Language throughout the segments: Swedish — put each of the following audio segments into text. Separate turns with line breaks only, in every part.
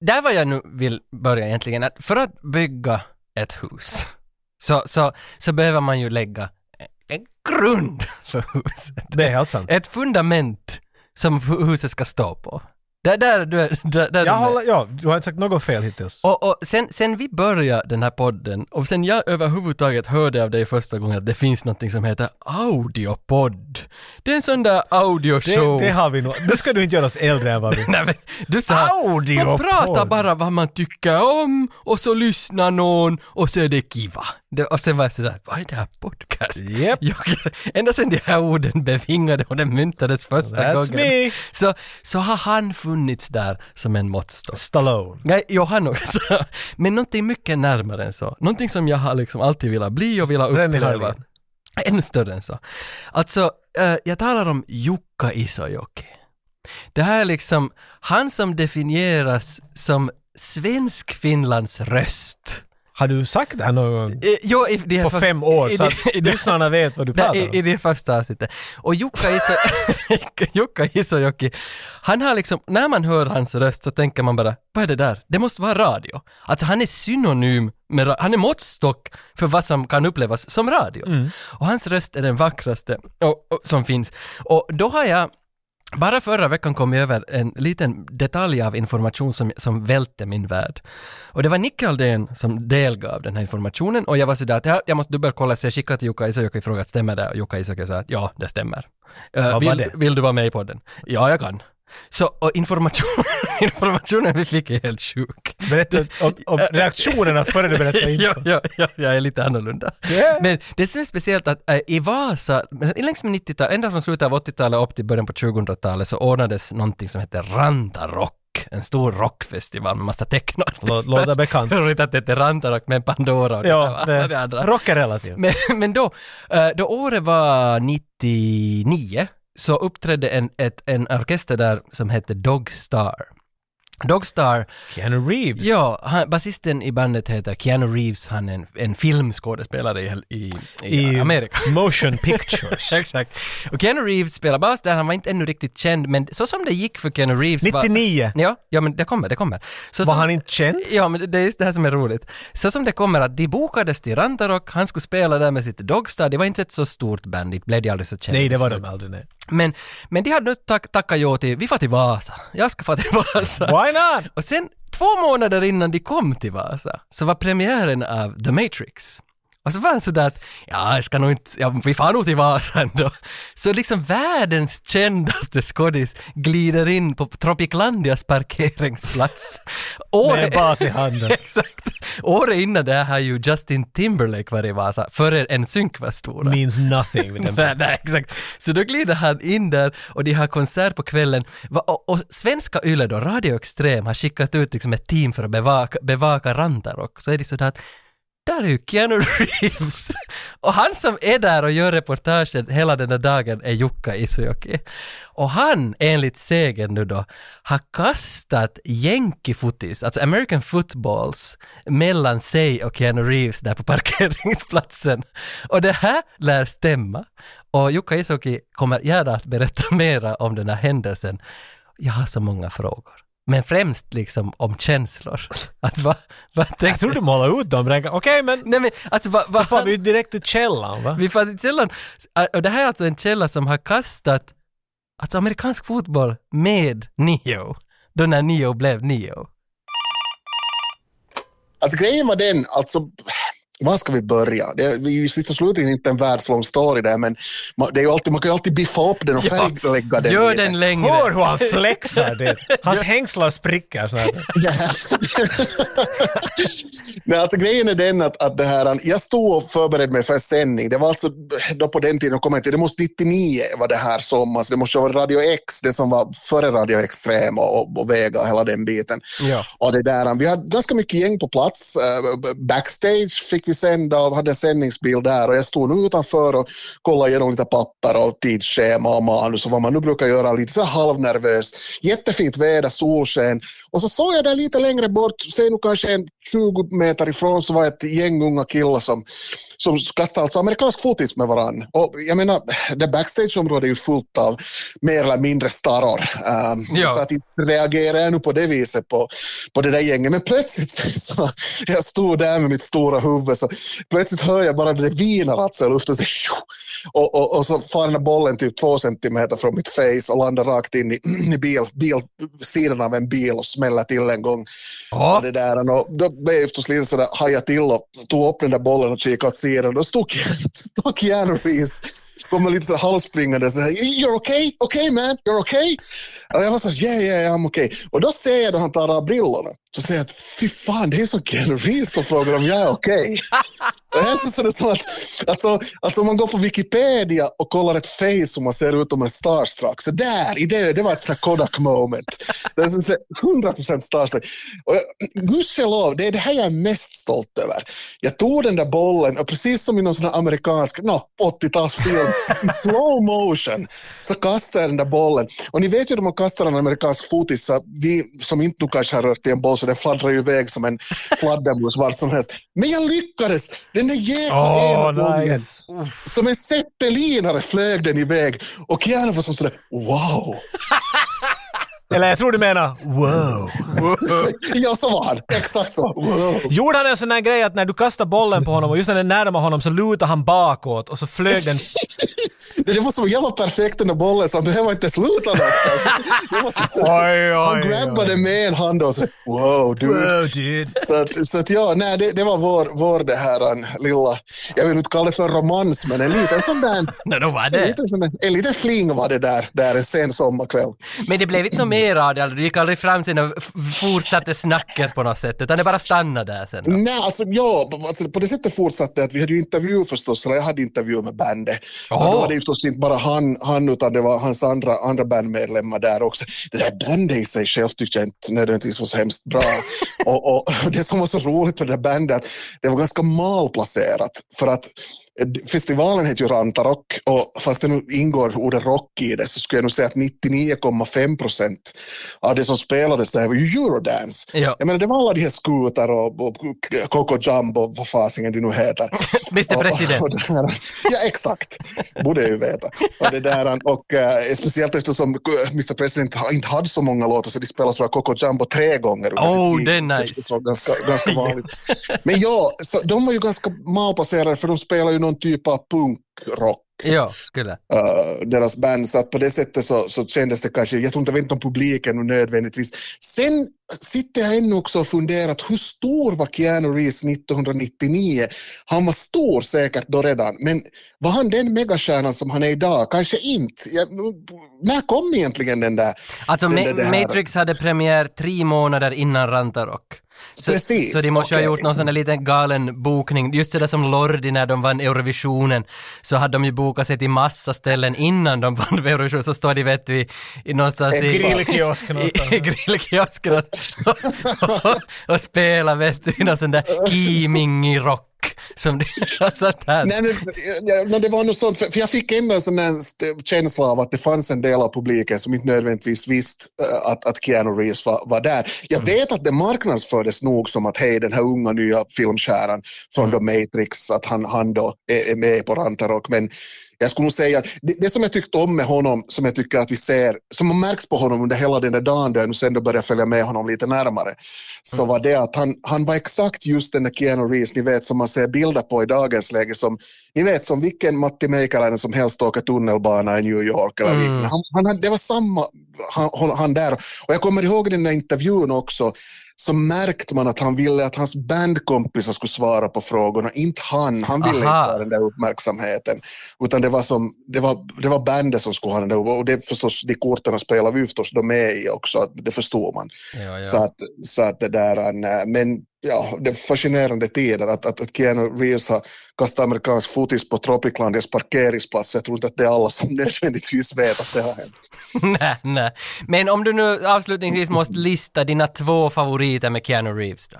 där var jag nu vill börja egentligen, att för att bygga ett hus så, så, så behöver man ju lägga en grund för huset.
Det är helt sant.
Ett fundament som hu- huset ska stå på. Där, där, du är- där, där
Jag
du är.
håller, ja, du har inte sagt något fel hittills.
Och, och sen, sen vi började den här podden och sen jag överhuvudtaget hörde av dig första gången att det finns någonting som heter audiopodd. Det är en sån där audioshow.
Det, det har vi nog. Det ska du inte göra oss äldre än vad vi...
Nej, men, du sa man
Audiopodd.
pratar bara vad man tycker om och så lyssnar någon och så är det kiva. Det, och sen var jag sådär, vad är det här podcast?
Japp.
Jag, ända sen de här orden bevingade och den myntades första
That's
gången
me.
Så, så har han funnits där som en måttstock.
Stallone.
Nej, jag har nog så. Men någonting mycket närmare än så. Någonting som jag har liksom alltid velat bli och velat
Brännvill
uppleva. Ännu större än så. Alltså, eh, jag talar om Jukka Isojoki. Det här är liksom han som definieras som svensk-Finlands röst.
Har du sagt det här någon gång?
Eh, jo, i det här
På
fast-
fem år?
i
Så
det-
att
i det-
lyssnarna vet vad du
Nej,
pratar
i, i
om?
det första avsnittet. Och Jukka, Iso, Jukka Isojoki, han har liksom, när man hör hans röst så tänker man bara, vad är det där? Det måste vara radio. Alltså han är synonym med, ra- han är måttstock för vad som kan upplevas som radio. Och hans röst är den vackraste och, och, som finns. Och då har jag bara förra veckan kom jag över en liten detalj av information som, som välte min värld. Och det var Nick Aldén som delgav den här informationen och jag var sådär att ja, jag måste dubbelkolla så jag skickade till Jukka Isojoki och frågade att stämmer det? Och Jukka Isojoki sa att ja, det stämmer. Eh,
var
vill,
det?
vill du vara med i podden? Ja, jag kan. Så och information, informationen vi fick är helt sjuk.
Berätta om, om reaktionerna före du berättar info.
Ja, ja, ja, jag är lite annorlunda.
Yeah.
Men det som är speciellt att eh, i Vasa, längs med 90-talet, ända från slutet av 80-talet upp till början på 2000-talet så ordnades någonting som hette Rantarock. En stor rockfestival med massa
Lå-
technotexter.
Låter bekant.
Roligt att det heter Rantarock med Pandora och
Ja,
det, där, va? det
det,
andra.
rock är relativt.
Men, men då, eh, då året var 99 så uppträdde en, ett, en orkester där som hette Dogstar. Dogstar
Keanu Reeves.
Ja, han, basisten i bandet heter Keanu Reeves, han är en, en filmskådespelare i, i, i,
I
Amerika.
Motion Pictures.
Exakt. Och Keanu Reeves spelar bas där, han var inte ännu riktigt känd, men så som det gick för Keanu Reeves var...
99.
Ja, ja, men det kommer, det kommer. Så
Var
som-
han inte känd?
Ja, men det är just det här som är roligt. Så som det kommer att de bokades till Rantarock, han skulle spela där med sitt Dogstar, det var inte ett så stort band, det blev de aldrig så kända.
Nej, det var de aldrig. Nej.
Men, men de hade nu tack, tackat ja till, vi får till Vasa, jag ska få till Vasa.
Why not?
Och sen två månader innan de kom till Vasa så var premiären av The Matrix. Och så var han sådär att ja, jag ska nog inte, ja, vi far nog till Vasa ändå. Så liksom världens kändaste skådis glider in på Tropiclandias parkeringsplats.
Med
Året,
bas i handen.
exakt. Året innan det här har ju Justin Timberlake varit i Vasa, före en synk var stora.
Means nothing. Vid den.
Nej, nej, exakt. Så då glider han in där och de har konsert på kvällen. Va- Och, och svenska YLE då, Radio Extrem, har skickat ut liksom ett team för att bevaka, bevaka Rantarock. Så är det sådär att där är ju Keanu Reeves. Och han som är där och gör reportagen hela den där dagen är Jukka Isojoki. Och han, enligt sägen nu då, har kastat jänkifotis, alltså American footballs, mellan sig och Keanu Reeves där på parkeringsplatsen. Och det här lär stämma. Och Jukka Isojoki kommer gärna att berätta mera om den här händelsen. Jag har så många frågor. Men främst liksom om känslor. Att vad, vad
Jag tror du målar ut dem. Okej, men
Nej men alltså vad... vad
då får vi ju
vi...
direkt till källan va?
vi fann källan. Och det här är alltså en källa som har kastat alltså amerikansk fotboll med Neo. Då när Neo blev Neo.
Alltså grejen var den, alltså, var ska vi börja? Det är det är ju i sista slutet inte en världslång story där, men man, det är ju alltid, man kan ju alltid biffa upp den och färglägga den.
Gör
lite.
den längre.
Hör hur han flexar det. Hans hängslar spricker snart.
Nej, alltså grejen är den att, att det här, jag stod och förberedde mig för en sändning. Det var alltså då på den tiden, kom jag till, det måste 99 var det här sommaren, så det måste vara Radio X, det som var före Radio Extrem och, och, och Vega och hela den biten.
Ja.
Och det där, vi hade ganska mycket gäng på plats. Eh, Backstage fick fick vi sända och hade en sändningsbil där och jag stod nu utanför och kollade igenom lite papper och tidsschema och manus och vad man nu brukar göra, lite så här halvnervös. Jättefint väder, solsken. Och så såg jag där lite längre bort, säg nu kanske en 20 meter ifrån, så var ett gäng unga killar som, som kastade alltså amerikansk fotis med varann. Och jag menar, det backstageområdet är ju fullt av mer eller mindre staror. Um,
Ja.
Så att inte reagerar jag nu på det viset på, på det där gänget. Men plötsligt, så, jag stod där med mitt stora huvud, så plötsligt hör jag bara det vinar alltså i luften. Så, och, och, och så far den här bollen typ två centimeter från mitt face och landar rakt in i, i bil, bil, sidan av en bil och smäller till en gång.
Ja,
Och det där, och då blev jag förstås lite sådär, hajade till och tog upp den där bollen och kikade åt sidan. Då stod, stod Keanu Reeves, kommer lite så halvspringande så här, you're okay, okay man, you're okay. Och jag var så här, yeah, yeah, I'm okay. Och då ser jag då han tar av brillorna, så säger jag att fy fan, det är som Keanu Reeves som frågar om jag är okej. Det här känns det som att, alltså, alltså om man går på Wikipedia och kollar ett face och man ser ut som en starstruck, så där, i det, det var ett sånt här Kodak moment. Det är så- 100% starstruck. Och jag- Gudskelov, det är det här jag är mest stolt över. Jag tog den där bollen och precis som i någon sån här amerikansk no, 80-talsfilm, i slow motion, så kastade jag den där bollen. Och ni vet ju när man kastar en amerikansk fotis, så vi som inte nu kanske har rört i en boll, så den fladdrar ju iväg som en fladdermus vart som helst. Men jag lyckades! Den där jäkla
Åh,
ena gången.
nice.
Som en zeppelinare flög den iväg och Keanu var som sådär wow.
Eller jag tror du menar wow.
ja, så var han. Exakt så. Wow.
Gjorde han en sån där grej att när du kastade bollen på honom och just när den närmade honom så lutade han bakåt och så flög den...
Det det var så jävla perfekt den där bollen så han behöver inte sluta någonstans. Det var så-
Oj, oj,
han grabbade
oj.
med en hand och så wow dude.
Wow, dude.
Så att, så att ja, nej, det, det var vår, vår det här en lilla, jag vill inte kalla det för romans, men en liten sån där, en,
no, då var det.
liten, sån där, en liten fling var det där, där en sen sommarkväll.
Men det blev inte något mer av det, alltså, du gick aldrig fram sen och f- fortsatte snacket på något sätt, utan det bara stannade där sen då.
Nej, alltså, ja, alltså, på det sättet fortsatte det att vi hade ju intervju förstås, eller jag hade intervju med bandet.
Jaha.
Och då var det ju förstås inte bara han, han utan det var hans andra, andra bandmedlemmar där också. Det där bandet i sig själv tyckte jag inte nödvändigtvis var så hemskt bra. och, och det som var så roligt med det där bandet, att det var ganska malplacerat. För att eh, festivalen heter ju Rantarock och fast det nu ingår ordet rock i det så skulle jag nog säga att 99,5 procent av det som spelades där var ju Eurodance.
Ja.
Jag menar, det var alla de här skutar och, och Coco Jumbo, vad fasingen de nu heter.
Mr President.
Och, och det där, ja, exakt. Borde jag ju veta. Och det där, och, eh, speciellt eftersom Mr President har- inte hade så många låtar så de spelade tror jag Coco Jumbo tre gånger. under
Oh,
sin tid,
det är nice.
vilket var Ganska, ganska vanligt. Men ja, så, de var ju ganska malplacerade för de spelar ju någon typ av punkrock.
Ja, skulle.
eh, deras band, så att på det sättet så, så kändes det kanske, jag tror inte jag vet inte om publiken och nödvändigtvis. Sen sitter jag ännu också och funderat, hur stor var Keanu Reeves 1999? Han var stor säkert då redan, men var han den megastjärnan som han är idag? Kanske inte. Jag, när kom egentligen den där?
Alltså
Det-
Ma-
det- det här-
Matrix hade premiär tre månader innan Rantarock. Så,
Precis,
så de måste ju ha
okej.
gjort någon sån där liten galen bokning. Just det där som Lordi när de vann Eurovisionen så hade de ju bokat sig till massa ställen innan de vann Eurovision så står de vet vi i någonstans i...
Grillkiosk någonstans.
i, i grillkiosken och, och, och, och spela vet du, i någon sån där Kimingi-rock som det har satt här.
Nej, men, ja, men det var något sånt, för för jag fick ändå en sån där st- känsla av att det fanns en del av publiken som inte nödvändigtvis visste eh, att, att Keanu Reeves var, var där. Jag vet att det marknadsfördes nog som att hej, den här unga nya filmstjärnan från The Matrix, att han, han då är, är med på Rantarock. Men jag skulle nog säga, det, det som jag tyckte om med honom, som jag tycker att vi ser, som har märkts på honom under hela den där dagen, då jag nu sen då började följa med honom lite närmare,
Mm.
så var det att han, han var exakt just den där Keanu Reeves, ni vet, som man ser bilder på i dagens läge, som ni vet som vilken Matti Meikäläinen som helst åker tunnelbana i New York eller
Mm.
liknande. Han, han, hade- det var samma han, han där. Och jag kommer ihåg den där intervjun också, så märkte man att han ville att hans bandkompisar skulle svara på frågorna, inte han. Han ville
Aha.
inte ha den där uppmärksamheten. Utan det var, som, det var, det var bandet som skulle ha den där upp- och det förstås, de korten spelar vi förstås de med i också, att det förstår man.
Ja,
Så,
ja.
att, så att det där, eh, men ja, det är fascinerande tider att, att, att Keanu Reeves har kastat amerikansk fotis på Tropiclandias parkeringsplats. Jag tror inte att det är alla som nödvändigtvis vet att det har hänt.
nej, nej. Men om du nu avslutningsvis måste lista dina två favoriter med Keanu Reeves då?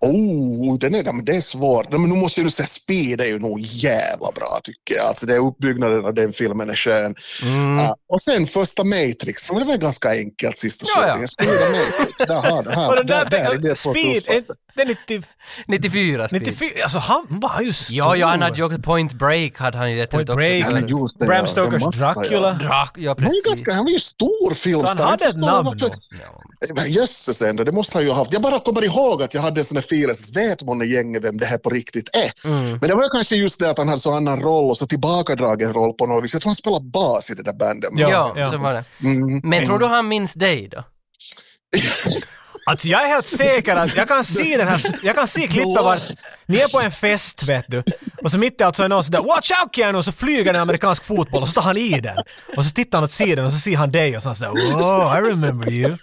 Oh, den är, ja, men det är svårt. Ja, Men nu måste jag ju säga Speed är ju nog jävla bra tycker jag. Alltså det är uppbyggnaden av den filmen är skön.
Mm.
Ja, och sen första Matrix, men det var ju ganska enkelt sist och
Ja, ja.
slutligen. Speed och Matrix, där har du.
Och
Här,
den där,
där, där, är det två
Speed,
tuffaste.
är- det är 90,
94 Speed.
94, alltså han var ju stor.
Ja, ja, han hade ju också Point Break hade han ju gett
Point
ut också.
Break.
Så-
Ja, men just det, ja.
Bram
Det
Stokers
måste jag.
Dracula.
Drak, ja
Han var ju
precis.
ganska, han var ju stor
Så
filmstar.
han hade
Jag
ett
förstår varför-
namn då.
Ja.
Men Eh, jösses ändå, det måste han ju ha haft. Jag bara kommer ihåg att jag hade en sån här feeling, så vet man i gänget vem det här på riktigt är?
Mm.
Men det var ju kanske just det att han hade så annan roll och så tillbakadragen roll på något vis. Jag tror han spelade bas i det där bandet.
Ja,
Ja,
ja.
så var det.
Mm.
Men tror du han minns dig då?
Alltså jag är helt säker att jag kan se den här, jag kan se klippet var ni är på en fest vet du och så mitt i allt så är någon sådär “Watch out Keanu” och så flyger en amerikansk fotboll och så tar han i den och så tittar han åt sidan och så ser han dig och så han sådär “Wow, I remember you”.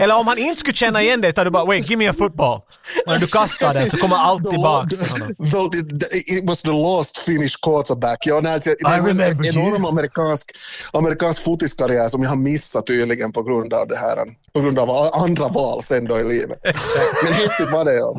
Eller om han inte skulle känna igen dig tar du bara “Wait, give me a football” och när du kastar den så kommer allt tillbaka till honom.
The- the- It was the last Finnish quarterback. Ja, nej, alltså, det
I
det var en
remember you.
enorm amerikansk, amerikansk fotiskarriär som jag har missat tydligen på grund av det här. På grund av a- andra val sen då i livet. Men häftigt var det ja.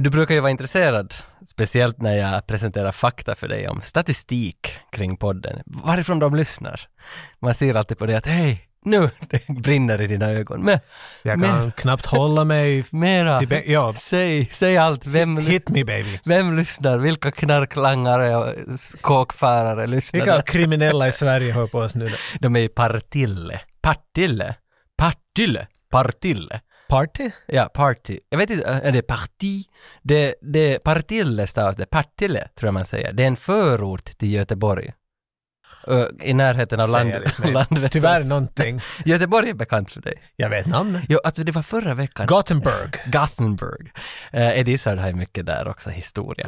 Du brukar ju vara intresserad, speciellt när jag presenterar fakta för dig om statistik kring podden. Varifrån de lyssnar. Man ser alltid på det att hej, nu det brinner i dina ögon. Men,
Jag kan knappt hålla mig.
mera,
Det be- Typ, ja.
säg, säg allt. Vem, ly-
Hit me baby.
vem lyssnar? Vilka knarklangare och s- kåkfarare lyssnar?
Vilka kriminella i Sverige hör på oss nu?
De är i Partille. Partille? Partille? Partille?
Party?
Ja, party. Jag vet inte, är det parti? Det, det Partille stavas det, Partille tror jag man säger. Det är en förort till Göteborg. Ö, I närheten av land,
Säger det inte mig.
Landvetter.
Tyvärr någonting.
Göteborg är bekant för dig.
Jag vet namnet.
Jo, alltså det var förra veckan.
Gothenburg.
Gothenburg. Eh, Eddie Izzard har ju mycket där också, historia.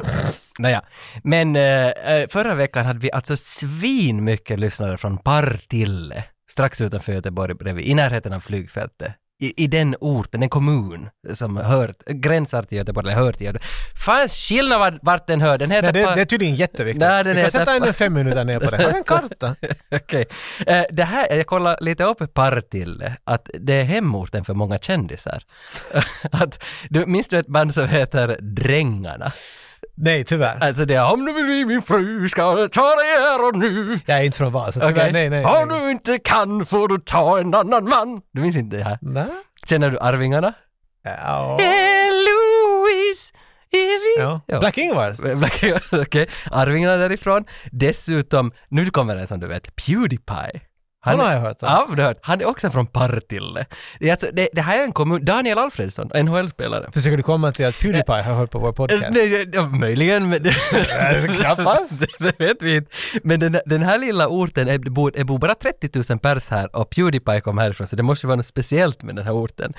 Nåja, men eh, eh, förra veckan hade vi alltså svin mycket lyssnare från Partille, strax utanför Göteborg bredvid, i närheten av flygfältet. I, I den orten, en kommun som hör, gränsar till Göteborg, eller hör till Göteborg. Fanns skillnad var- vart den hör, den heter
Nej, det,
Par-
det är tydligen jätteviktigt.
Nej, den
Vi kan
heter-
sätta ännu fem minuter ner på det. Har du en karta?
Okej. Eh, det här, jag kollar lite upp Partille, att det är hemorten för många kändisar. att, du, minns du ett band som heter Drängarna?
Nej, tyvärr.
Alltså det är om du vill bli min fru ska du ta dig här och nu.
Jag är inte från Vasa, tyvärr.
Okej?
Nej, nej.
Om
nej.
du inte kan får du ta en annan man. Du minns inte det här?
Nej.
Känner du Arvingarna?
Ja.
Hey Louise! Evie.
Ja. Black Ingvar.
Black- Okej, Arvingarna därifrån. Dessutom, nu kommer det som du vet, Pewdiepie.
Honom har jag hört om.
Ja, du har hört. Han är också från Partille. Det, är alltså, det, det här är en kommun, Daniel Alfredsson, NHL-spelare.
Försöker du komma till att Pewdiepie har hört på vår
Eh,
podcast?
Nej, ja, ja, möjligen, men...
knappast.
det vet vi inte. Men den, den här lilla orten, är- det bor, det bor bara 30 000 pers här och Pewdiepie kom härifrån, så det måste ju vara något speciellt med den här orten.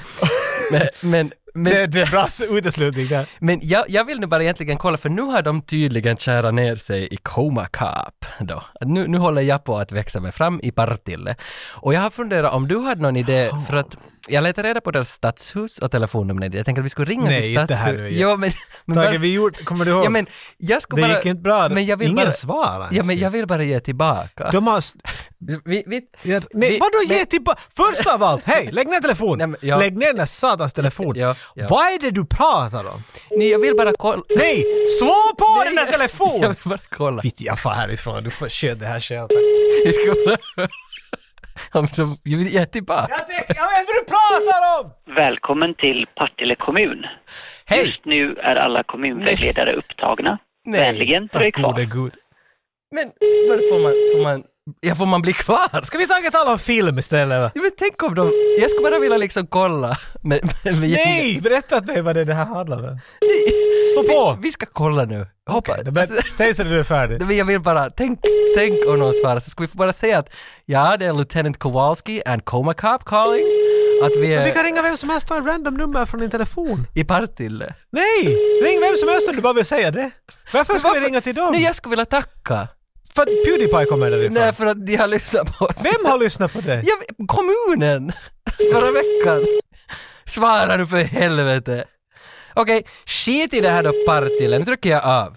Men, men, men,
Det, det är bra uteslutning där.
men jag, jag vill nu bara egentligen kolla, för nu har de tydligen kärat ner sig i Coma Cup då. Nu, nu håller jag på att växa mig fram i Partille. Och jag har funderat om du hade någon idé, för att jag letar reda på deras stadshus och telefonnummer. Jag tänkte att vi skulle ringa
Nej,
till
inte här
stadshus.
nu igen.
Jo, men, men
Tage, vi gjorde... Kommer du ihåg?
Ja men jag ska
det
bara...
gick inte bra.
Men jag vill
Ingen
bara,
svarade ens
Ja men jag
sist.
vill bara ge tillbaka.
De har... s-
Vi, vi,
Ja, nej,
Vi-
vadå ge
men-
tillbaka? Först av allt, hej, lägg ner telefonen!
Nej, men ja.
Lägg ner den där satans telefonen!
Ja, ja.
Vad är det du pratar om?
nej, jag vill bara kolla.
Nej, slå på den där
Jag
telefonen!
vill bara kolla.
Vitt jag far härifrån, du får köra det här själv.
Jag ska bara... Om de vill ge tillbaka.
Jag tänker, jag vet vad du pratar om!
Välkommen till Partille kommun.
Hej!
Just nu är alla kommunvägledare upptagna.
Nej,
Vänligen dröj
Tack
kvar.
gode gud.
Men varför får man, får man, Ja, får man bli kvar?
Ska vi taget tala om film istället? Va?
Ja, men tänk om de... Jag skulle bara vilja liksom kolla med, med, med gänget.
Nej! Berätta åt mig vad det det här handlar om. Slå på!
Vi ska kolla nu. Hoppa.
Okej, då ber-
Alltså,
Säg så när du är färdig.
Nej, men jag vill bara, tänk, tänk om någon svarar så ska vi få bara säga att ja, det är Lieutenant Kowalski and Coma Cop calling. Att vi
Vi
är
kan ringa vem som helst och ta en random nummer från din telefon.
i Partille.
Nej! Ring vem som helst om du bara vill säga det. Varför ska vi ringa till dem?
Nej, jag skulle vilja tacka.
För att Pewdiepie kommer därifrån.
Nej, för att de har lyssnat på oss.
Vem har lyssnat på det?
Ja, kommunen! Förra veckan. Svara nu för helvete. Okej, skit i det här då Partille. Nu trycker jag av.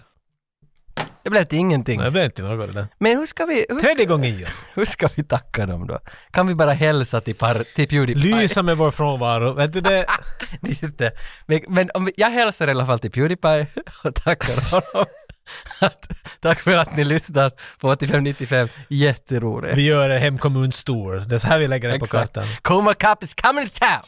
Det blev till ingenting.
Nej, det blev inte något det där.
Men hur ska vi... Hur ska,
Tredje gången gillt.
hur ska vi tacka dem då? Kan vi bara hälsa till, par, till Pewdiepie?
Lysa med vår frånvaro. Vet du det?
Just det. Men, men om vi, jag hälsar i alla fall till Pewdiepie och tackar honom. Att, tack för att ni lyssnar på 8595. Jätteroligt.
Vi gör en hemkommun stor. Det är så här vi lägger det på
Exakt.
kartan.
Coma Cup is coming to town!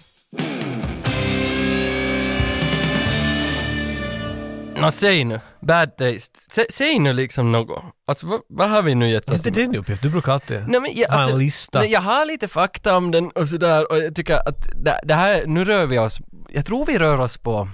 Nå, säg nu. Bad taste. Sä, säg nu liksom något. Alltså, vad, vad har vi nu gett oss?
Inte din uppgift. Du brukar alltid...
Alltså- Nej, men jag,
Ha en
alltså,
lista.
Nej, jag har lite fakta om den och sådär och jag tycker att det, det här, nu rör vi oss, jag tror vi rör oss på,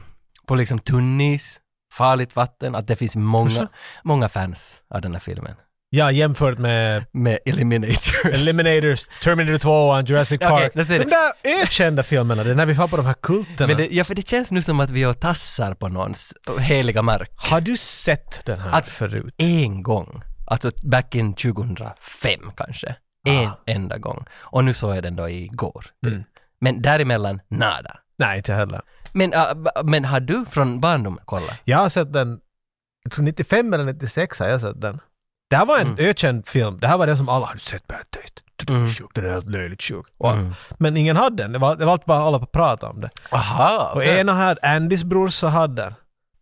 på liksom tunnis, farligt vatten, att det finns många,
Jaså?
många fans av den här filmen.
Ja, jämfört med
Med Eliminators.
Eliminators, Terminator 2 och Jurassic
Okej,
Park.
då ser
de
det.
där ökända filmerna, det är när vi far på de här kulterna.
Men det, ja, för det känns nu som att vi är och tassar på någons heliga mark.
Har du sett den här
Att-
förut?
En gång, alltså back in 2005 kanske.
Ah.
En enda gång. Och nu såg jag den då igår. typ.
Mm.
Men däremellan, nada.
Nej, inte heller.
Men, äh, b- men har du från barndomen kollat?
Jag har sett den, jag tror 95 eller 96 har jag sett den. Det här var en
Mm.
ökänd film. Det här var den som alla hade sett Bad Taste. Den är sjuk, den är helt löjligt sjuk. Och-
Mm.
Men ingen hade den. Det var, det var alltid bara alla på att prata om det.
Aha!
Och ena här, Andys brorsa hade den.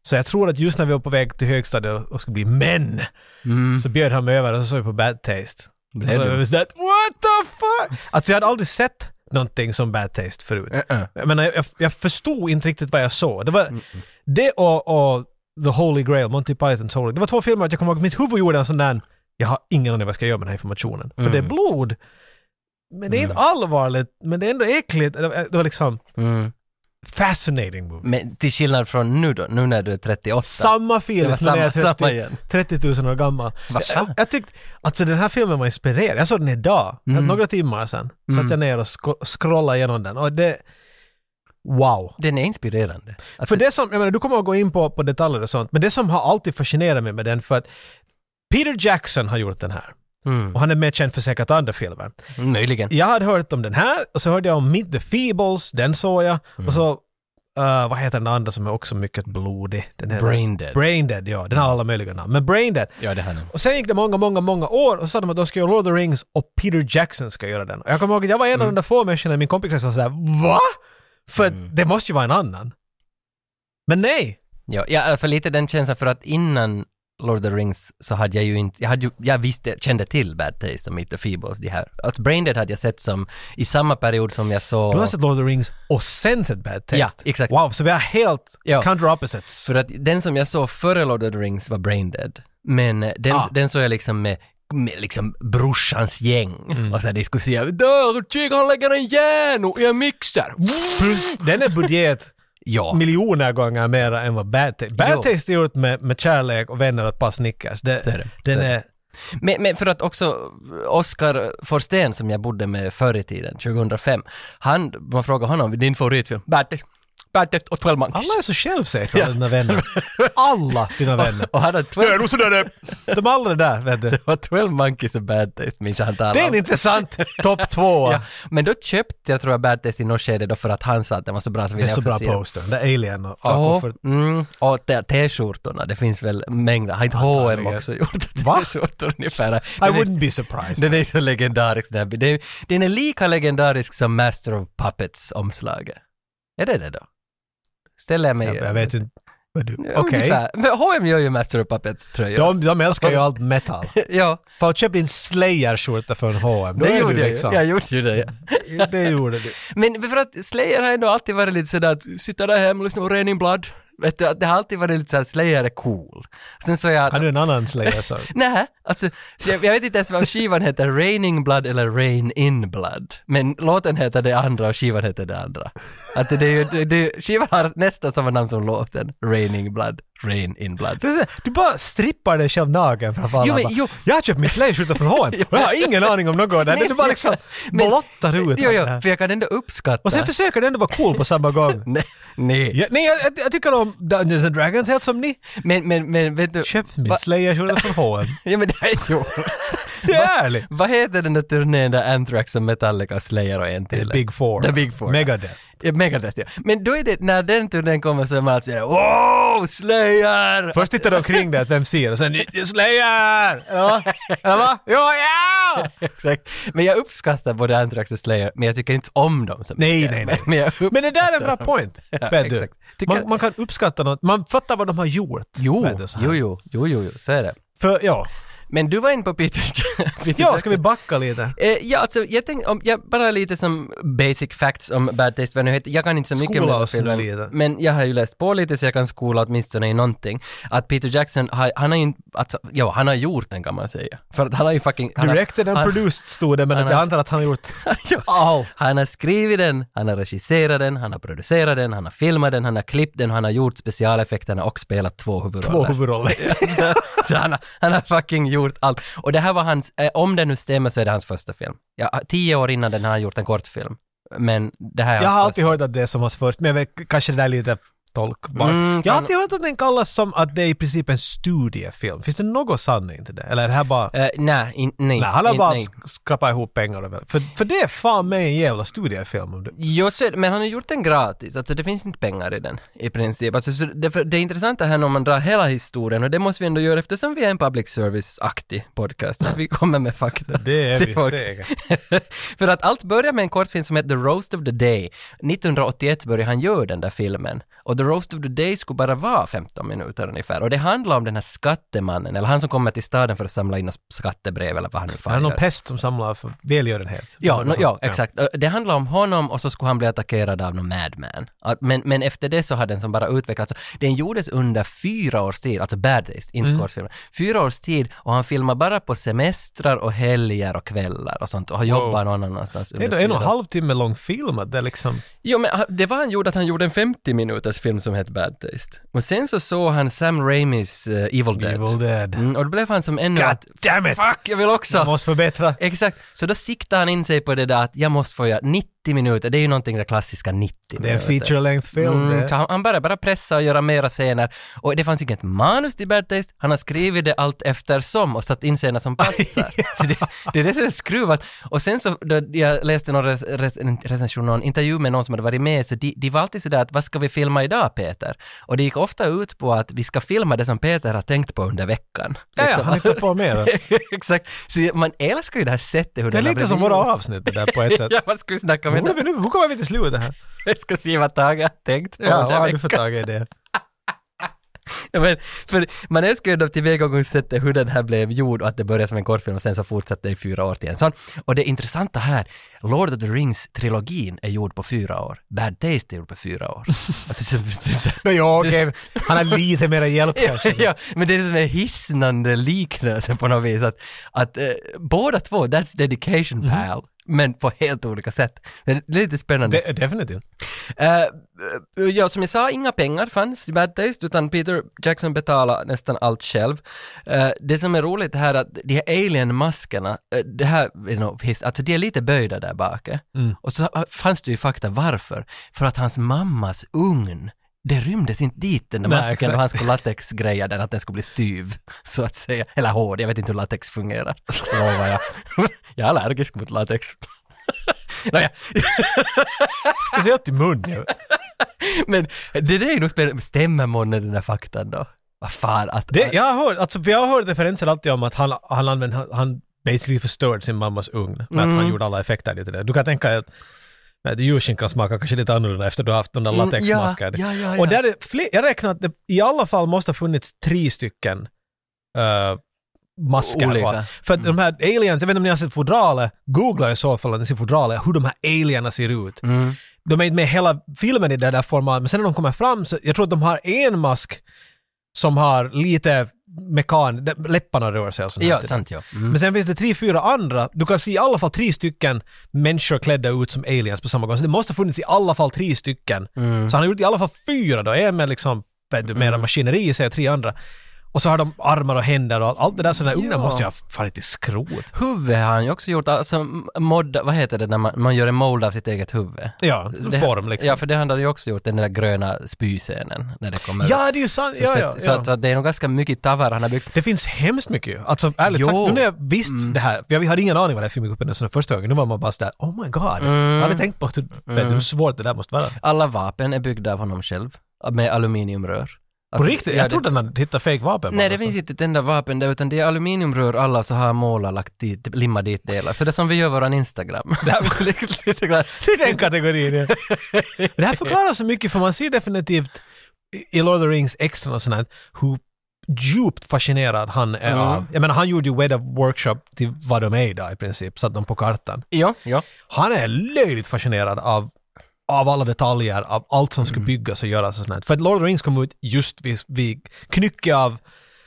Så jag tror att just när vi var på väg till högstadiet och skulle bli män,
Mm.
så bjöd han mig över och så såg vi på Bad Taste. Och
Blev
så var
du?
Alltså, jag sådär, what the fuck? Alltså jag hade aldrig sett någonting som Bad Taste förut.
Uh-uh.
Jag menar, jag, jag förstod inte riktigt vad jag såg. Det var det och, och The Holy Grail, Monty Pythons Holy Det var två filmer att jag kommer ihåg, mitt huvud gjorde en sån där, jag har ingen aning vad jag ska göra med den här informationen. För det är blod, men det är inte allvarligt, men det är ändå äckligt. Det var, det var liksom
Mm.
fascinating movie.
Men till skillnad från nu då, nu när du är 38.
Samma
Det
film
var
som när jag
samma-
är
samma
30,
igen.
30 000 år gammal.
Vad fan?
Jag, jag tyckte, alltså den här filmen var inspirerad. Jag såg den idag,
Mm.
några timmar sedan. Satt
Mm.
jag ner och sko- scrollade igenom den och det, wow.
Den är inspirerande. Alltså,
För det som, jag menar, du kommer att gå in på, på detaljer och sånt, men det som har alltid fascinerat mig med den för att Peter Jackson har gjort den här.
mm,
Och han är mer känd för säkert andra filmer.
möjligen.
Jag hade hört om den här och så hörde jag om Meet the Feebles, den såg jag. Och så, eh, vad heter den andra som är också mycket blodig? Den heter-
Brain Dead.
Brain Dead, ja. Den har alla möjliga namn. Men Brain Dead.
Ja, det har den.
Och sen gick det många, många, många år och så sa de att de ska göra Lord of the Rings och Peter Jackson ska göra den. Och jag kommer ihåg att jag var en
Mm.
av de där få människorna i min kompiskrets som sa såhär VA? För det måste ju vara en annan. Men nej!
Ja, ja, i alla fall lite den känslan för att innan Lord of the Rings så hade jag ju inte, jag, hade ju, jag visste, kände till Bad Taste och Meet the Feebles, de här. Alltså Braindead hade jag sett som, i samma period som jag såg...
Du har sett Lord of the Rings och sen sett Bad Taste.
Ja, exakt.
Wow, så vi har helt
Ja.
counter opposites.
För att den som jag såg före Lord of the Rings var Braindead. Men eh, den,
Ah.
den såg jag liksom med, med liksom brorsans gäng.
Mm.
Och så här, de skulle säga “Där, kik, han lägger en järn i en mixer!”
Plus, den är budget
Ja.
miljoner gånger mer än vad Bad Taste... Bad
Jo.
Taste är gjort med, med kärlek och vänner och ett par Snickers. Det,
Så är det.
Den
Så är
är...
Men, men för att också Oscar Forsten som jag bodde med förr i tiden, 2005, han, man frågade honom “Din favoritfilm?” “Bad Taste, Bad Taste och 12 Monkeys”.
Alla är så självsäkra, alla dina vänner. Alla dina vänner.
Och han hade 12,
nog sådär det. De är aldrig där, vet du.
det var 12 Monkeys och Bad Taste, minns jag han talade
Det är
om.
en intressant topp två.
Ja, men då köpte jag tror jag Bad Taste i något skede då för att han sa att den var så bra så
Det är
ville jag
så
också
bra
se den.
poster. Det är Alien och
Ja,
Aquafort.
mm, och t- t-skjortorna, det finns väl mängder. Har inte H&M
Antagligen.
också gjort
Va?
t-skjortor ungefär?
I
Den är-
wouldn't be surprised.
Den är så legendarisk den här bilden. Den- Den är lika legendarisk som Master of Puppets-omslaget. Är det det då? Ställer jag mig...
Jag, jag vet inte. vad du-
Ja,
Okej.
ungefär. Men H&M gör ju Master of Puppets-tröjor.
De, de älskar ju allt metal.
ja,
Fan, köp din Slayer-skjorta från H&M. Då
det
är
gjorde
du
jag
liksom.
ju. Jag gjorde ju det. Ja.
Det gjorde du.
Men för att Slayer har ändå alltid varit lite sådär att sitta där hemma och lyssna på Raining Blood. Vet du, det har alltid varit lite såhär, Slayer är cool. Sen så jag
Har du en annan Slayer-sång?
Nej, alltså jag, jag vet inte ens vad skivan heter, Raining Blood eller Rain In Blood. Men låten heter det andra och skivan heter det andra. Att det är ju, det, det, skivan har nästan samma namn som låten, Raining Blood, Rain In Blood.
Det är så här, Du bara strippar dig själv naken framför alla.
Jo, men-
Bara,
jo.
Jag har köpt min Slayer-skjorta från H&M och jag har ingen aning om något där.
Nej,
Du bara liksom
men-
blottar ut allt
Jo, jo,
det här.
för jag kan ändå uppskatta.
Och sen försöker du ändå vara cool på samma gång.
Nej, nej.
Ja, nej, jag, jag, jag tycker om Dungeons and Dragons helt som ni.
Men, men, men vet du...
Köpt min
Va-
Slayer-skjorta från H&M.
Ja, men det här är ju...
Det är ärligt.
Vad heter den där turnén där Anthrax och Metallica, Slayer och en till?
The Big Four.
The Big Four.
Megadeth.
Ja, Megadeth ja. Men då är det, när den turnén kommer så är man alltså Wow, Slayer!
Först tittar de omkring dig att vem ser och sen Slayer! Ja, eller va? Ja, ja!
Exakt. Men jag uppskattar både Anthrax och Slayer, men jag tycker inte om dem så mycket.
Nej, nej, nej.
Men, jag upp-
Men det där är en bra point.
Ja,
vet du.
exakt. Tycker jag-
Man, man kan uppskatta något, man fattar vad de har gjort.
Jo,
vet du, så här.
jo, jo, jo, jo, jo, så är det.
För, ja.
Men du var inne på Peter, Peter
ja, ska
Jackson.
vi backa lite?
Eh, ja, alltså jag tänkte, om, jag bara lite som basic facts om Bad Taste, vad nu heter. Jag kan inte så mycket om
Skola
den här
oss nu
filmen,
lite.
men jag har ju läst på lite så jag kan skola åtminstone i någonting. Att Peter Jackson, har, han har ju inte, alltså, ja, han har gjort den kan man säga. För att han har ju fucking... han har-
Directed and
han-
produced stod det, men
han
att jag
har-
antar att han har gjort
Ja.
allt.
Han har skrivit den, han har regisserat den, han har producerat den, han har filmat den, han har klippt den, han har gjort specialeffekterna och spelat två huvudroller.
Två huvudroller.
så så han, har- han har fucking gjort allt. Och det här var hans, eh, om det nu stämmer så är det hans första film. Ja, ah, tio år innan den har han gjort en kortfilm. Men det här är
Jag har
hans
alltid hört att det är som hans först, men jag vet, kanske det där är lite tolkbart.
Mm,
jag har
kan-
alltid hört att den kallas som att det är i princip en studiefilm. Finns det någon sanning till det? Eller är det här bara...
första. Eh, nej, in, nej.
Nej, han har
in,
bara
nej.
sk- skrapat ihop pengar. och väl- För, för det är fan mig en jävla studiefilm. om du-
Jo, så är det, men han har gjort den gratis, alltså det finns inte pengar i den i princip. Alltså, så det, för det intressanta här om man drar hela historien, och det måste vi ändå göra eftersom vi är en public service-aktig podcast, att vi kommer med fakta.
Det är vi
till folk.
säkert.
För att allt börjar med en kortfilm som heter The Roast of the Day. 1981 började han göra den där filmen. Och The Roast of the Day skulle bara vara 15 minuter ungefär. Och det handlar om den här skattemannen, eller han som kommer till staden för att samla in skattebrev eller vad han nu
Han har
fan
någon
gör.
pest som samlar för välgörenhet.
Ja, no,
Något
ja,
sånt.
exakt. Ö, Det handlar om honom och så skulle han bli attackerad av någon madman. Att- Men, men efter det så har den som bara utvecklats. Den gjordes under fyra års tid, alltså Bad Days, inte
Mm.
kortfilmen. Fyra års tid och han filmar bara på semestrar och helger och kvällar och sånt och har jobbat någon annanstans.
Det är
under
ändå
fyra
en och
år.
en halv timme lång film. att Det är liksom...
Jo, men han- det var han gjorde, att han gjorde en 50 minuters film som hette Bad Taste. Och sen så såg han Sam Raimis eh, Evil Dead.
Evil Dead.
Mm, och då blev han som ännu
God
att,
damn it!
fuck, jag vill också!
Jag måste förbättra.
Exakt, så då siktade han in sig på det där att jag måste få göra 90 minuter, det är ju någonting det klassiska 90
Det är en feature length film.
Mm, så
det.
han, han började bara pressa och göra mera scener. Och det fanns inget manus till Bad Taste, han har skrivit det allt eftersom och satt in scener som passar. så det, det är det som är skruvat. Och sen så, då jag läste någon res, res, en recension, någon intervju med någon som hade varit med, så de, de var alltid sådär att vad ska vi filma idag Peter? Och det gick ofta ut på att vi ska filma det som Peter har tänkt på under veckan.
Ja, ja,
Liksom.
han hittar på mer. Det
Exakt, så man älskar ju det här sättet hur
är
den har
lite som
blivit
våra
gjord.
avsnitt det där på ett sätt.
Ja, vad ska vi snacka om
Hur,
idag?
vi nu, hur kommer vi till slutet här?
Jag ska se vad Tage har tänkt på
Ja,
under
vad har
veckan.
du för tag i det?
Ja, men, för man älskar ju då tillvägagångssättet hur den här blev gjord och att det började som en kortfilm och sen så fortsatte det i fyra år till en sån. Och det intressanta här, Lord of the Rings-trilogin är gjord på fyra år. Bad Taste är gjord på fyra år. Alltså, så,
Nå, ja, okej. Han har lite mer hjälp kanske.
ja, men det är som en hisnande liknelse på något vis att, att eh, båda två, that's dedication pal. Men på helt olika sätt. Det är lite spännande.
De, definitivt.
Eh, eh, ja, som jag sa, inga pengar fanns i Bad Taste, utan Peter Jackson betalade nästan allt själv. Eh, det som är roligt här är att de här alien-maskerna, eh, det här är nog hiss, alltså de är lite böjda där bak. eh.
Mm.
Och så eh, fanns det ju fakta varför. För att hans mammas ugn det rymdes inte dit den där
Nej,
masken
exakt.
och han skulle latexgreja den att den skulle bli styv, så att säga. Eller hård, jag vet inte hur latex fungerar. Lovar jag. jag är allergisk mot latex. Nåja,
Speciellt i munnen.
Men det där är nog spännande. Stämmer månne den där faktan då? Vad fan att...
Det, jag har hört, alltså, för jag har hört referenser alltid om att han, han använde, han, han basically förstörde sin mammas ugn med att
Mm.
han gjorde alla effekter till det. Du kan tänka dig att att djurskinkan smakar kanske lite annorlunda efter du har haft de där
Mm,
latexmaskerna.
ja, ja, ja,
Och
ja.
där är fler, jag räknar att det i alla fall måste ha funnits tre stycken eh, masker.
Olika. Mm.
va? För att de här aliens, jag vet inte om ni har sett fodralet, googla i så fall om ni ser fodralet, hur de här alienerna ser ut.
Mm.
de är inte med hela filmen i det där formatet, men sen när de kommer fram så, jag tror att de har en mask som har lite mekan, de- läpparna rör sig och sånt
Ja,
här.
sant ja. Mm.
Men sen finns det tre, fyra andra. Du kan se i alla fall tre stycken människor klädda ut som aliens på samma gång. Så det måste ha funnits i alla fall tre stycken.
Mm.
Så han har gjort i alla fall fyra då. En med liksom, vet du, mera maskineri i sig och tre andra. Och så har de armar och händer och allt det där. Så den här ugnen
Ja.
måste ju ha farit i skrot.
Huvud har han ju också gjort, alltså modda, vad heter det när man, man gör en mold av sitt eget huvud?
Ja,
Det-
form liksom.
Ja, för det handlar ju också gjort, den där gröna spyscenen när det kommer.
Ja, det är ju sant.
så,
Ja,
så,
ja,
att- Så,
ja.
att- så att det är nog ganska mycket tavar han har byggt.
Det finns hemskt mycket ju. Alltså ärligt
Jo. Mm.
sagt, nu när jag visste det här, jag hade ingen aning vad det här filmgruppen är sådana första gången, nu var man bara sådär oh my god. Jag
Mm.
hade tänkt på hur, vet du, hur svårt det där måste vara.
Alla vapen är byggda av honom själv, med aluminiumrör.
På
Alltså,
riktigt?
ja,
Jag
det-
trodde han hade hittat fake vapen.
Nej,
bara,
det
så.
finns inte ett enda vapen där, utan det är aluminiumrör alla så har målar lagt dit, limmat dit delar. Så det är som vi gör våran Instagram. Det här var lite, lite grann.
Det är den kategorin ja. Det här förklarar så mycket för man ser definitivt i- i Lord of the Rings extra och sånt här, hur djupt fascinerad han är
Ja.
av. Jag menar han gjorde ju Weda Workshop till vad de är idag i princip, satte dem på kartan.
Ja, ja.
Han är löjligt fascinerad av av alla detaljer, av allt som
Mm.
ska byggas och göras och sånt. här. För att Lord of the Rings kom ut just vid, vid knycke av,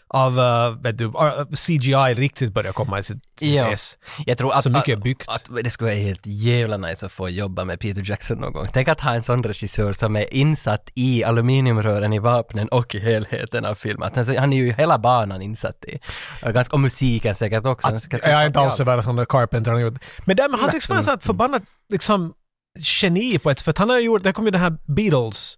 av eh, vet du, eh, CGI riktigt började komma i sitt sitt
Ja.
ess.
Jag tror att,
Så mycket är byggt.
Att, att det skulle vara helt jävla nice att få jobba med Peter Jackson någon gång. Tänk att ha en sån regissör som är insatt i aluminiumrören i vapnen och i helheten av filmen. Att Alltså, han är ju hela banan insatt i. Och, ganska, och musiken säkert också.
Att, jag är inte alls så värd som Carpenter han gjort. Men där, men han tycks vara ett förbannat liksom, geni på ett för att han har gjort, det kom ju den här Beatles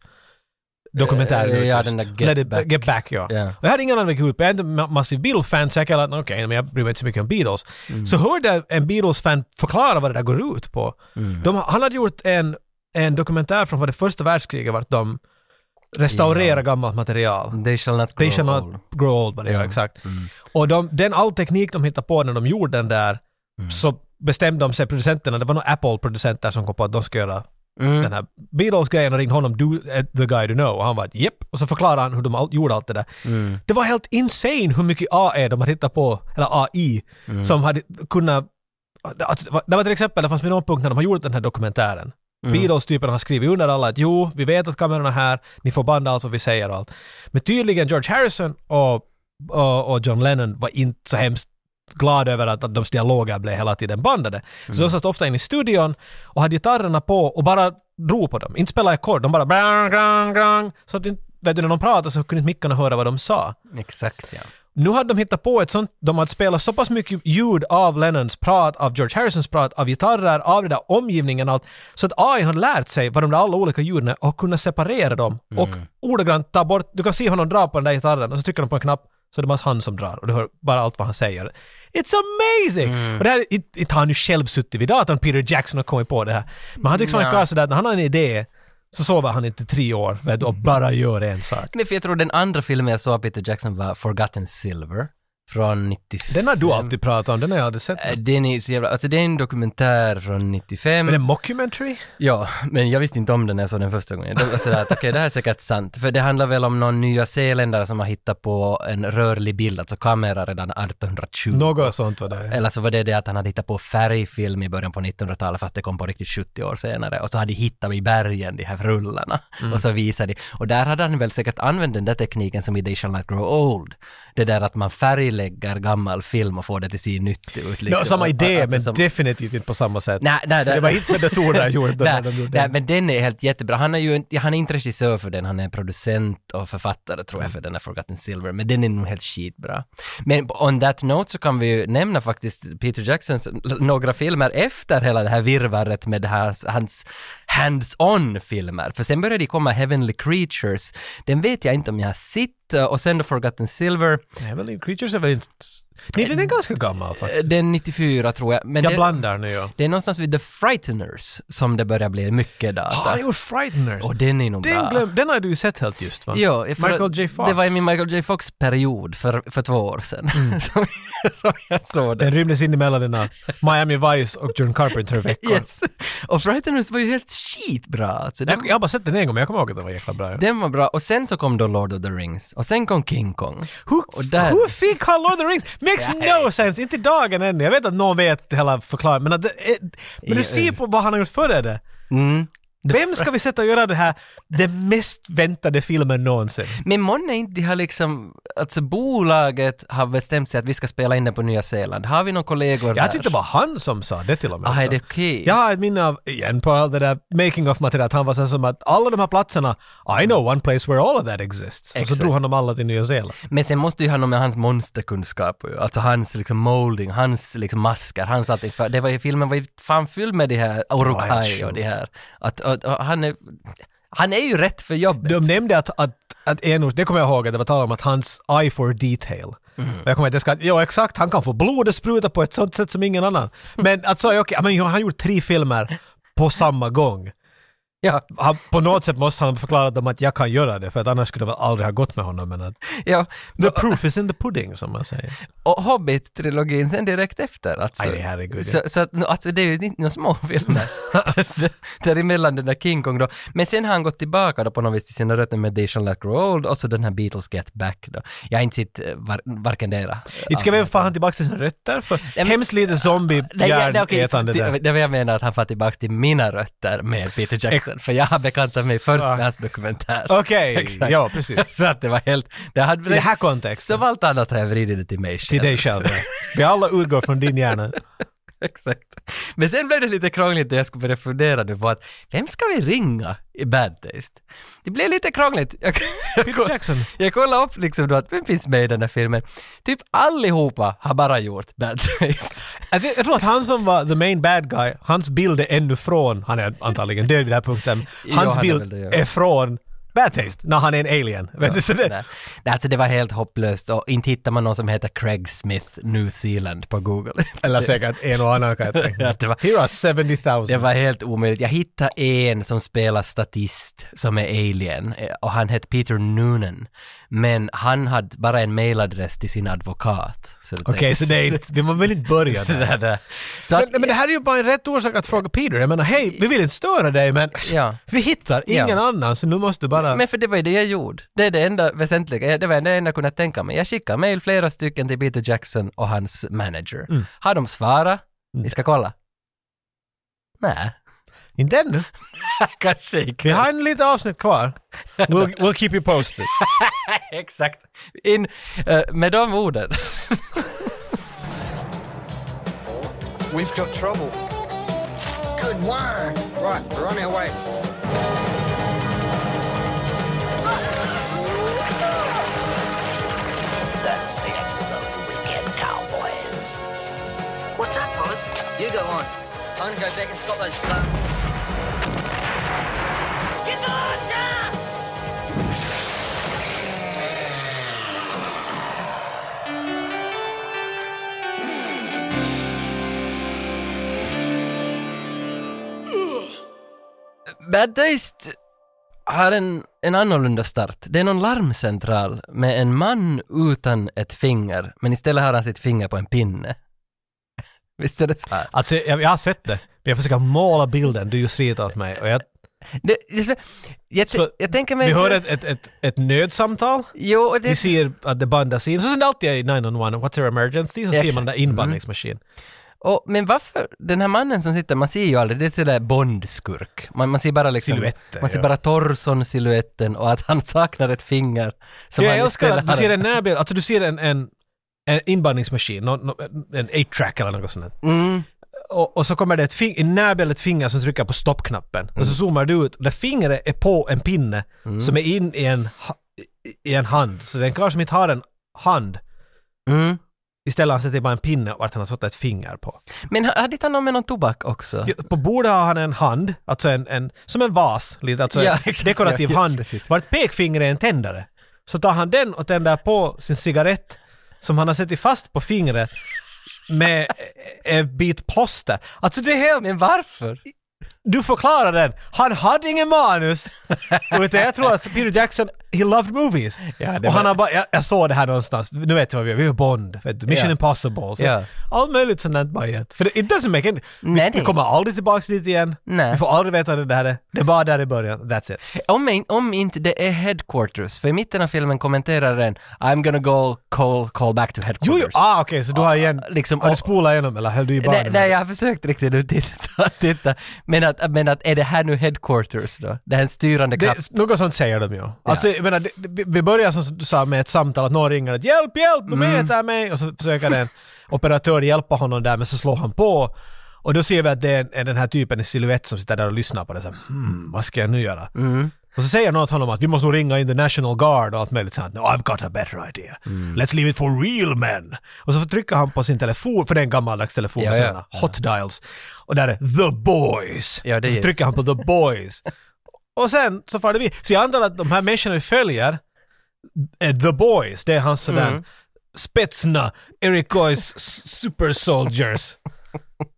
dokumentären
Eh,
ut
ja,
just.
den där Get
Let it,
Back.
Get Back ja.
Ja.
Och jag hade ingen aning om jag är inte ma- massiv Beatles-fan så jag kallade okej, men jag bryr mig inte så mycket om Beatles.
Mm.
Så hörde jag en Beatles-fan förklara vad det där går ut på.
Mm.
De, han hade gjort en, en dokumentär från vad det första världskriget vart de restaurerar gammalt material.
They shall not grow
They shall not
old.
grow old, var det ja,
Ja.
exakt. Och de, den all teknik de hittade på när de gjorde den där,
Mm.
så bestämde de sig, producenterna, det var nog Apple-producenter som kom på att de skulle göra
Mm.
den här Beatles-grejen och ringde honom, du är the guy you know, och han var japp. Och så förklarade han hur de all, gjorde allt det där. Det var helt insane hur mycket AI de hade hittat på, eller AI, som hade kunnat Alltså, det var- det var till exempel, det fanns vid någon punkt när de har gjort den här dokumentären. Beatles-typen har skrivit under alla att jo, vi vet att kamerorna är här, ni får banda allt vad vi säger och allt. Men tydligen George Harrison och, och, och John Lennon var inte så hemskt glada över att, att de dialoger blev hela tiden bandade. Så de satt ofta inne i studion och hade gitarrerna på och bara drog på dem. Inte spelade ackord, de bara brang, brang, brang. Så att inte, vet du, när de pratade så kunde inte mickarna höra vad de sa.
Exakt, ja.
Nu hade de hittat på ett sånt, de hade spelat så pass mycket ljud av Lennons prat, av George Harrisons prat, av gitarrer, av den där omgivningen och allt, så att AI har lärt sig vad de där alla olika ljuden är och kunnat separera dem och ordagrant ta bort, du kan se honom dra på den där gitarren och så trycker de på en knapp så det är bara han som drar och du hör bara allt vad han säger. It's amazing! Och det här, inte inte har han ju själv suttit vid datorn, Peter Jackson har kommit på det här. Men han tycks vara en karl sådär, att när han har en idé så sover han inte tre år vet, du, och bara gör en sak.
Nej, för jag tror den andra filmen jag såg av Peter Jackson var Forgotten Silver från 95.
Den har du alltid pratat om, den har jag aldrig sett.
Eh, Den är ju så jävla, alltså det är en dokumentär från 95.
Men en mockumentary?
Ja, men jag visste inte om den när jag såg den första gången. Då var jag sådär att okej, det här är säkert sant. För det handlar väl om någon nya zeeländare som har hittat på en rörlig bild, alltså kamera redan 1820.
Något sånt var det.
Eller så var det det att han hade hittat på färgfilm i början på 1900-talet fast det kom på riktigt 70 år senare. Och så hade de hittat i bergen de här rullarna.
Mm.
Och så visade de. Och där hade han väl säkert använt den där tekniken som i They Shall Not Grow Old. Det där att man färgläggar gammal film och får det till se nytt ut.
Det
liksom.
var samma idé,
Alltså
men
som-
definitivt inte på samma sätt.
Nej, nej,
det var inte med datorer jag gjorde.
Nej,
när de gjorde
nej,
den.
men den är helt jättebra. Han är ju inte- han är inte regissör för den, han är producent och författare tror jag
Mm.
för den här Forgotten Silver, men den är nog helt skitbra. Men on that note så kan vi ju nämna faktiskt Peter Jacksons l- några filmer efter hela det här virvaret med det här, hans hands-on filmer, för sen började det komma Heavenly Creatures, den vet jag inte om jag har sett, och sen då Forgotten Silver, Eh,
Nej, men Creatures är väl inte... Nej, den är ganska gammal faktiskt.
eh, den 94 tror jag, men
Jag
det,
blandar nu ja.
det är någonstans vid The Frighteners som det börjar bli mycket data.
Ah, han gjorde Frighteners.
och den är nog bra.
Den, glöm, den har du ju sett helt just va?
Ja, för
Michael J. Fox.
Det var i min Michael J. Fox-period för, för två år sedan
Mm.
som, som jag såg den.
Den rymdes in emellan dina Miami Vice och John Carpenter-veckor.
Yes. Och Frighteners var ju helt skitbra. Alltså, den,
Jag, jag har bara sett den en gång, men jag kommer ihåg att den var jäkla bra. Ja.
den var bra. Och sen så kom då Lord of the Rings. Och sen kom King Kong.
Hur,
och där- eh.
hur fick han Lord of the Rings? Makes no sense! Inte i dagen än. Jag vet att någon vet hela förklaringen, men, att det, eh, men du ser på vad han har gjort före det.
Mm.
Vem ska vi sätta och göra det här, den mest väntade filmen någonsin?
Men månne inte de har liksom, alltså bolaget har bestämt sig att vi ska spela in den på Nya Zeeland. Har vi några kollegor där?
Jag tyckte det var han som sa det till och med.
Ah, är
också.
det okej?
Jag har ett minne av, igen på all det där making of materialet, han var så som att alla de här platserna, I know one place where all of that exists. Och
Exakt.
så drog han dem alla till Nya Zeeland.
Men sen måste ju ha något med hans monsterkunskap ju. alltså hans liksom molding, hans liksom masker, hans allting. För det var ju, filmen var ju fan fylld med de här Uruguay
sjukt.
och de här. Att, att, att han är, han är ju rätt för jobbet.
De nämnde att, att, att Enos, det kommer jag ihåg att det var tal om att hans eye for detail.
Mm.
Och jag kommer inte ska, jo exakt, han kan få blodet spruta på ett sånt sätt som ingen annan. Men att så, okej, men han har gjort tre filmer på samma gång.
Ja,
Han, på något sätt måste han förklara dem att jag kan göra det, för att annars skulle det väl aldrig ha gått med honom. Men att,
ja.
the proof is in the pudding, som man säger.
Och Hobbit-trilogin sen direkt efter. Alltså.
Aj, det här är gud,
så, så att, nu, alltså, det är ju inte några små filmer. Däremellan den där King Kong då. Men sen har han gått tillbaka då på något vis till sina rötter med They Shall Not Grow Old och så den här Beatles Get Back då. Jag har inte sett eh, var, varken dera.
Inte ska vi fan han tillbaka till sina rötter för
men-
hemskt lite
Nej, ja, nej, okej,
zombie-hjärnätande
det,
där.
det var jag menar att han far tillbaka till mina rötter med Peter Jackson, för jag har bekantat mig först med hans dokumentär.
Okej,
Exakt.
ja precis.
Så att det var helt... Det hade,
I den här kontexten.
Som allt annat har jag vridit det till mig
Till dig själv. ja. Vi alla utgår från din hjärna.
Exakt. Men sen blev det lite krångligt och jag skulle börja fundera nu på att vem ska vi ringa i Bad Taste? Det blev lite krångligt. Jag, jag,
Peter
koll-
Jackson.
jag kollade upp liksom då att vem finns med i den här filmen? Typ allihopa har bara gjort Bad Taste.
Jag vet- jag tror att han som var the main bad guy, hans bild är ännu från, han är antagligen död vid den här punkten,
Ja,
hans
han är väl
bild
det, ja.
är från Bad Taste, när han är en alien. Vet du, så det,
Nej. Nej, Alltså det var helt hopplöst och inte hittar man någon som heter Craig Smith New Zealand på Google.
eller säkert en och annan kan jag
Ja,
tänka
det var-
Here are 70 000.
Det var helt omöjligt. Jag hittade en som spelar statist som är alien eh, och han hette Peter Noonan. Men han hade bara en mailadress till sin advokat. Så då
Okej,
tänkte
så det är inte, vi må väl inte börja
jag,
där.
det där. Så
Men,
att,
men det här är ju bara en rätt orsak att fråga Peter. Jag menar, hej, vi vill inte störa dig men
Ja.
vi hittar ingen
Ja.
annan så nu måste du bara...
men för det var ju det jag gjorde. Det är det enda väsentliga. Det var det enda jag kunde tänka mig. Jag skickade mail flera stycken till Peter Jackson och hans manager. Har de svarat? Vi ska kolla. Nej,
Inte ännu.
kanske inte.
Vi har en liten avsnitt kvar. We'll, we'll keep you posted.
Exakt. In, eh, med de orden.
We've got trouble.
Good word.
Right, we're running away.
That's the end of those wicked cowboys.
What's up, boss? You go on. I'm gonna go back and stop those blood.
Get the lodger!
Bad Taste har en, en annorlunda start. Det är någon larmcentral med en man utan ett finger, men istället har han sitt finger på en pinne. Visst är det så här?
Alltså, jag, jag har sett det. Men jag försöker måla bilden du just ritat åt mig. Och jag,
Det, det är så, jag,
Så,
jag tänker mig...
vi
så-
hör ett, ett, ett, ett nödsamtal.
Jo, och
Vi
det,
ser att det bandas in. Så som det alltid är i 911, what's your emergency? Så ser
Exakt. Mm.
man den där inbandningsmaskinen.
och, men varför, den här mannen som sitter, man ser ju aldrig, det är sådär bondskurk. Man, man ser bara liksom...
Silhuetter,
Man ser
ja.
bara torson, siluetten och att han saknar ett finger. Som
Jag
han
älskar
istället
att du
har
ser
en-
en närbild, alltså du ser en, en, en inbandningsmaskin, nå- nå- en 8-track eller något sånt. där.
Mm.
och, och så kommer det ett fing- en närbild, ett finger som trycker på stoppknappen. Och
Mm.
så zoomar du ut, där fingret är på en pinne som är in i en, ha- i en hand. Så den karl som inte har en hand,
Mm.
istället sätter bara en pinne vart han har satt ett finger på.
Men ha- hade inte han någon med någon tobak också?
Ja, På bordet har han en hand, alltså en, en, som en vas, lite, alltså
Ja,
en
exakt.
dekorativ
Ja, ja,
hand,
precis.
vart pekfinger är en tändare. Så tar han den och tänder på sin cigarett som han har sett fast på fingret med en bit plåster. Alltså det är helt
Men varför?
du förklarar den. Han hade ingen manus. Utan jag tror att Peter Jackson he loved movies.
Ja, det
och han
var-
har bara, jag, jag såg det här någonstans, nu vet jag vad vi gör, vi gör Bond, vet du, Mission
Ja.
Impossible, så
Ja.
allt möjligt sånt där bara gett. För det, it doesn't make any,
Nej,
vi,
det-
vi kommer aldrig tillbaks dit igen,
Nej.
vi får aldrig veta vad det där är, det är bara där i början, that's it.
Om, in, om inte det är headquarters, för i mitten av filmen kommenterar den I'm gonna go call, call back to
Jo,
headquarters.
jo, ah okej, så du har igen,
liksom,
har du
och-
spolat igenom eller höll du i
Nej,
barnen?
nej, jag har försökt riktigt nu titta, titta. Men, att, men att är det här nu headquarters då? Det här är en styrande kraft?
Det, något sånt säger de ju. Alltså, jag menar, det, det- vi börjar som du sa med ett samtal att någon ringer att “Hjälp, hjälp, de
Mm.
äter mig!” och så försöker en operatör hjälpa honom där men så slår han på. Och då ser vi att det är, en- är den här typen i silhuett som sitter där och lyssnar på det. Så här, hmm, vad ska jag nu göra?
Mm.
Och så säger någon till honom att vi måste nog ringa in the National Guard och allt möjligt sånt. No, I've got a better idea.
Mm.
Let's leave it for real men. Och så trycker han på sin telefon, för det är en gammaldags telefon med
Ja, ja.
sådana hot dials. Och där är “The Boys”.
Ja, det
och så
är-
trycker han på “The Boys”. Och sen så far det vi. Så jag antar att de här människorna vi följer, är The Boys, det är hans
Mm.
sådär spetsna Eric Goys s- super soldiers.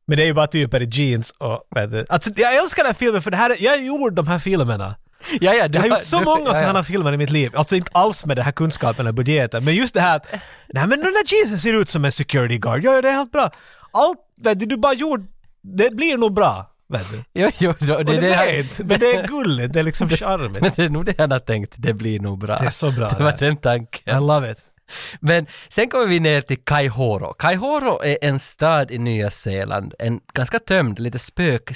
Men det är ju bara typer i jeans och... vet du. Alltså, jag älskar den här filmen för det här, är- jag gjorde de här filmerna.
ja, ja, det
Jag har
var-
gjort så
du-
många
ja, ja.
sådana filmer i mitt liv. Alltså inte alls med den här kunskapen eller budgeten, men just det här att nej men den där jeansen ser ut som en security guard, ja ja, det är helt bra. Allt vet du, du bara gjorde, det blir nog bra. Vet du.
Jo, jo, det,
Och det,
det här-
blir inte, men det är gulligt, det är liksom
Men
charmigt.
det är nog det han har tänkt, det blir nog bra.
Det är så bra
Det
det
var
här.
den
I
tanken.
love it.
Men sen kommer vi ner till Kaihoro. Kaihoro är en stad i Nya Zeeland, en ganska tömd, lite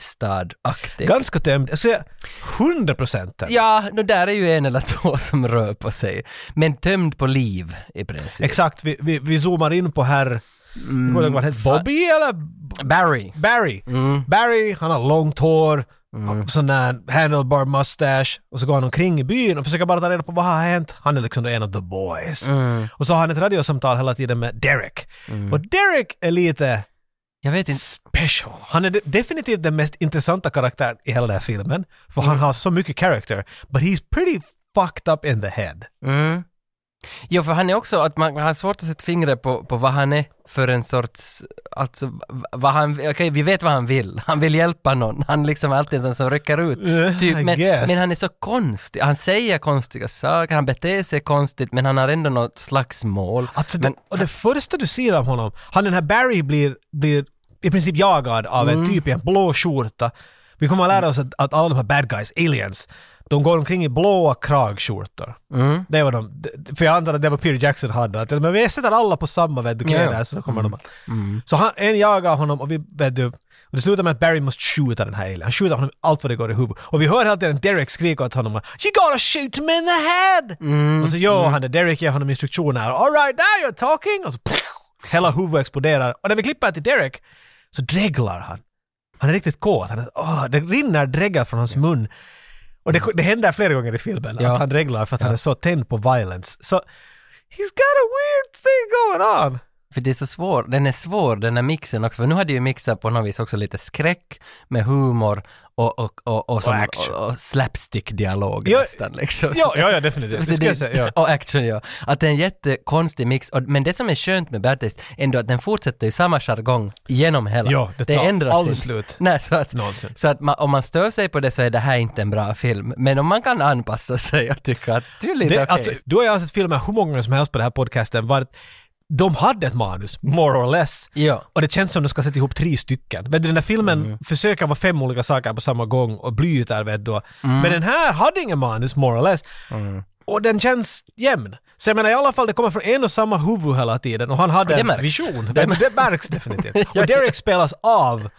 spökstad-aktig.
Ganska tömd, Alltså, jag skulle säga 100 procent.
ja, no, där är ju en eller två som rör på sig. Men tömd på liv i princip.
Exakt, vi, vi, vi zoomar in på herr... Mm, vad han heter, Bobby eller?
Barry.
Barry. Barry, han har långt hår, sån där handlebar mustache och så går han omkring i byn och försöker bara ta reda på vad har hänt. Han är liksom då en av the boys. Och så har han ett radiosamtal hela tiden med Derek. Och Derek är lite
Jag vet inte.
special. Han är de- definitivt den mest intressanta karaktären i hela den här filmen. För han har så mycket character. But he's pretty fucked up in the head.
Mm. Jo, för han är också att man man har svårt att sätta fingret på, på vad han är för en sorts, alltså v- vad han, okej vi vet vad han vill, han vill hjälpa någon, han liksom är alltid en sån som rycker ut.
Eh, I
Typ, men,
guess.
men han är så konstig, han säger konstiga saker, han beter sig konstigt men han har ändå något slags mål.
Alltså
men,
det, och det första du ser av honom, han den här Barry blir, blir i princip jagad av en typ i en blå skjorta. Vi kommer att lära oss att, att alla de här bad guys, aliens, de går omkring i blåa kragskjortor. Det var de, det- för jag antar att det var Peter Jackson hade, att men vi sätter alla på samma vet du, kläder,
Ja, Mm. ja.
så då kommer de Så han, en jagar honom och vi, vet du, och det slutar med att Barry måste skjuta den här alien. Han skjuter honom allt vad det går i huvudet. Och vi hör hela tiden Derek skrika åt honom “You gotta shoot him in the head!”
Mm.
Och så gör han det. Derek ger honom instruktioner. “All right, now you're talking!” Och så pff, hela huvudet exploderar. Och när vi klipper till Derek så dreglar han. Han är riktigt kåt. Han är, åh, det rinner dregel från hans mun. Och det, det händer flera gånger i filmen
Ja.
att han dreglar för att han är så tänd på violence. Så he's got a weird thing going on.
För det är så svår, den är svår den här mixen också, för nu hade ju mixen på något vis också lite skräck med humor och, och, och, och, som,
action.
och, och slapstick-dialog
Ja,
nästan liksom.
Ja, ja, ja definitivt.
Så det-
Det ska jag säga. Ja.
Och action, ja. Att det är en jättekonstig mix. Och, men det som är skönt med Bad Taste ändå att den fortsätter i samma jargong genom hela.
Ja, det tar
ändras
aldrig
inte.
slut.
Nej, så att,
Någonsin.
så att man, om man stör sig på det så är det här inte en bra film. Men om man kan anpassa sig och tycka att du är lite
Det,
okej.
alltså, du har jag sett filmer hur många gånger som helst på den här podcasten. Var, de hade ett manus, more or less.
Ja. Mm.
Och det känns som de ska sätta ihop tre stycken. Men den här filmen försöker vara fem olika saker på samma gång och blyter vet du.
Mm.
Men den här hade ingen manus, more or less. Och den känns jämn. Så jag menar i alla fall, det kommer från en och samma huvud hela tiden och han hade
det
en
märks.
vision.
Det
Det, det märks definitivt. Och Derek spelas av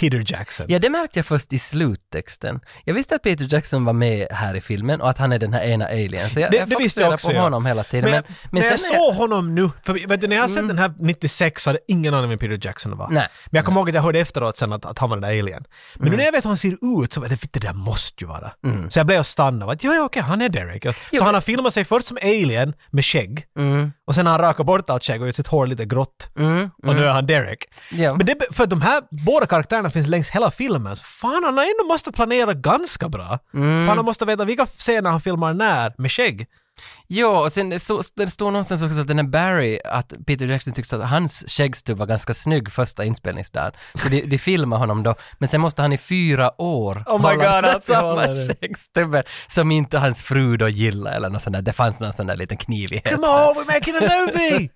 Peter Jackson.
Ja, det märkte jag först i sluttexten. Jag visste att Peter Jackson var med här i filmen och att han är den här ena alien. Så jag,
Det,
jag
det visste jag också.
på
ja.
honom hela tiden. Men, men,
när jag
sen är jag-
såg honom nu, för vet du, när jag har sett den här 96 så hade jag ingen aning om vem Peter Jackson var.
Nej. Mm.
Men jag kommer ihåg att jag hörde efteråt sen att, att han var den där alien. Men nu när jag vet hur han ser ut så var det, "Fitt, det där måste ju vara. Så jag blev och stannade. Att, ja, ja, okej, han är Derek. Så han har filmat sig först som alien med skägg.
Mm.
Och sen har han rakat bort allt skägg och gjort sitt hår lite grått. Och nu är han Derek.
Ja.
Men det, be- för de här båda karaktärerna finns längs hela filmen. Så fan, han har
Mm.
ändå måste planera ganska bra. Fan, han måste veta vilka scener han filmar när med skägg.
Jo, och sen det så, det står någonstans också att den här Barry, att Peter Jackson tyckte att hans skäggstubb var ganska snygg första inspelningsdagen. Så de, de filmar honom då, men sen måste han i fyra år
Oh my
hålla
God,
den
att
samma
hålla det.
skäggstubbe som inte hans fru då gillade eller något sånt där. Det fanns någon sån där liten knivighet.
Come on, we're making a movie!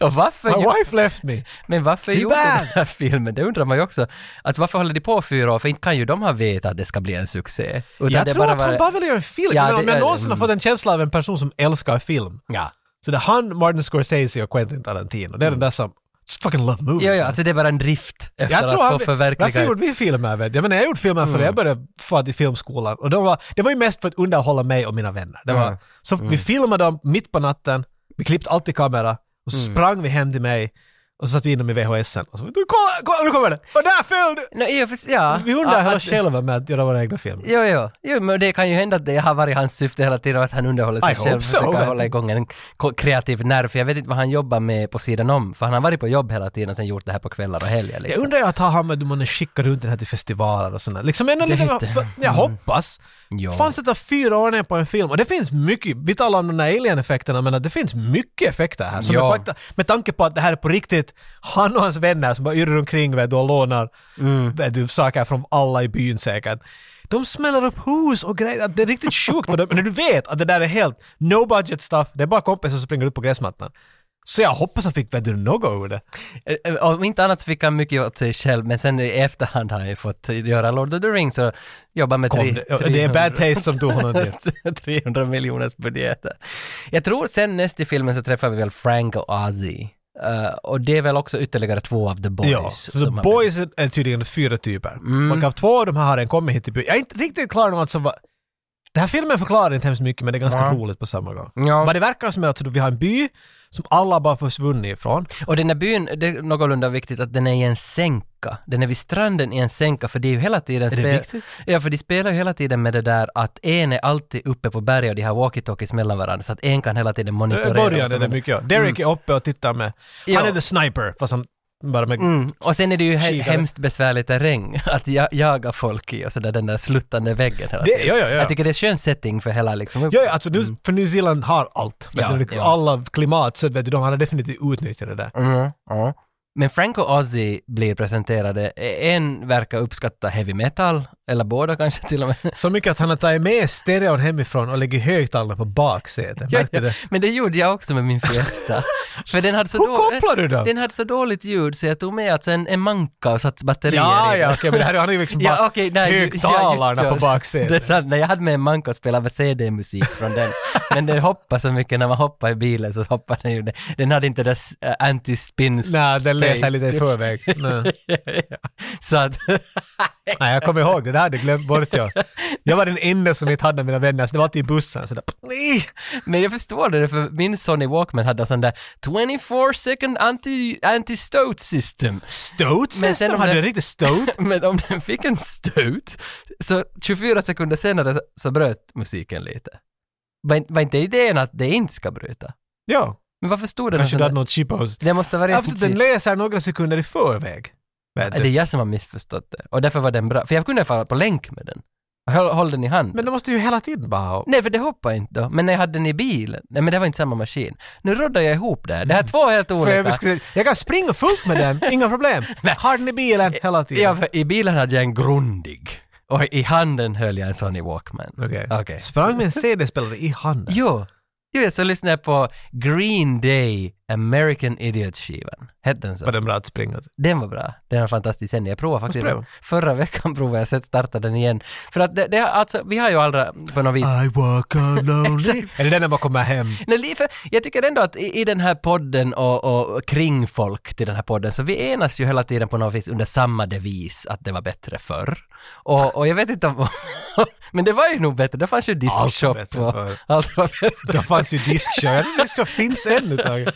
Och varför
My
gjorde-
wife left me.
Men varför
Too
gjorde
bad.
den här filmen? Det undrar man ju också. Alltså varför håller de på fyra år? För inte kan ju de ha vetat att det ska bli en succé. Utan
Jag
det
tror att han
var-
bara vill göra en film.
Ja,
men om
det-
jag någonsin
mm.
har fått en känsla av en person som älskar film.
Ja.
Så det är han, Martin Scorsese och Quentin Tarantino. Det är den där som just fucking love movies.
Mm. Ja, ja,
man.
alltså det är bara en drift efter
jag tror
att Mm.
han,
få förverkliga.
varför gjorde vi filmer? Vet jag? jag menar, jag gjorde filmer för jag började få till filmskolan. Och de var, det var ju mest för att underhålla mig och mina vänner. Det var,
Mm.
Så vi filmade dem mitt på natten, vi klippte alltid kamera och så
Mm.
sprang vi hem till mig och så satt vi in dem i VHSen. Och så, "Du, kolla, kolla, nu kommer det! Och där föll du!
No, ja, för, ja.
Vi underhöll
Ja,
oss själva med att göra våra egna filmer.
Jo, jo, jo, men det kan ju hända att det har varit hans syfte hela tiden och att han underhåller sig
I
själv
hope so.
och försöker hålla igång en ko- kreativ nerv. För jag vet inte vad han jobbar med på sidan om, för han har varit på jobb hela tiden och sen gjort det här på kvällar och helger.
Jag
Liksom.
undrar ju att ha han med du måste skicka runt den här till festivaler och sådär. Liksom ändå lite,
heter- Mm.
för, jag hoppas.
Ja.
Fan sätta fyra år ner på en film och det finns mycket, vi talar om de där alien-effekterna men att det finns mycket effekter här. Som
Ja.
är fakta, med tanke på att det här är på riktigt, han och hans vänner som bara yrrar omkring vet, du, och lånar
Mm.
vet, du, saker från alla i byn säkert. De smäller upp hus och grejer, Att det är riktigt sjukt för dem. Men när du vet att det där är helt no budget stuff, det är bara kompisar som springer upp på gräsmattan. Så jag hoppas han fick vet du, något ur det.
Eh, eh, Om inte annat så fick han mycket åt sig själv, men sen i efterhand har han ju fått göra Lord of the Rings och jobba med
Kom,
tre,
det, det är bad taste som tog honom dit.
300 miljoners budgeter. Jag tror sen näst i filmen så träffar vi väl Frank och Ozzy. Eh, och det är väl också ytterligare två av The Boys.
Ja, så
som har- Mm.
boys är- är tydligen fyra typer. Och av två av de här har den kommit hit till byn. Jag är inte riktigt klar om alltså vad... Den här filmen förklarar inte hemskt mycket men det är ganska roligt på samma gång.
Ja.
Vad det verkar som är att vi har en by som alla bara försvunnit ifrån.
Och den här byn, det är någorlunda viktigt att den är i en sänka. Den är vid stranden i en sänka för det är ju hela tiden...
Är det
spe-
viktigt?
Ja, för de spelar ju hela tiden med det där att en är alltid uppe på berget och de har walkie-talkies mellan varandra så att en kan hela tiden
I
monitorera. vad
början är
som
det
händer.
mycket. ja. Derek är uppe och tittar med.
Ja.
Han är the sniper fast han bara med...
Mm. Och sen är det ju he-
Kikare.
hemskt besvärlig terräng att ja- jaga folk i och sådär den där sluttande väggen hela
Det-
tiden.
ja, ja, ja.
Jag tycker det är skön setting för hela liksom.
Ja, ja, alltså nu, för New Zeeland har allt. Vet
Ja,
du, liksom
ja.
Alla klimat, så vet du, de har definitivt utnyttjat det där.
Mm, ja. Men Frank och Ozzy blir presenterade. E- En verkar uppskatta heavy metal, eller båda kanske till och med.
Så mycket att han har tagit med stereon hemifrån och lägger högtalarna på baksätet.
Ja,
Märkte
ja.
det?
Men det gjorde jag också med min Fiesta. För den hade så
Hur
då-
kopplar du dem?
Den hade så dåligt ljud så jag tog med alltså en, en manka och satt batterier
Ja,
i
ja,
den.
okej, men det här är ju liksom bara
Ja, okej, nej, ju- ja, just
högtalarna
så.
på
Det är
baksätet.
sant, nej, jag hade med en manka och spelade CD-musik från den. Men den hoppar så mycket när man hoppar i bilen så hoppar den ju. ner. Den hade inte det där s- äh, anti-spin
Nej, den läser
space.
jag lite i förväg. Nej.
Ja, så att,
Nej, jag kommer ihåg det, det hade jag glömt bort jag. Jag var den enda som inte hade mina vänner, så det var alltid i bussen. Så där, pff, nej.
men jag förstår det, för min Sony Walkman hade en sån där 24 second anti- anti-stoat system.
Stoat
Men sen
system,
om
hade
det-
du riktigt stoat?
Men om den fick en stöt, så 24 sekunder senare så- så bröt musiken lite. Var, in- var inte idén att det inte ska bryta?
Ja,
Men varför stod det
kanske
någon
du
sån
hade
där-
något chipos.
Det måste vara
Absolut, den
rent...
läser några sekunder i förväg. Vet
Det är
du.
jag som har missförstått det. Och därför var den bra. För jag kunde falla på länk med den. Håll, håll den i handen.
Men de måste ju hela tiden bara ha...
Nej, för det hoppade inte då. Men när jag hade den i bilen. Nej, men det var inte samma maskin. Nu roddar jag ihop det här. Det här är två helt
För
olika.
Mm. jag, ska säga, jag kan springa fullt med den, inga problem. Har den i bilen hela tiden.
Ja, för i bilen hade jag en grundig. Och i handen höll jag en Sony Walkman.
Okej.
Okej.
Sprang med en CD-spelare i handen.
Jo, jo så lyssnade jag på Green Day American Idiot-skivan. Hette den så?
Var den bra att springa till?
Den var bra. Den var fantastisk sändning. Jag provade faktiskt.
Måste prova.
Förra veckan provade jag, sen startade den igen. För att det, det har- alltså, vi har ju aldrig på något vis...
I walk alone.
Exakt.
Är det den när man kommer hem?
Nej, li- för jag tycker ändå att i, i den här podden och, och, och kring folk till den här podden så vi enas ju hela tiden på något vis under samma devis att det var bättre förr. Och, och jag vet inte om... men det var ju nog bättre. Det fanns ju
var
diskshop
bättre
och
förr.
allt var bättre.
Det fanns ju diskkör. Jag tror diskkör finns ännu Tage.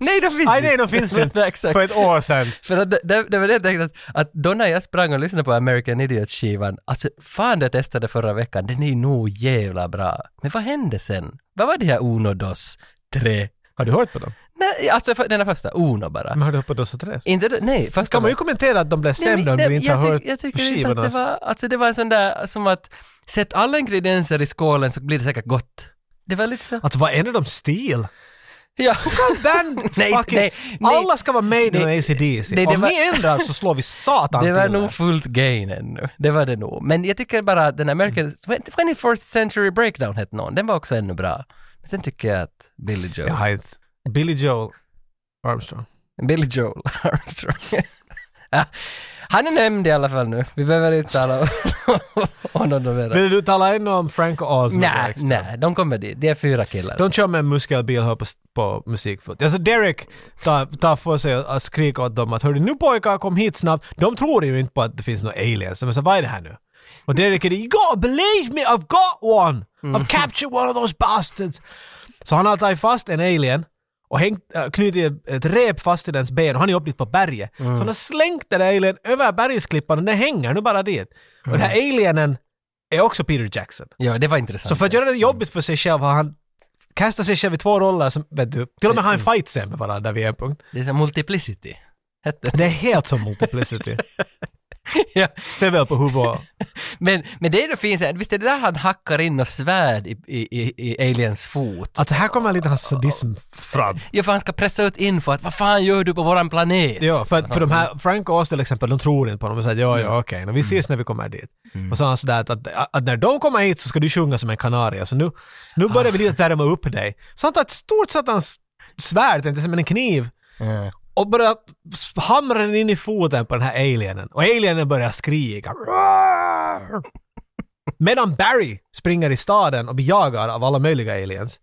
Nej, det finns
Nej, nej, de finns
Nej,
inte.
exakt.
För ett år sedan.
För att det, det, det var det jag tänkte att, att då när jag sprang och lyssnade på American Idiot-skivan, alltså fan det jag testade förra veckan, den är ju nog jävla bra. Men vad hände sen? Vad var det här Uno Dos 3?
Har du hört på dem?
Nej, alltså för, den här första, Uno bara.
Men har du hört på Dos och Tres?
Inte, det- nej, första
Mm. Kan man ju
var-
kommentera att de blev
Nej, men
sämre om
det-
du inte
jag
har
tyck-
hört
Jag
på
tycker inte att
skivorna?
det var, alltså det var en sån där som att, sätt alla ingredienser i skålen så blir det säkert gott. Det var lite så...
Alltså vad är det de stil?
Ja.
Den
Nej,
fucking...
nej, nej.
Alla ska vara Maiden och
Nej,
ACDC.
nej, det
Om
var-
ni ändrar så slår vi satan
Det var
till
nog
er.
fullt gain ännu. Det var det nog. Men jag tycker bara att den
Mm.
American 21st Century Breakdown hette någon. Den var också ännu bra. Men sen tycker jag att Billy Joel...
Jag har ett- Billy Joel Armstrong.
Billy Joel Armstrong. ja, han är nämnd i alla fall nu. Vi behöver inte tala om honom mer.
Vill du tala ännu om Frank och Oz? något
Nej,
extra?
nej, de kommer dit. Det är fyra killar.
De kör med en muskelbil här på, på musikfot. Alltså Derek tar, tar för sig att skrika åt dem att hörru nu pojkar kom hit snabbt. De tror ju inte på att det finns några aliens. Men så vad är det här nu? Och Derek är det, you gotta believe me, I've got one! I've captured one of those bastards! Så han har tagit fast en alien och hängt, äh, knutit ett- ett rep fast i dens ben och han är upp dit på berget. Så han har slängt den där alien över bergsklippan och den hänger nu bara dit. Och den här alienen är också Peter Jackson.
Ja, det var intressant.
Så för att göra det jobbigt för sig själv har han kastat sig själv i två roller som, vet du, till och med har en fight sen med varandra vid en punkt.
Det är så här multiplicity. Hette
Det är helt som multiplicity.
ja.
Stövel på huvudet.
men, men det är då finns, visst är det där han hackar in något svärd i, i, i, i aliens fot?
Alltså här kommer lite hans sadism fram.
Ja, för han ska pressa ut info att vad fan gör du på våran planet?
Ja, för, att- för de här, Frank och Oz till exempel, de tror inte på honom och säger ja, Mm. ja, okej, okay, vi ses när vi kommer dit. Och så har han sådär att, att, att när de kommer hit så ska du sjunga som en kanarie, så nu, nu börjar vi lite värma upp dig. Så han tar ett stort satans svärd, inte som en kniv,
Ja.
och börjar s- hamra den in i foten på den här alienen. Och alienen börjar skrika. Roar! Medan Barry springer i staden och blir jagad av alla möjliga aliens.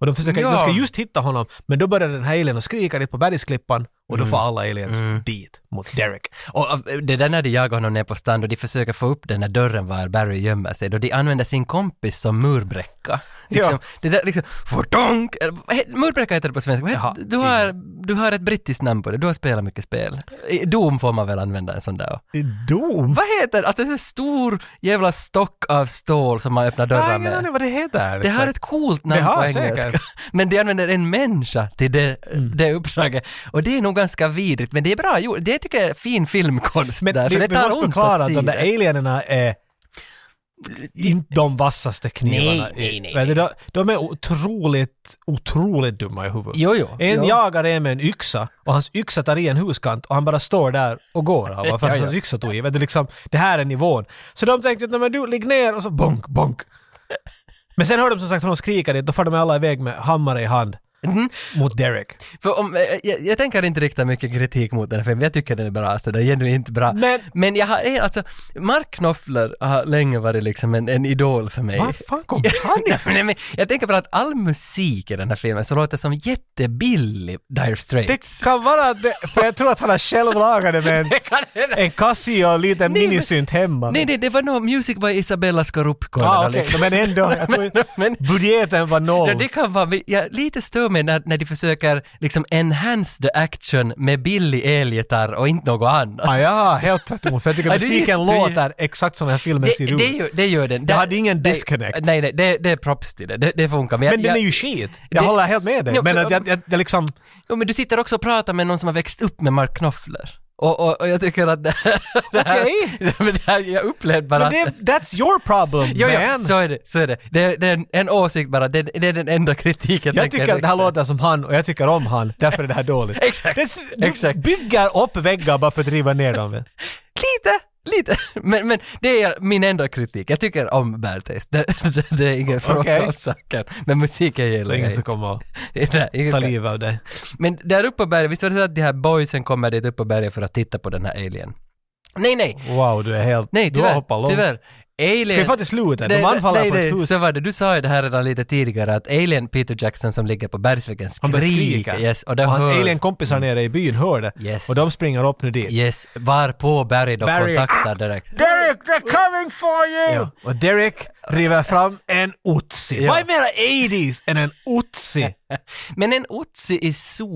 Och de, försöker,
Ja.
de ska just hitta honom, men då börjar den här alien och skrika dit på bergsklippan och
Mm.
då får alla aliens dit mot Derek.
Och av- det där när de jagar honom ner på strand och de försöker få upp den där dörren var Barry gömmer sig, då de använder sin kompis som murbräcka. Liksom, Det där liksom, fordonk! eller vad he- Murbräcka heter det på svenska. Vad he-
Jaha,
du, har, du har ett brittiskt namn på det, du har spelat mycket spel. I Doom får man väl använda en sån där.
Dom?
Vad heter det? Alltså det är en stor jävla stock av stål som man öppnar
Jag har
dörrar
ingen
med.
aning vad det heter.
Det har
exakt.
ett coolt namn
Det har
på
säkert. Mm.
engelska. Men de använder en människa till det, det uppdraget. Och det är nog ganska vidrigt, men det är bra gjort. Det tycker jag är fin filmkonst
men
där,
vi,
för det
vi måste
tar ont
förklara
att
att
se
de där
det.
alienerna är inte de vassaste knivarna.
Nej, nej, nej,
Vet du, De, de är otroligt, otroligt dumma i huvudet.
Jo, jo.
En
jo.
jagare är med en yxa och hans yxa tar i en huskant och han bara står där och går av för
Ja,
att
ja.
hans yxa tog i. Vet du, liksom, det här är nivån. Så de tänkte att "Nej, men du, ligg ner och så bonk, bonk. Men sen hör de som sagt honom skrika dit, då far de alla iväg med hammare i hand
Mhm.
mot Derek.
För om, eh, jag, jag tänker inte rikta mycket kritik mot den här filmen, jag tycker den är bra, alltså den är genuint bra.
Men-
jag har, eh, alltså, Mark Knopfler har länge varit liksom en, en idol för mig.
Var fan kom han ifrån?
Nej, men jag tänker bara att all musik i den här filmen så låter som jättebillig Dire Straits.
Det kan vara att det, för jag tror att han har själv lagat det med en, en Casio och en liten
Nej, men-
minisynt hemma.
Nej, nej, det var nog Music by Isabella Scorupco.
ah,
eller
okej,
liknande.
men ändå. Jag tror
men-
budgeten var noll.
Ja, det kan vara, men jag lite stör mig när, när de försöker liksom enhance the action med billig elgitarr och inte något annat.
Ah, ja, helt tvärtom. För jag tycker
Ja, det är-
musiken
det är-
låter exakt som den här filmen
Det,
ser ut.
det, gör, det gör den.
Jag
Där-
hade ingen
det-
disconnect.
Nej, nej, det, det är props till det. Det, det funkar. jag-
men den
jag-
är ju shit. Jag
det-
håller helt med dig.
Ja,
men
för-
att jag, jag, jag liksom...
Jo, men du sitter också och pratar med någon som har växt upp med Mark Knopfler. Och, och, och jag tycker att det här... det här-
Okej.
men det här- Jag upplevde bara
Men
att-
det, that's your problem,
Jo, jo,
man.
så är det, så är det. Det är, det är en, en åsikt bara, det, det är den enda kritik jag,
jag tycker att det här
rikta.
låter som han och jag tycker om han. Därför är det här dåligt.
Exakt,
Det- Du
exakt.
bygger upp väggar bara för att riva ner dem. vet du.
Lite, lite. Men, men det är min enda kritik. Jag tycker om bad taste. Det, det, det är ingen fråga
Okej.
om saken. Men musiken
Så
gillar
ingen
jag
ska
inte.
komma och
Nej, ingen
ta
ska-
livet av dig.
Men där uppe på berget, visst var det så att de här boysen kommer dit uppe på berget för att titta på den här alien? Nej, nej,
Wow, du är helt...
nej,
du har
tyvärr.
hoppat långt.
tyvärr. Alien...
Ska vi få till slutet?
Nej,
De anfaller
nej,
på ett
nej,
hus.
Så var det, du sa ju det här redan lite tidigare att Alien Peter Jackson som ligger på bergsväggen
Han börjar
skriker.
skrika.
Yes, och,
och
det
hans
hör-
alien-kompisar nere i byn hör det.
Alltså- Yes.
Och de springer upp nu dit.
Yes, varpå Barry då
Barry-
kontaktar direkt.
Derek, they're coming for you!
Ja.
Och Derek river fram en Otzi.
Ja.
Vad är mera 80s än en Otzi?
Men en otsi i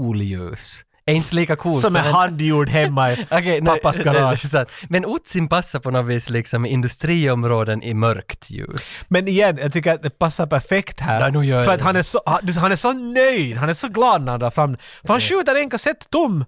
solljus är inte lika coolt
som är
en-
handgjord hemma i
Okej, nej,
pappas
nej,
garage.
nej, sant. Men otsin passar på något vis liksom i industriområden i mörkt ljus.
Men igen, jag tycker att det passar perfekt
Ja,
här.
nu gör
för
det
att han är, så, han, han är så nöjd, han är så glad när han drar fram den. För han skjuter en kassett tom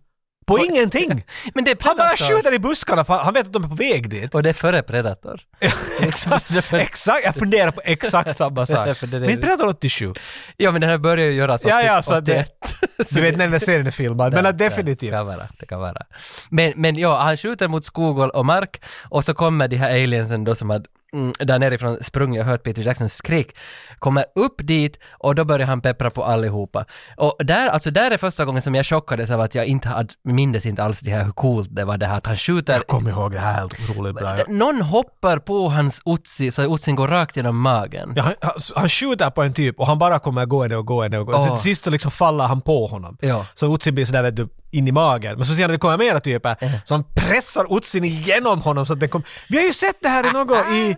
På ingenting!
Men det är
Han bara
Predator.
skjuter i buskarna för han vet att de är på väg dit.
Och det är före Predator.
exakt, exakt, jag funderar på exakt samma
Ja,
sak.
för det är det.
Men Predator 87.
Ja men den här börjar ju göras
Ja, ja,
typ
så att det-
81.
Du vet när den här serien är filmad. Men
Där,
att
där. Det
definitivt.
kan vara. Det kan vara. Men, men ja, han skjuter mot skog och, och mark och så kommer de här aliensen då som hade mm, där nerifrån sprungit och hört Peter Jacksons skrik, kommer upp dit och då börjar han peppra på allihopa. Och där, alltså där är första gången som jag chockades av att jag inte hade, mindes inte alls det här hur coolt det var det här att han skjuter
Jag kommer ihåg det här är helt otroligt bra.
någon hoppar på hans otsi så otsin går rakt genom magen.
Ja, han, han, han skjuter på en typ och han bara kommer gående och gående och gående.
Åh.
Till sist så liksom faller han på honom.
Ja.
Så Utsin blir sådär vet du, in i magen. Men så ser han att det kommer mera typer.
Eh.
Så han pressar Utsin igenom honom så att den kommer... Vi har ju sett det här i något i...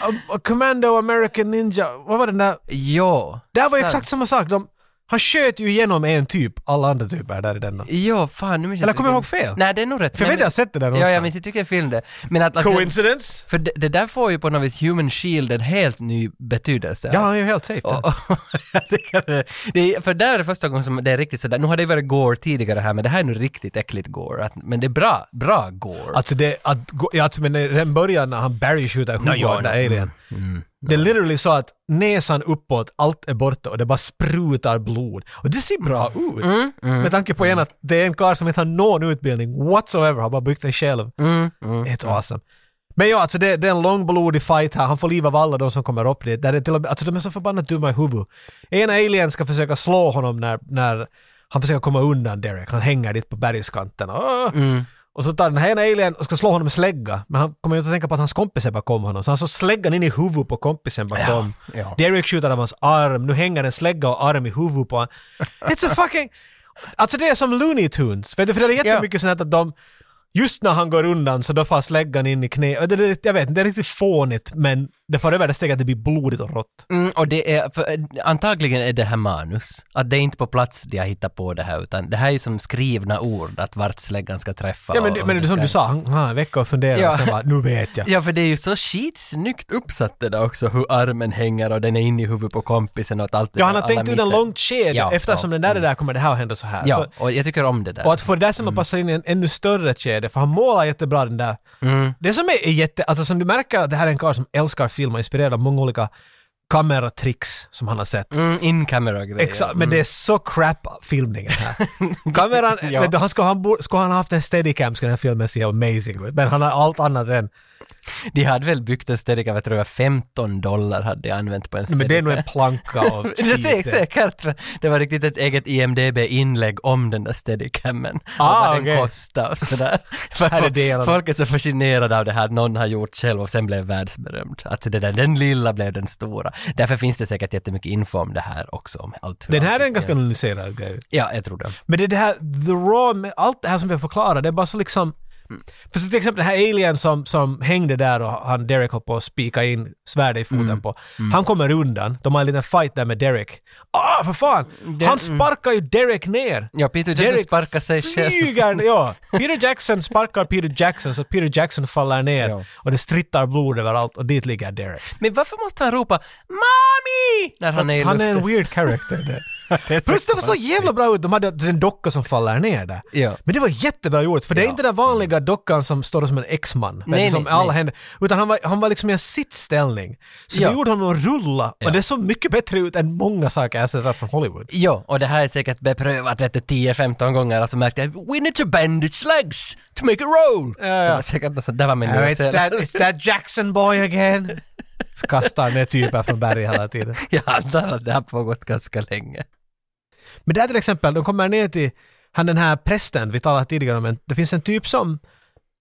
Ah,
uh, Commando American Ninja, vad var den där?
Ja.
Där var ju
sant.
exakt samma sak. De, han sköt ju igenom en typ, alla andra typer där i denna.
Ja, fan nu minns
Eller kommer jag
vilken-
ihåg fel?
Nej, det är nog rätt.
För jag
Nej,
vet att jag har sett det där
Ja,
någonstans.
jag minns inte vilken film det Men att, att
Coincidence?
För det, det där får ju på något vis Human Shield en helt ny betydelse.
Ja, han är ju helt safe.
Och, och, jag tycker det- det är, för där är det första gången som det är riktigt sådär. Nu har det ju varit gore tidigare här, men det här är nu riktigt äckligt gore. Att, men det är bra, bra gore.
Alltså det, att, gå- ja, alltså, men när- den början när han Barry skjuter huvudet
ja, Mm.
av den där
nej.
alien. Det är literally så att näsan uppåt, allt är borta och det bara sprutar blod. Och det ser bra ut. Med tanke på en att det är en karl som inte har någon utbildning whatsoever, har bara byggt den själv.
Mm, mm.
Helt awesome. Men ja, alltså det, det är en lång blodig fight här. Han får liv av alla de som kommer upp dit. Där det till och med, alltså de är så förbannat dumma i huvudet. En alien ska försöka slå honom när, när han försöker komma undan Derek. Han hänger dit på bergskanten. Åh!
Mm.
Och så tar den här ena alien och ska slå honom med slägga. Men han kommer ju inte att tänka på att hans kompis är bakom honom. Så han slår släggan in i huvudet på kompisen bakom.
ja.
Derek skjuter av hans arm. Nu hänger en slägga och arm i huvudet på honom. It's a fucking... Alltså det är som Looney Tunes. Vet du, för det är jättemycket sånt här att de... Just när han går undan så då far släggan in i knä. Det, det, jag vet inte, det är riktigt fånigt men det far över det steget att det blir blodigt och rått.
Mm, och det är, för, eh, antagligen är det här manus. Att det är inte på plats de har hittat på det här, utan det här är ju som skrivna ord, att vart släggan ska träffa.
Ja, men,
och-
det-
och
men det är som
ska-
du sa, han han har en vecka att fundera
Ja.
och sen bara, nu vet jag.
Ja, för det är ju så skitsnyggt uppsatt det där också, hur armen hänger och den är inne i huvudet på kompisen och att allt det där,
Ja, han har
alla
tänkt ut en
missar-
lång kedja.
Ja,
Eftersom
ja,
den där är där kommer det här att hända så här.
Ja,
Så,
och jag tycker om det där.
Alltså, och att få det där sen att passa in i en ännu större kedja, för han målar jättebra den där. Det som är är jätte, alltså som du märker att det här är en karl som älskar film och är inspirerad av många olika kameratricks som han har sett.
Mm, in camera-grejer.
Exakt, men det är så crap filmningen här. Kameran,
Ja.
vet du, han skulle, han, borde- skulle han haft en steadicam skulle den här filmen se amazing ut. Men han har allt annat än.
De hade väl byggt en Steadicam, jag tror det var 15 dollar hade jag använt på en
Men det är nog en
Steadicam.
planka av
Det är
skit.
säkert, säkert. för Det var riktigt ett eget IMDB-inlägg om den där Steadicamen.
Ah,
och vad
okej.
den kostade och sådär. För
Här är delen.
folk är så fascinerade av det här att någon har gjort själv och sen blev världsberömd. Alltså det där, den lilla blev den stora. Därför finns det säkert jättemycket info om det här också. Om allt hur
Den
allt
här är en
fungerar.
ganska analyserad grej.
Ja, jag tror det.
Men det är det här, the raw, med allt det här som vi har förklarat, det är bara så liksom... För så till exempel den här alien som, som hängde där och han Derek höll på att spika in svärdet i foten på. Han kommer undan, de har en liten fight där med Derek. Ah, för fan! han sparkar ju Derek ner!
Ja, Peter Jackson
Derek
sparkar sig själv.
flyger, ja. Peter Jackson sparkar Peter Jackson så Peter Jackson faller ner
Ja.
och det strittar blod överallt och dit ligger Derek.
Men varför måste han ropa ”Mami!” när han är i
Han är en
luften?
weird character där. Plus det var så jävla bra ut, de hade en docka som faller ner där.
Ja.
Men det var jättebra gjort, för det är inte den vanliga dockan som står som en X-man. vet
Nej,
du, som
nej,
alla
nej.
händer, utan han var, han var liksom i en sittställning. Så
Ja.
det gjorde honom att rulla,
Ja.
och det såg mycket bättre ut än många saker jag sett där från Hollywood.
Ja, och det här är säkert beprövat vet du, 10-15 gånger och så märkte jag ”We need to bend its legs to make it roll”.
Ja, ja.
Det var säkert något sånt, där var min
Oh, it's,
nyansering.
that, it's that Jackson boy again. Så Kastar han ner typer från berget hela tiden.
Jag antar att det har pågått ganska länge.
Men där till exempel, de kommer ner till han den här prästen vi talade tidigare om, en, det finns en typ som,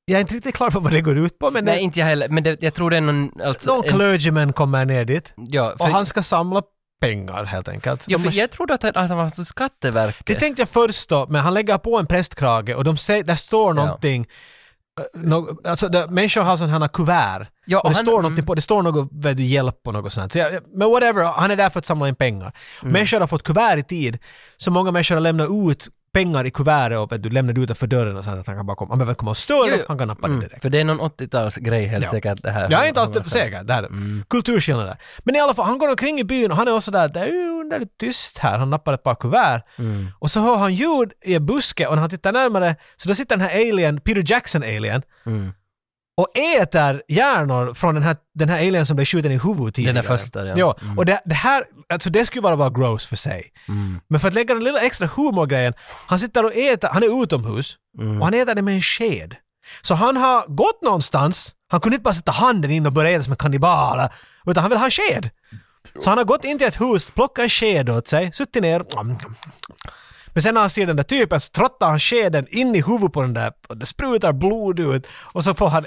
jag är inte riktigt klar på vad det går ut på, men
Nej,
det,
inte jag heller, men det, jag tror det är någon... Alltså,
någon clergyman kommer ner dit
ja, för,
och han ska samla pengar helt enkelt.
ja,
De
för
måste-
jag trodde att han, att han var så Skatteverket.
Det tänkte jag först då, men han lägger på en prästkrage och de säger, där står någonting, eh, nå- alltså det, människor har sådana här kuvert.
Ja,
och det,
han- mm,
står någonting på, det står något vet du, hjälp och något sånt. Så jag, men
Mm.
whatever, han är där för att samla in pengar. Människor har fått kuvert i tid, så många människor har lämnat ut pengar i kuvertet och vet du, lämnade utanför dörren och sen att han kan bara komma. Han behöver inte komma och störa,
Jo, jo.
han kan nappa det
Mm,
direkt.
för det är någon 80-talsgrej helt
Ja.
säkert det här.
Jag är inte alls
Hur man
det-
säger.
säker, det här är det.
Mm.
Kulturskillnader. Men i alla fall, han går omkring i byn och han är också där, det är ju underligt tyst här. Han nappar ett par kuvert.
Mm.
Och så hör han ljud i en buske och när han tittar närmare så då sitter den här alien, Peter Jackson-alien,
Mm.
och äter hjärnor från den här, den här alien som blev skjuten i huvudet tidigare.
första, ja.
ja.
Mm.
Och det, det här, alltså det skulle bara vara gross för sig.
Mm.
Men för att lägga den lilla extra humorgrejen, han sitter och äter, han är utomhus och han äter det med en sked. Så han har gått någonstans, han kunde inte bara sätta handen in och börja äta som en kannibal, utan han vill ha en sked. Så han har gått in till ett hus, plockat en sked åt sig, suttit ner. Men sen när han ser den där typen så trottar han skeden in i huvudet på den där och det sprutar blod ut och så får han...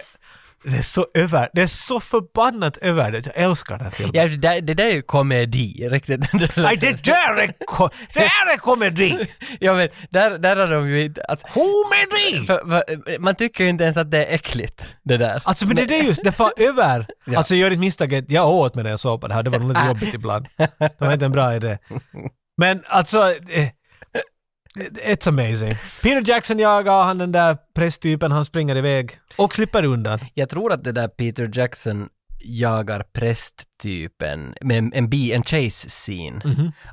Det är så över, det är så förbannat över det. Jag älskar den här filmen.
Ja, det, där, det där är ju komedi, riktigt.
Nej, det där är, ko- det här är komedi!
Jag vet, där, där har de ju inte... Alltså,
Komedi!
för, för, man tycker ju inte ens att det är äckligt, det där.
Alltså men det, det är just, det far över.
Ja. Ah.
Alltså jag gör ditt misstag, att jag åt med det jag såg på det här, det var nog lite jobbigt ibland. Det var inte en bra idé. Men alltså, eh, it's amazing. Peter Jackson jagar han den där prästtypen, han springer iväg och slipper undan.
Jag tror att det där Peter Jackson jagar prästtypen med en, en, bi- en chase scene.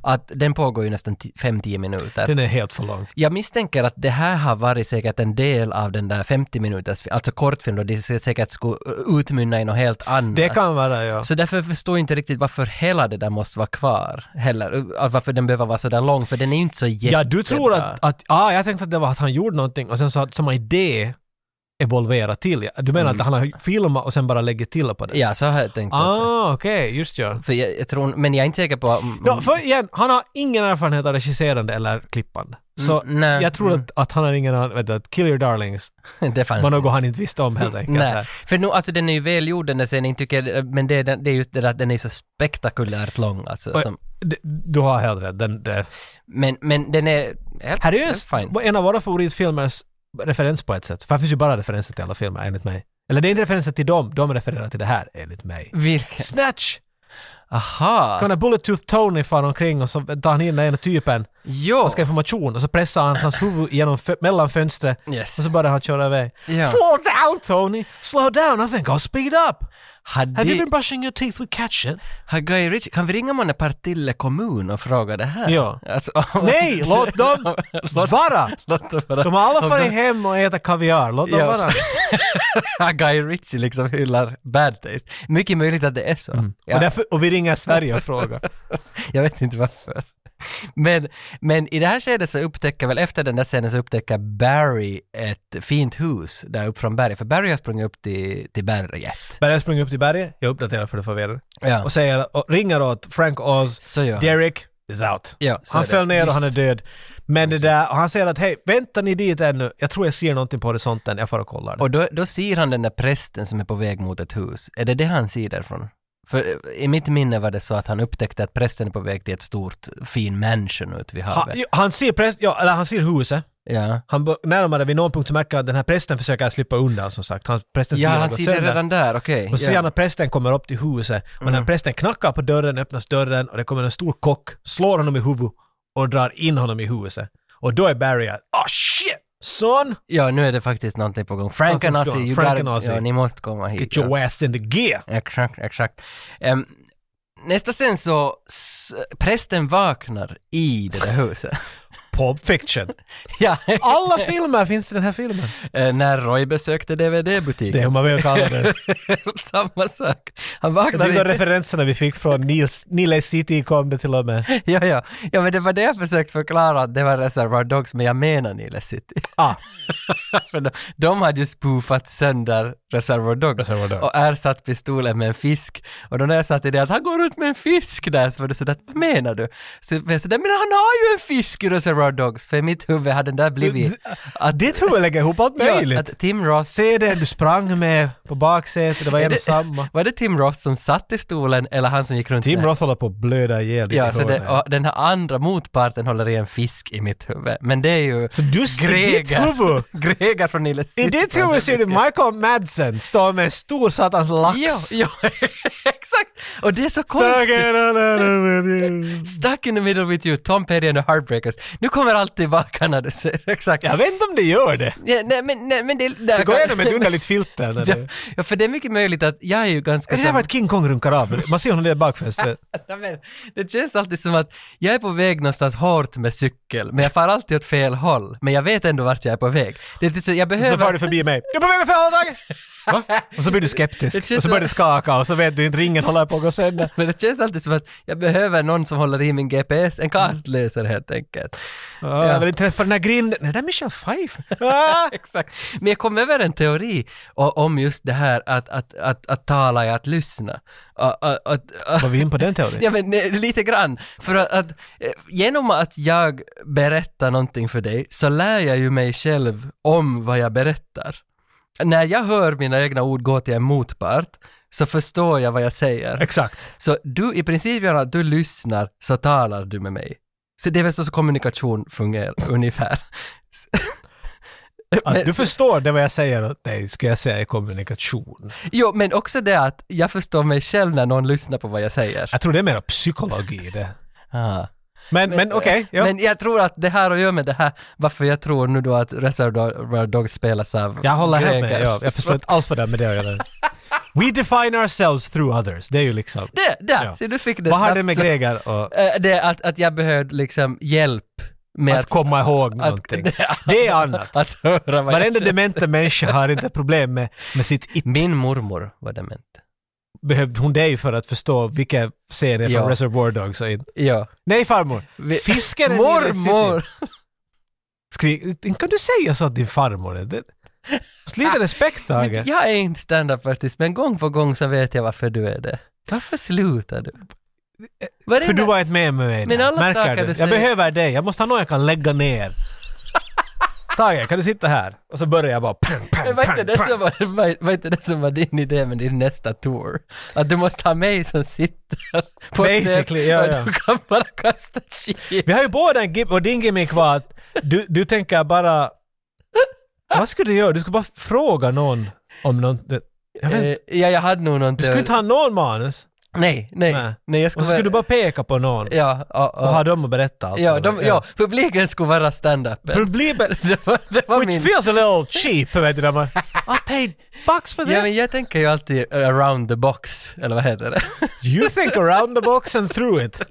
Att den pågår ju nästan 5-10 minuter.
Mhm. Den är helt för lång.
Jag misstänker att det här har varit säkert en del av den där 50 minuters, alltså kortfilm då det säkert skulle utmynna i något helt annat.
Det kan vara ja.
Så därför förstår jag inte riktigt varför hela det där måste vara kvar heller. Att Varför den behöver vara så där lång, för den är ju inte så jättebra.
Ja, du tror att, att ah, jag tänkte att det var att han gjorde någonting och sen så att samma idé evolverar till. Ja, Du menar att han har filmat och sen bara lägger till på det?
Mm. Ja, så har jag tänkt. att-
Ah, okej, just ja.
För jag, jag tror, men jag är inte säker på... mm, om-
Ja, för igen, han har ingen erfarenhet av regisserande eller klippande. Så
Mm, nej.
jag tror
Mm.
att, att han har ingen aning, vet du, att Kill Your Darlings
det fanns
var något han inte visste om helt enkelt.
Nej,
Nej.
för nu, alltså den är ju välgjord den där scenen, tycker jag, men det, är den- det är just det där att den är så spektakulärt lång alltså.
Oj.
Som,
Du har helt rätt. Den, det.
men, men den är...
Här är ju
helt fine.
en, en av våra favoritfilmers referens på ett sätt. För det finns ju bara referenser till alla filmer enligt mig. Eller det är inte referenser till dem, de refererar till det här enligt mig.
Vilken?
Snatch!
Aha!
Kan Bullet Tooth Tony far omkring och så tar han in den ena typen
Jo!
och ska ha information och så pressar han hans huvud genom fö- mellan fönstret
Yes.
och så börjar han köra iväg.
Ja.
Slow down Tony! Slow down! I think I'll speed up! Have you
Hade,
been brushing your teeth with ketchup?
har Guy Ritchie, kan vi ringa månne Partille kommun och fråga det här?
Ja.
Alltså,
Nej, låt dem vara!
Låt dem vara.
De har alla farit hem och ätit kaviar, låt dem
Ja.
vara.
Guy Ritchie liksom hyllar bad taste. Mycket möjligt att det är så.
Mm. Och,
Ja,
därför, och vi ringer Sverige och frågar.
jag vet inte varför. Men, men i det här skedet så upptäcker väl, efter den där scenen så upptäcker Barry ett fint hus där upp från berget. För Barry har sprungit upp till, till berget.
Berget springer upp till berget, jag uppdaterar för det förvirrade.
Ja,
Och säger, och ringer åt Frank Oz,
så gör han.
Derek is out.
Ja, så
Han
är det.
föll ner och
Just-
han är död. Men det där, och han säger att hej, väntar ni dit ännu? Jag tror jag ser någonting på horisonten, jag får och kollar det.
Och då, då ser han den där prästen som är på väg mot ett hus. Är det det han ser därifrån? För eh, i mitt minne var det så att han upptäckte att prästen är på väg till ett stort fin mansion ute vid
Han,
havet.
jo, han ser präst, ja, eller han ser huset.
ja.
Han bör- närmare vid någon punkt så märker han att den här prästen försöker slippa undan som sagt. Han, prästens
ja,
bil har
han
gått
ser det
sönder.
redan där, okej.
Och så ser
Ja. Mm.
han att prästen kommer upp till huset och när prästen knackar på dörren öppnas dörren och det kommer en stor kock, slår honom i huvudet och drar in honom i huset. Och då är Barry att oh shit! Son!
Ja, nu är det faktiskt någonting på gång. Frank and
Någonting ska-
Ozzy, you gotta-
Frank and Ozzy.
Ja, ni måste komma hit.
Get
Ja.
your ass in the gear!
Exakt, exakt. Ehm, nästa scen så, s- prästen vaknar i det där huset.
Pulp fiction.
ja,
Alla filmer finns i den här filmen.
eh, när Roy besökte DVD-butiken.
Det är hur man vill kalla det.
Samma sak. Han
Jag
vaknade
tycker att
i...
referenserna vi fick från Nils, Nile City kom det till och med.
Ja, ja. ja, men det var det jag försökte förklara att det var Reservoir Dogs, men jag menar Nile City.
Ah,
För de, de hade ju spoofat sönder Reservoir Dogs,
Reservoir Dogs.
och ersatt pistolen med en fisk. Och då när jag sa till dig att han går ut med en fisk där, så var du sådär, vad menar du? Så jag sa, men han har ju en fisk i Reservoir Dogs, för i mitt huvud hade den där blivit... Att,
ditt huvud lägger ihop allt
ja,
möjligt.
att Tim Ross...
Se det du sprang med på baksätet, det var en och samma.
Var det Tim Ross som satt i stolen eller han som gick runt
Tim
med-
Roth håller på att blöda ihjäl
Ja,
ja,
så
så,
det, och den här andra motparten håller i en fisk i mitt huvud. Men det är ju
så du i ditt
Greger.
huvud!
Greger från Nile
I
City.
ditt huvud ser du Michael Madsen stå med en stor satans lax.
Ja, ja exakt! Och det är så konstigt.
Stuck in a letter with you.
Stuck in the middle with you, Tom Petty and the Heartbreakers. Nu kommer allt tillbaka när du säger exakt.
Jag vet inte om det gör det.
Ja, nej, men, nej, men det...
Det går igenom ett underligt filter. När det...
Ja, för det är mycket möjligt att jag är ju ganska...
Det där
som-
var ett King Kong runkar av. Man ser honom där i bakfönstret.
Ja, men, det känns alltid som att jag är på väg någonstans hårt med cykel, men jag far alltid åt fel håll. Men jag vet ändå vart jag är på väg. Det är inte så, jag behöver...
Så far du förbi mig. Jag är på väg åt fel håll, Tage! Va? Och så blir du skeptisk. Och så börjar det skaka och så vet du inte, ringen håller på att gå sönder.
Men det känns alltid som att jag behöver någon som håller i min GPS, en kartläsare helt enkelt.
Ja. Jag vill inte träffa den där grinden. Nej, det är Michelle Pfeiffer. Ah!
Exakt. Men jag kom över en teori o- om just det här att, att, att, att tala är att lyssna. Att, att, att,
Var vi in på den teorin?
Ja men eh, lite grann. För att, att eh, genom att jag berättar någonting för dig så lär jag ju mig själv om vad jag berättar. När jag hör mina egna ord gå till en motpart så förstår jag vad jag säger.
Exakt.
Så du, i princip Göran, du lyssnar så talar du med mig. Så det är väl så som kommunikation fungerar ungefär.
Att
Men-
du förstår det vad jag säger åt dig, skulle jag säga i kommunikation.
Jo, men också det att jag förstår mig själv när någon lyssnar på vad jag säger.
Jag tror det är mer psykologi det.
Ah.
Men, men, okej. ja.
Men jag tror att det här har att göra med det här, varför jag tror nu då att Reservoir Dogs spelas av
Jag håller här
greker.
med. Ja, jag förstår inte alls vad det är med det att göra. We define ourselves through others. Det är ju liksom...
Det, där!
Ja.
Så du fick det
Vad har
snabbt.
det med
Så,
Greger och
eh, Det är att, att jag behövde liksom hjälp med
att komma ihåg någonting? Det är annat.
att höra vad
Varenda
jag säger.
dementa människa har inte problem med, med sitt it.
Min mormor var dement.
Behövde hon dig för att förstå vilka scener från
Ja.
Reservoir Dogs och inte?
Ja.
Nej farmor!
Vi-
Fisken är
Mormor!
Skrik, inte kan du säga så att din farmor är det? Lite respekt Tage.
Ah, Men Jag är inte standup-artist, men gång på gång så vet jag varför du är det. Varför slutar du?
För du
Varenda-
var inte med med mig.
Men
där.
alla
Märker
saker
du?
du
Jag
säger-
behöver dig. Jag måste ha någon jag kan lägga ner. Tage, kan du sitta här? Och så börjar jag bara... Pang, pang,
Men var inte,
pang,
det som
pang.
var, var, var inte det som var din idé med din nästa tour? Att du måste ha mig som sitter på scen
Basically, ja,
och
ja.
du kan bara kasta skit.
Vi har ju båda en gimmick och din gimmick var att du, du tänker bara... Vad skulle du göra? Du skulle bara fråga någon om någon... Jag vet,
Eh,
inte.
Ja, jag hade nog någon
du skulle inte ha någon manus.
Nej, nej,
Nej.
nej. jag
Och så skulle du bara peka på någon
Ja, ja,
och ha
ja.
dem att berätta allt.
Ja,
om.
de, ja, publiken skulle vara stand-upen.
Problemet...
Det var, det var
Which
min...
feels a little cheap, vet du. när man- I paid bucks for this.
Ja, men jag tänker ju alltid eh, around the box, eller vad heter det?
You think around the box and through it.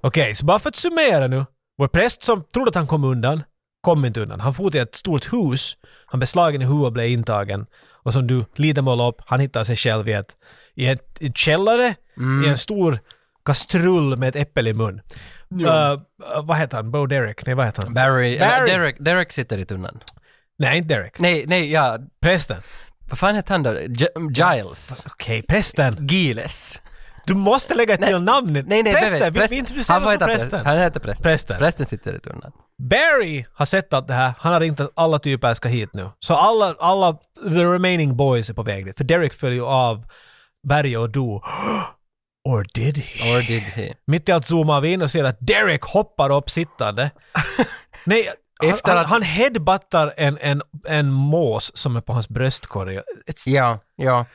Okej, så bara för att summera nu. Vår präst som trodde att han kom undan, kom inte undan. Han for till ett stort hus. Han beslagen i huvudet och blev intagen. Och som du lite målade upp, han hittade sig själv i ett, i ett, i ett källare,
Mm.
i en stor kastrull med ett äppel i mun. Eh, eh, vad heter han? Bo Derek? Nej, vad heter han?
Barry, eller
Barry.
Derek, Derek sitter i tunnan.
Nej, inte Derek.
Nej, nej, ja,
Prästen.
vad fan heter han då? Gi- Giles?
Okej, prästen.
Giles?
Du måste lägga till namnet.
Nej, nej,
prästen!
nej,
vi, vi introducerar oss som prästen.
Han heter prästen.
Prästen.
Prästen sitter i tunnan.
Barry har sett allt det här. Han har ringt att alla typer ska hit nu. Så alla, alla the remaining boys är på väg dit. För Derek följer ju av Barry och Do. Or did he?
Or did he?
Mitt i allt zoomar vi in och ser att Derek hoppar upp sittande. Nej, han,
Efter
han,
att-
han headbuttar en, en, en mås som är på hans bröstkorg. It's,
Ja, ja.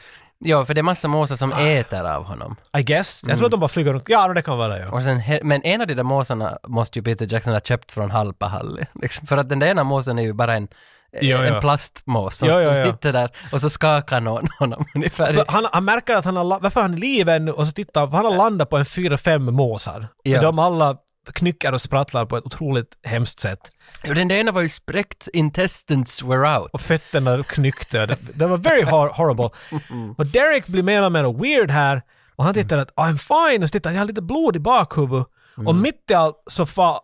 Ja, för det är massa måsar
Ah.
som äter av honom.
I guess.
Mm.
Jag tror att de bara flyger runt. Ja, det kan vara ja.
Och sen, he- men en av de där måsarna måste ju Peter Jackson ha köpt från Halpahalli. Liksom, för att den där ena måsen är ju bara en, eh,
Jo,
en
ja.
plastmås som,
Jo, jo,
som
ja.
sitter där och så skakar någon honom ungefär.
För han, han märker att han har, la- varför han är i livet ännu och så tittar han, för han har landat på en fyra, fem måsar.
Ja.
Och de alla knyckar och sprattlar på ett otroligt hemskt sätt.
Och den där ena var ju spräckt, intestines were out.
Och fötterna knyckte. Det, det var very hor- horrible.
Mm.
Och Derek blir mer och mer weird här. Och han tittar att "Ah, I'm fine och så tittar han, jag har lite blod i bakhuvudet. Och
Mm.
mitt i allt så far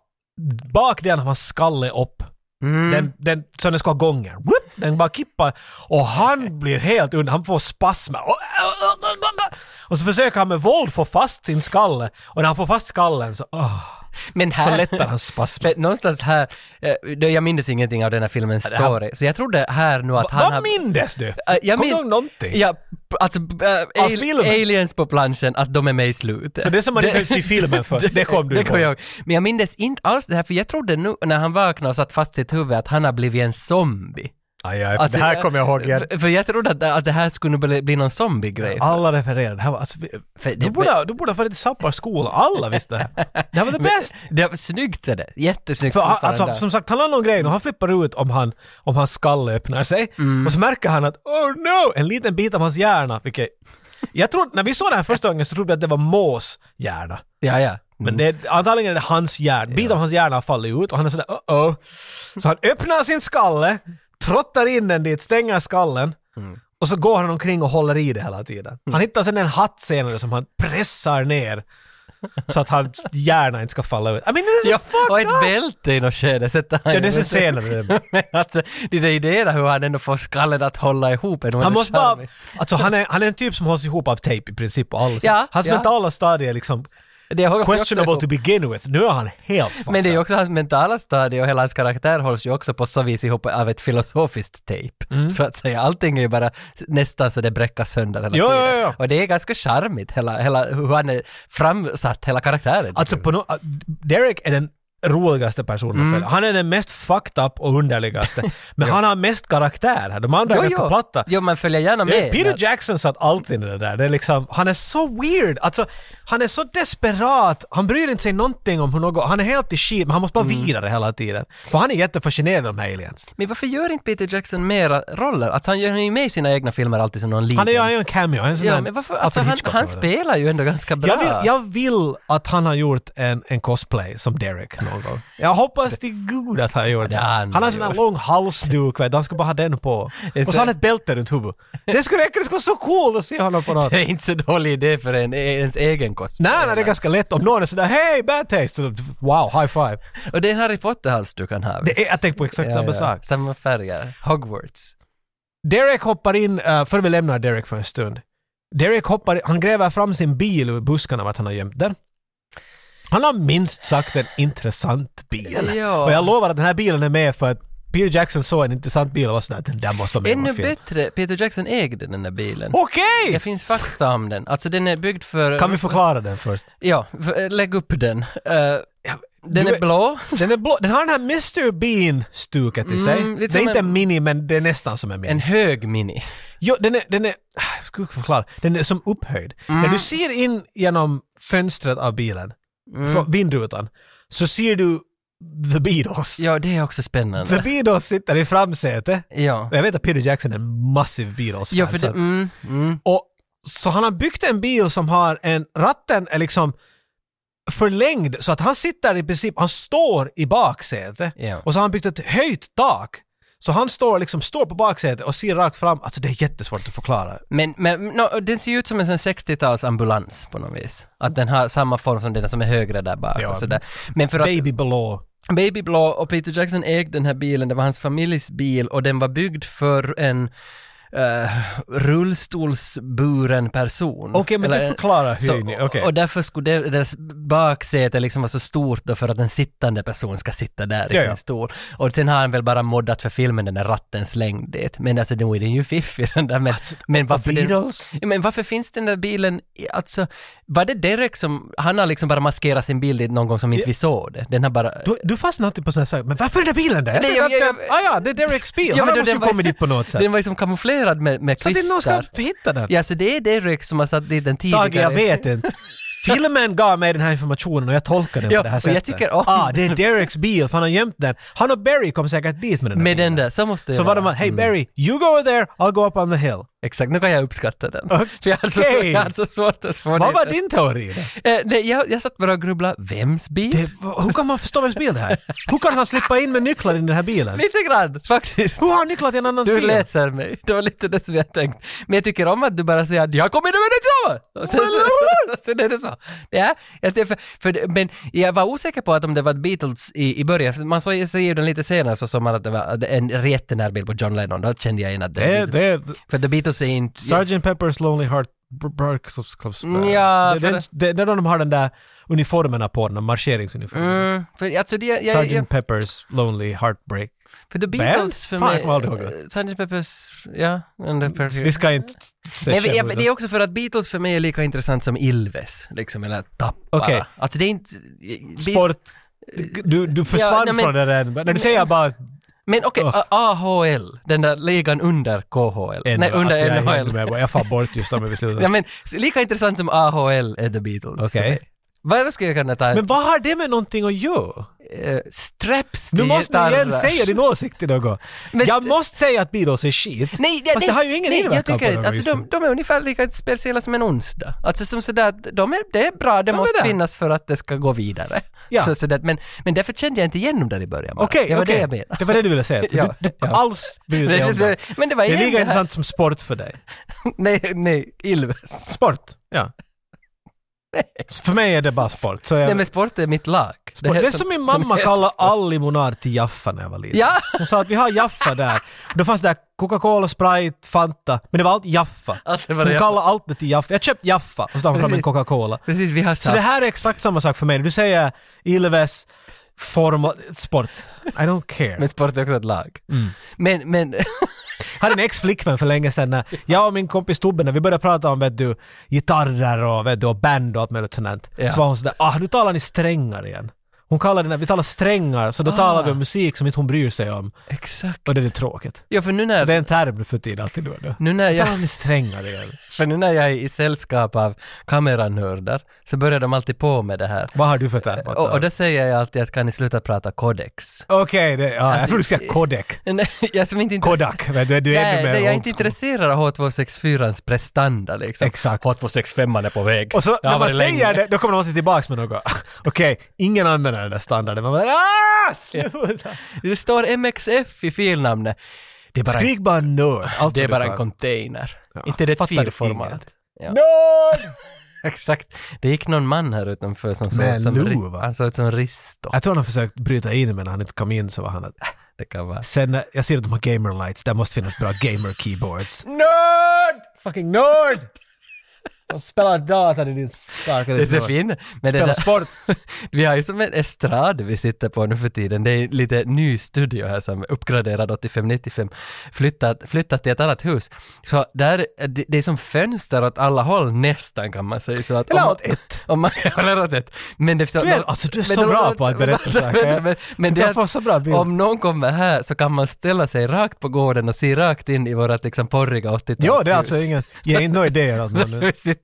bakdelen av hans skalle upp.
Mm.
Den, den, så den ska ha gånger. Whoop, den bara kippar. Och han blir helt under, han får spasmer. Och, och så försöker han med våld få fast sin skalle. Och när han får fast skallen så, åh,
Men här...
så lättar hans spasmer.
För någonstans här, eh, då- jag minns ingenting av den här filmens
det här-
story, så jag trodde här nu att han
Vad
har-
mindes du?
Eh, jag
Kommer
min-
du ihåg någonting?
Ja, p- alltså äh,
Av filmen?
aliens på planschen, att de är med i slutet.
Så det som man inte behövt se filmen för, det kom du
det kom
ihåg.
jag ihåg. Men jag minns inte alls det här, för jag trodde nu när han vaknade och satt fast sitt huvud att han har blivit en zombie. Alltså, eh,
Aj, aj, det här kommer jag ihåg igen.
För, för jag trodde att, att det här skulle bli, bli någon zombie-grej.
Alla refererade. Det här var, alltså, vi,
För det-
du, borde, du borde ha varit i Sappars skola. Alla visste det här. Det här var det bästa.
Det var snyggt är det. Jättesnyggt
För han,
fortfarande
alltså,
där.
som sagt, han har någon grej nu. Han flippar ut om, han, om hans skalle öppnar sig.
Mm.
Och så märker han att oh no, en liten bit av hans hjärna. Vilket, jag trodde, när vi såg det här första gången så trodde vi att det var Mås hjärna.
Ja, ja.
Men det, antagligen är det hans hjärna. Bit av hans hjärna har fallit ut och han är sådär uh oh. Så han öppnar sin skalle, trottar in den dit, stänger skallen.
Mm.
Och så går han omkring och håller i det hela tiden. Han hittar sen en hatt senare som han pressar ner. Så att hans hjärna inte ska falla ut. I mean, this is
Ja, och
fucked
ett
up!
bälte i något skede sätter han
Ja,
ju
det är sen
runt.
senare.
Men alltså, det där idéerna hur han ändå får skallen att hålla ihop är nog
Han
ändå
måste bara...
charmig.
Alltså han är, han är en typ som hålls ihop av tejp i princip och alls.
Ja,
Hans
ja.
mentala stadie är liksom
Det hålls ju också
questionable
ihop.
to begin with. Nu är han helt fucked
Men det är ju
up.
också hans mentala stadie och hela hans karaktär hålls ju också på så vis ihop av ett filosofiskt tejp.
Mm.
Så att säga, allting är ju bara nästan så det bräckas sönder hela
Ja,
tiden.
ja, ja.
Och det är ganska charmigt, hela, hela, hur han är framsatt, hela karaktären.
Alltså på no, Derek är den roligaste personen mm. Han är den mest fucked up och underligaste. Men han har mest karaktär här. De andra är
jo,
ganska
jo.
platta. Eh,
Jo, man följer gärna med.
Peter
Men-
Jackson satt alltid i det där. Det är liksom, han är så weird. Alltså, han är så desperat. Han bryr inte sig någonting om hur något... Han är helt i skit, men han måste bara
Mm.
vidare hela tiden. För han är jättefascinerad av de här aliens.
Men varför gör inte Peter Jackson mera roller? Alltså han gör ju med i sina egna filmer alltid som någon liten.
Han är ju han är ju en cameo. Han är en sån
Ja,
där
men varför?
Alfred
Alltså, han,
Hitchcock
han
eller-
spelar ju ändå ganska bra.
Jag vill, jag vill att han har gjort en, en cosplay som Derek någon gång. Jag hoppas till gud att han gjorde det.
Ja, han
Han har sån här
gjort.
lång halsduk, vet du. han ska bara ha den på. Och så har han ett bälte runt huvudet. Det skulle räcka, det skulle vara så coolt att se honom på något.
Det är inte så dålig idé för en, ens egen kost.
Nej, nej, det är ganska lätt. Om någon är sådär ”Hey, bad taste!” så, Wow, high five.
Och det är en Harry Potter-halsduk han har.
Det är, jag tänkte på exakt samma sak.
Samma färger. Hogwarts.
Derek hoppar in, eh, för vi lämnar Derek för en stund. Derek hoppar in, han gräver fram sin bil ur buskarna vart han har gömt den. Han har minst sagt en intressant bil.
Ja.
Och jag lovar att den här bilen är med för att Peter Jackson såg en intressant bil och var sådär, den där måste vara med i
Ännu
någon film.
bättre, Peter Jackson ägde den där bilen.
Okej!
Det finns fakta om den. Alltså den är byggd för...
Kan vi förklara den först?
Ja, för, eh, lägg upp den. Eh, den
du
är
är-
blå.
Den, är blå, den har den här Mr. Bean-stuket i sig.
Mm, lite
det är
som
inte
en-
en mini, men det är nästan som en mini.
En hög mini.
Jo, den är, den är, jag ska förklara, den är som upphöjd. När
Mm.
du ser in genom fönstret av bilen,
Mm.
från vindrutan, så ser du The Beatles.
Ja, det är också
The
spännande.
Beatles sitter i framsätet.
Ja.
Och Jag vet att Peter Jackson är en massiv Beatles-fan.
Ja, för det...
så-
Mm, mm.
och, så han har byggt en bil som har en, ratten är liksom förlängd så att han sitter i princip, han står i baksätet
Ja.
och så har han byggt ett höjt tak. Så han står liksom, står på baksätet och ser rakt fram. Alltså det är jättesvårt att förklara.
Men, men no, den ser ju ut som en sån 60-talsambulans på något vis. Att den har samma form som den som är högre där bak
Ja.
och sådär. Men för att
Baby below.
Babyblå och Peter Jackson ägde den här bilen, det var hans familjs bil och den var byggd för en eh, rullstolsburen person.
Okej, men
Eller
det
en-
förklarar
så,
höjden. Okej.
Och därför skulle det- dess baksäte liksom vara så stort då för att en sittande person ska sitta där i
Ja,
sin
ja.
stol. Och sen har han väl bara moddat för filmen den där rattens längd dit. Men alltså nu är den ju fiffig den där. Men,
Alltså,
men varför den-
Beatles?
Ja, Men varför finns den där bilen, i- alltså, var det Derek som, han har liksom bara maskerat sin bild i någon gång som inte vi såg det? Den har bara...
Du, du fastnar alltid på sådana här saker. Men varför är den där bilen där? Jag
Nej,
tänkte
jag-
att,
jag-
det- ah, ja, det är Dereks bil. Han
men
har
då
måste ju
den var-
kommit dit på något sätt.
Den var liksom kamuflerad med, med
Så att inte någon ska
kvistar.
hitta den.
Ja, så det är Derek som har satt dit den tidigare.
Tage, jag vet inte. Filmen gav mig den här informationen och jag tolkar den
Ja,
på det här
och jag
sättet.
tycker om
ah, det är Dereks bil för han har gömt den. Han och Barry kom säkert dit med den där
Med
bilen.
den där, Mm. så måste det
Så var
vara.
de hey Barry, you go over there, I'll go up on the hill.
Exakt, nu kan jag uppskatta den. För jag har så,
Okej.
jag har så svårt att få
Vad
det.
var din teori? då?
Eh, nej, jag, jag satt bara och grubblade, vems bil?
Det, hur kan man förstå vems bil det här? Hur kan han slippa in med nycklar i den här bilen?
Lite grann, faktiskt.
Hur har han nycklar till en annans
Du
bil?
läser mig. Det var lite det som jag tänkte. Men jag tycker om att du bara säger att jag kommer in med det så. Och sen, så, sen är det så. Ja, jag tycker- för, för, det- men jag var osäker på att om det var Beatles i, i början. För Man såg ser ju den lite senare så såg man att det var en jättenärbild på John Lennon. Då kände jag in att det,
Det, det,
För The Beatles är inte... Mm,
Sgt. Pepper's Lonely Heart Barks Clubs
Ja,
det, det,
för-
det, det är då de har den där uniformerna på, den där marscheringsuniformen.
Mm, för, alltså det, jag, jag,
Sgt.
jag,
Pepper's Lonely Heartbreak.
för The Beatles för
Fan, jag
mig...
kommer aldrig ihåg det.
Sgt. Peppers... Ja, and the Perfume.
Vi ska inte se
Mm. Nej, men
själva
jag,
det.
det är också för att Beatles för mig är lika intressant som Ilves, liksom, eller Tappara.
Okej.
Alltså det är inte... Be-
Sport. Du, du försvann
nej, men-
från det där. När du säger bara
Men okej,
Åh.
A- AHL, den där ligan under KHL. Nej, under
alltså, jag är helt
NHL.
med på- Jag far bort just där med beslutet.
Ja, men s- lika intressant som AHL är The Beatles.
Okej.
för mig. Vad skulle jag kunna ta?
Men vad har det med någonting att göra?
Eh, straps till
Nu måste du igen
gitarrer.
säga din åsikt till något.
Men-
jag måste säga att Beatles är skit.
Nej,
Fast det har ju ingen
nej,
inverkan
jag tycker
på
inte.
dem
Alltså,
just
de,
nu.
de är ungefär lika speciella som en onsdag. Alltså som sådär, att de är, det är bra, det
men
måste
där.
finnas för att det ska gå vidare.
Ja.
Så, sådär, men, men därför kände jag inte igen dem där i början bara.
Okej,
det var
okej.
det jag menade.
Det var det du ville säga. Du,
Ja,
du,
ja.
alls vill
Nej,
det,
det- det- men det var
det är
igen
lika
det här-
intressant som sport för dig.
Nej, nej, Ilves.
Sport, ja. Så För mig är det bara sport. Så jag,
Nej men sport är mitt lag.
sport. Det,
här
är som min mamma
heter-
kallade all limonad till Jaffa när jag var liten.
Ja.
Hon sa att vi har Jaffa där. Då fanns det här Coca-Cola, Sprite, Fanta, men det var allt Jaffa.
Allt det var
Hon
Jaffa.
kallade allt det till Jaffa. Jag köpte Jaffa och så la hon fram en
Precis.
Coca-Cola.
Precis, vi har
Så det
sagt.
här är exakt samma sak för mig. Du säger Ilves, form och sport. I don't care.
Men sport är också ett lag.
Mm.
Men, men,
Jag hade en ex-flickvän för länge sedan när jag och min kompis Tobbe, när vi började prata om vet du, gitarrer och, vet du, och band och allt möjligt sånt där,
Ja.
så var hon sådär ah nu talar ni strängar igen. Hon kallade det, vi talar strängar, så då talar
Ah.
vi om musik som inte hon bryr sig om.
exakt.
Och det är tråkigt.
Ja, för nu
Så det är
när,
en term nu för tiden alltid då och då.
nu när jag...
Talar ni strängar igen?
För nu när jag är i sällskap av kameranördar så börjar de alltid på med det här.
Vad har du för term?
Och, och då säger jag alltid att kan ni sluta prata kodex?
Okej, det- ja, jag tror du ska säga Kodak.
Nej, jag som inte intresse-
Kodak, men du, du är
Nej,
ännu mer
nej, jag är
old
inte
school.
intresserad av H264ans prestanda liksom.
Exakt.
H265 är på väg.
Och så
Det har
när man
varit
säger
länge.
det, då kommer de alltid tillbaks med något. Okej, ingen använder den där standarden. Man bara ah! sluta."
Det står MXF i filnamnet. Det är bara,
Skrik bara nörd. Allt
det är
vad du
bara en
kan.
container. inte det är ett
fattar du
filformat.
inget?
Ja.
Nörd!
Exakt. Det gick någon man här utanför som såg
Med
ut som, ri-
luva.
han såg ut som Risto.
Jag tror han har försökt bryta in men när han inte kom in så var han att... "Äh."
Det kan vara.
Sen, eh, jag ser att de har gamerlights, där måste finnas bra gamer-keyboards.
Nörd!
Fucking nörd! De spelar data i din starka...
Det är så fint. Men det
Spela
där,
sport.
vi har ju som en estrad vi sitter på nu för tiden. Det är lite ny studio här som är uppgraderad 85-95. Flyttat, flyttat till ett annat hus. Så där, det, det är som fönster åt alla håll nästan kan man säga. Så att
Eller
om man-
åt ett.
Om man, eller åt ett. Men det är så,
Du är- alltså, du är
men
så
de-
bra på att berätta
vänta,
saker.
vänta, Men, men det
Du kan
är
få så bra bild.
Om någon kommer här så kan man ställa sig rakt på gården och se rakt in i vårat liksom porriga 80-talshus.
Ja, det är alltså ingen... Ge inte några idéer alltså, åt någon.
vi sitter.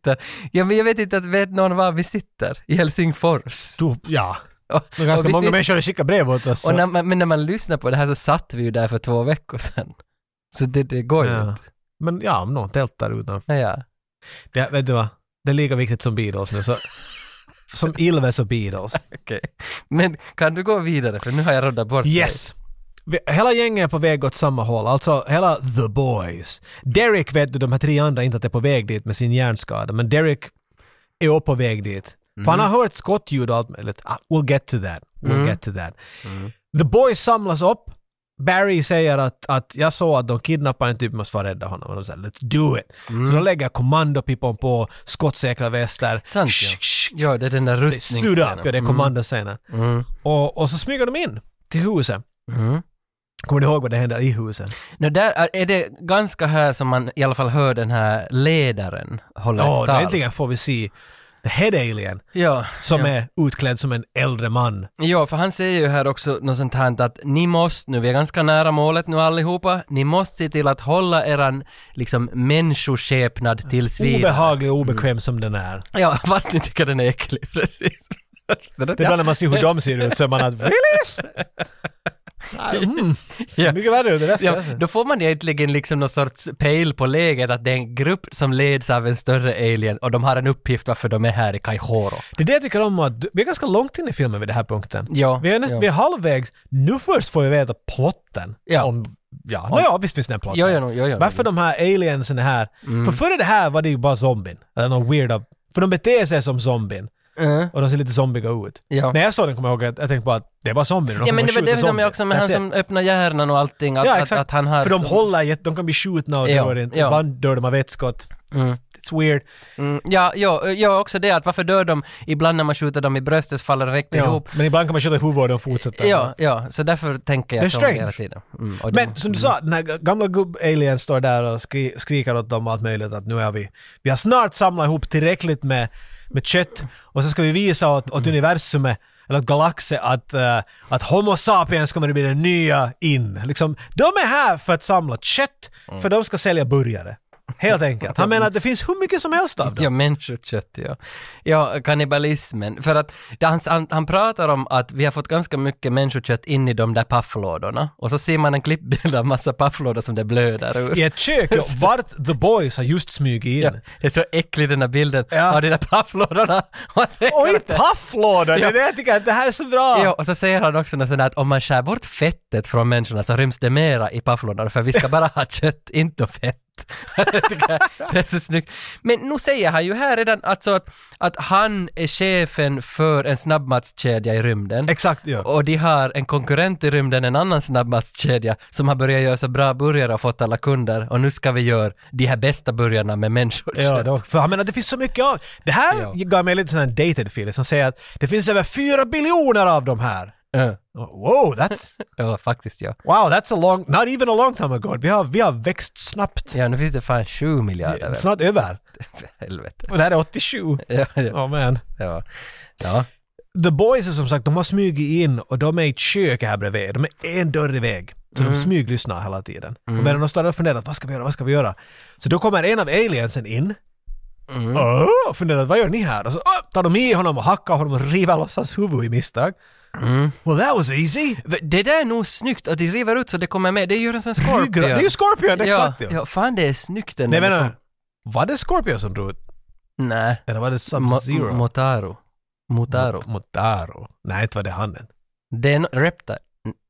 Ja, men jag vet inte att vet någon var vi sitter? I Helsingfors.
Du- Ja.
Och,
Det är ganska
vi
många
sitter-
människor som skickar brev åt oss. så-
Och när man, men när man lyssnar på det här så satt vi ju där för två veckor sedan. Så det, det går ju
Ja.
inte.
Men ja, om någon tältar utan.
Ja, ja.
Det, vet du vad? Det är lika viktigt som Beatles nu. Så, som Ilves och Beatles.
Okej. Men kan du gå vidare? För nu har jag roddat bort dig.
Yes! Vi- Hela gänget är på väg åt samma håll, alltså hela the boys. Derek vet du, de här tre andra, inte att det är på väg dit med sin hjärnskada, men Derek är också på väg dit. För han
Mm.
har hört skottljud och allt möjligt. Ah, we'll get to that. We'll get to that.
Mm.
The boys samlas upp. Barry säger att, att jag såg att de kidnappar en typ, vi måste vara rädda honom. Och de säger let's do it.
Mm.
Så de lägger kommandopipon på, skottsäkra västar.
Sant
Shh, shh,
ja. Ja, det är den där
det är suit up, ja det är
rustningsscenen.
kommandoscenen.
Mm. Mm.
Och, och så smyger de in till huset.
Mm.
Kommer du ihåg vad det händer i husen?
Nå, där är det ganska här som man i alla fall hör den här ledaren hålla
Ja,
ett
då
tal.
äntligen får vi se The Head Alien
Ja,
som
ja.
är utklädd som en äldre man.
Ja, för han säger ju här också något sånt här att ni måste nu, vi är ganska nära målet nu allihopa, ni måste se till att hålla eran liksom människoskepnad tills vidare.
Obehaglig och obekväm som den är.
Ja, fast ni tycker den är äcklig, precis. Det
Det är bara när man ser hur de ser ut så är man att really? Ah, Mm.
Ja.
Mycket värre alltså. ut, det där ska
Ja,
jag säga.
då får man egentligen liksom någon sorts pejl på läget att det är en grupp som leds av en större alien och de har en uppgift varför de är här i Kaihoro.
Det är det jag tycker om att du- vi är ganska långt in i filmen vid den här punkten.
Ja,
Vi är, nästan,
ja.
vi är halvvägs. Nu först får vi veta plotten.
Ja.
Om, ja. Nå, ja, visst finns det en plott.
Ja, ja, ja, Mm. ja.
Varför de här aliensen är här? För före det här var det ju bara zombien. Eller någon weirda. För de beter sig som zombien.
Mm.
Och de ser lite zombiga ut.
Ja.
När jag såg den kom jag ihåg att jag tänkte bara att det är bara zombier. De
Ja men
kommer
det var
skjuta
det som
zombier.
jag också med
That's
han
it.
som öppnar hjärnan och allting, att,
ja,
att,
exakt.
att han har...
För de
som-
håller jätte, de kan bli skjutna och
Ja,
dör inte.
ja.
Ibland dör de av ett skott. It's weird.
Mm, ja, ja, ja, också det att varför dör de? Ibland när man skjuter dem i bröstet så faller de direkt
Ja.
ihop.
Men ibland kan man skjuta i huvudet och de fortsätter.
Ja, ja, så därför tänker
Det är
jag så
strange.
hela tiden. Mm, och de-
Men som du sa, den här gamla gubb-alien står där och skri- skriker åt dem allt möjligt att nu är vi, vi
Mm.
har snart samlat ihop tillräckligt med, med kött och så ska vi visa åt, åt universumet eller åt galaxen att, eh, att Homo sapiens kommer att bli den nya in. Liksom, de är här för att samla kött, för de ska sälja burgare. Helt enkelt. Han menar att det finns hur mycket som helst av dem.
Ja, människokött ja. Ja, kannibalismen. För att det- han, han, han pratar om att vi har fått ganska mycket människokött in i de där pafflådorna. Och så ser man en klippbild av massa pafflådor som det blöder ur.
I ett kök, ja, vart The Boys har just smugit
Ja,
in.
det är så äcklig den här bilden
Ja.
av de där pafflådorna. Man tänker
Oj,
att det-
pafflådor! Det
Ja.
är det jag tycker att det här är så bra!
Jo, och så säger han också något sånt där att om man skär bort fettet från människorna så ryms det mera i pafflådorna för vi ska bara ha kött, inte fett. Jag tycker det är så snyggt. Men nu säger han ju här redan alltså att, att han är chefen för en snabbmatskedja i rymden.
Exakt, ja.
Och de har en konkurrent i rymden, en annan snabbmatskedja, som har börjat göra så bra burgare och fått alla kunder. Och nu ska vi göra de här bästa burgarna med människor.
Ja, då, för jag menar det finns så mycket av. Det här
Ja.
gav mig lite sån här dated feeling som säger att det finns över fyra biljoner av de här.
Ja,
Wow, that's,
ja, faktiskt ja.
wow, that's a long, not even a long time ago. Vi har, vi har växt snabbt.
Ja, nu finns det fan 7 miljarder. väl?
Snart över.
Helvete.
Och det här är 87.
Ja, ja,
Oh man.
ja. ja.
The Boys är som sagt, de har smugit in och de är i ett kök här bredvid. De är en dörr iväg. Så
Mm.
de smyglyssnar hela tiden. Och medan de står där och funderar, vad ska vi göra, vad ska vi göra? Så då kommer en av aliensen in.
Mm.
Åh, och funderar, vad gör ni här? Och så åh, tar de i honom och hackar honom och river loss hans huvud i misstag.
Mm.
Well that was easy!
V- Det där är nog snyggt och de river ut så det kommer med. Det gör en sån Scorpion.
Det är ju Scorpion, exakt
ja.
ja.
ja, fan det är snyggt den
Nej
där.
men, var det Scorpion som drog ut?
Nej.
Eller var det
Mo-
Sub-Zero?
Motaro. Motaro.
Mot- Motaro. Nej, inte var det han än.
Det är en reptar.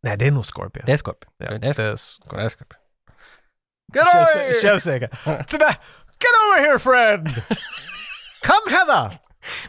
Nej, det är nog Scorpion.
Det är Scorpion.
Ja,
Det är Scorpion.
det är Scorpion.
Det är Scorpion.
Självsä- Självsäker. Sådär, get over here friend! Come Heather!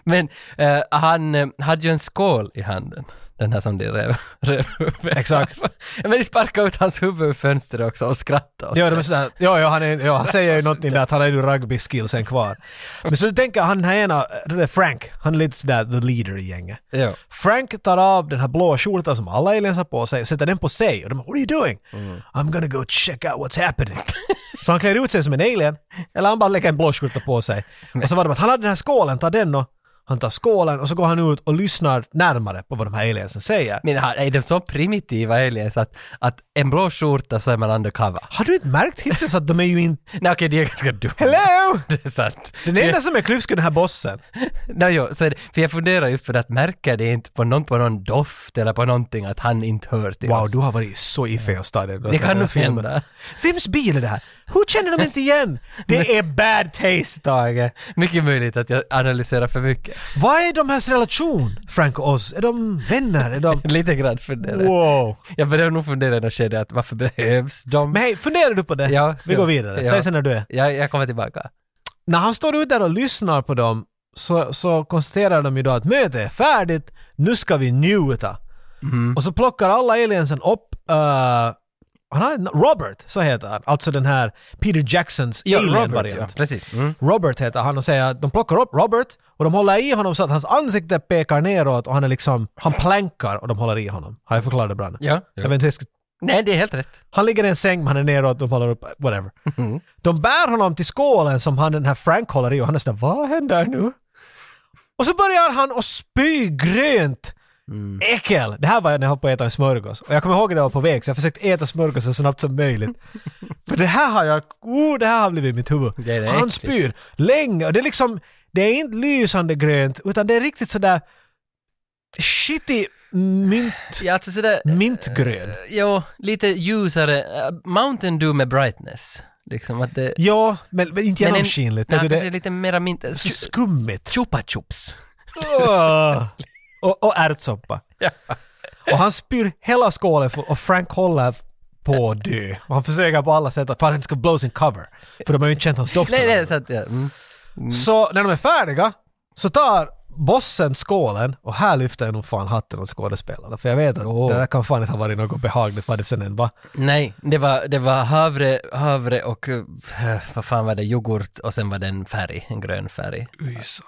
Men eh, han eh, hade ju en skål i handen. Den här som de rev, rev upp.
Exakt.
Men de sparkade ut hans huvud ur fönstret också och skrattade. åt
Ja,
det.
de är sådär, ja, ja, han, är, ja, han säger ju någonting där att han har ju rugby-skillsen kvar. Men så tänker jag, han här ena, det är Frank, han är lite sådär the leader i gänget.
ja.
Frank tar av den här blå skjortan som alla aliens har på sig och sätter den på sig och de bara “What are you doing?”
Mm.
“I'm gonna go check out what's happening”. så han klär ut sig som en alien, eller han bara lägger en blå skjorta på sig. Och så var det att han hade den här skålen, tar den och han tar skålen och så går han ut och lyssnar närmare på vad de här aliensen säger.
Men han- är de så primitiva aliens att, att en blå skjorta så är man undercover?
Har du inte märkt hittills att de är ju inte...
Nej okej, det är ganska dumt.
Hello!
Det är sant.
Den enda som är klyfsk är den här bossen.
Nej, jo, så är det, för jag funderar just på det att märker det inte på någon, på någon doft eller på någonting att han inte hör till
Wow,
oss?
du har varit så i fel Alltså, stadion.
Det kan nog hända.
Vems bil är det här? Hur känner de inte igen? Det är bad taste, Tage.
Mycket möjligt att jag analyserar för mycket.
Vad är de här relation, Frank och Oz? Är de vänner? Är de...
Lite grann funderar jag.
Wow.
Jag börjar nog fundera i något skede att varför behövs de?
Men hej, funderar du på det?
Ja,
Vi
ja,
går vidare.
ja.
Säg sen när du är.
jag, jag kommer tillbaka.
När han står ute där och lyssnar på dem så, så konstaterar de ju då att mötet är färdigt, nu ska vi njuta.
Mm.
Och så plockar alla aliensen upp eh, han har, en- Robert, så heter han. Alltså den här Peter Jacksons alien-variant.
precis. Mm.
Robert heter han och säger att de plockar upp Robert och de håller i honom så att hans ansikte pekar neråt och han är liksom, han plankar och de håller i honom. Har jag förklarat det bra nu?
Ja.
Jag vet inte hur jag ska
Nej, det är helt rätt.
han ligger i en säng, men han är neråt, de håller upp, whatever.
Mm-hmm.
De bär honom till skålen som han, den här Frank håller i och han är sådär, vad händer nu? Och så börjar han att spy grönt
Mm.
äckel. Det här var när jag höll på att äta en smörgås. Och jag kommer ihåg att jag var på väg, så jag försökte äta smörgås så snabbt som möjligt. För det här har jag, oh, det här har blivit mitt huvud.
Det är det
han
äckligt.
spyr länge och det är liksom, det är inte lysande grönt, utan det är riktigt sådär shitty mint,
Ja, alltså sådär,
Mm. mintgrön.
jo, lite ljusare. eh, Mountain Dew med brightness. Liksom att det...
Ja, men, men inte
Men en-
genomskinligt.
Nej,
vet du,
kanske
det
lite mera mint...
är så skummigt.
Chupa chups.
Åh. och, och ärtsoppa. Och han spyr hela skålen för, och Frank håller på att dö. Och han försöker på alla sätt att för att han inte ska blow sin cover. För de har ju inte känt hans doft.
Nej,
eller
nej,
något.
så att... Ja. Mm.
Så när de är färdiga så tar bossen skålen och här lyfter jag nog fan hatten åt skådespelarna. För jag vet att
Åh.
det där kan fan inte ha varit något behagligt vad det sen än var.
Nej, det var, det var havre, havre och eh, vad fan var det, yoghurt och sen var det en färg, en grön färg.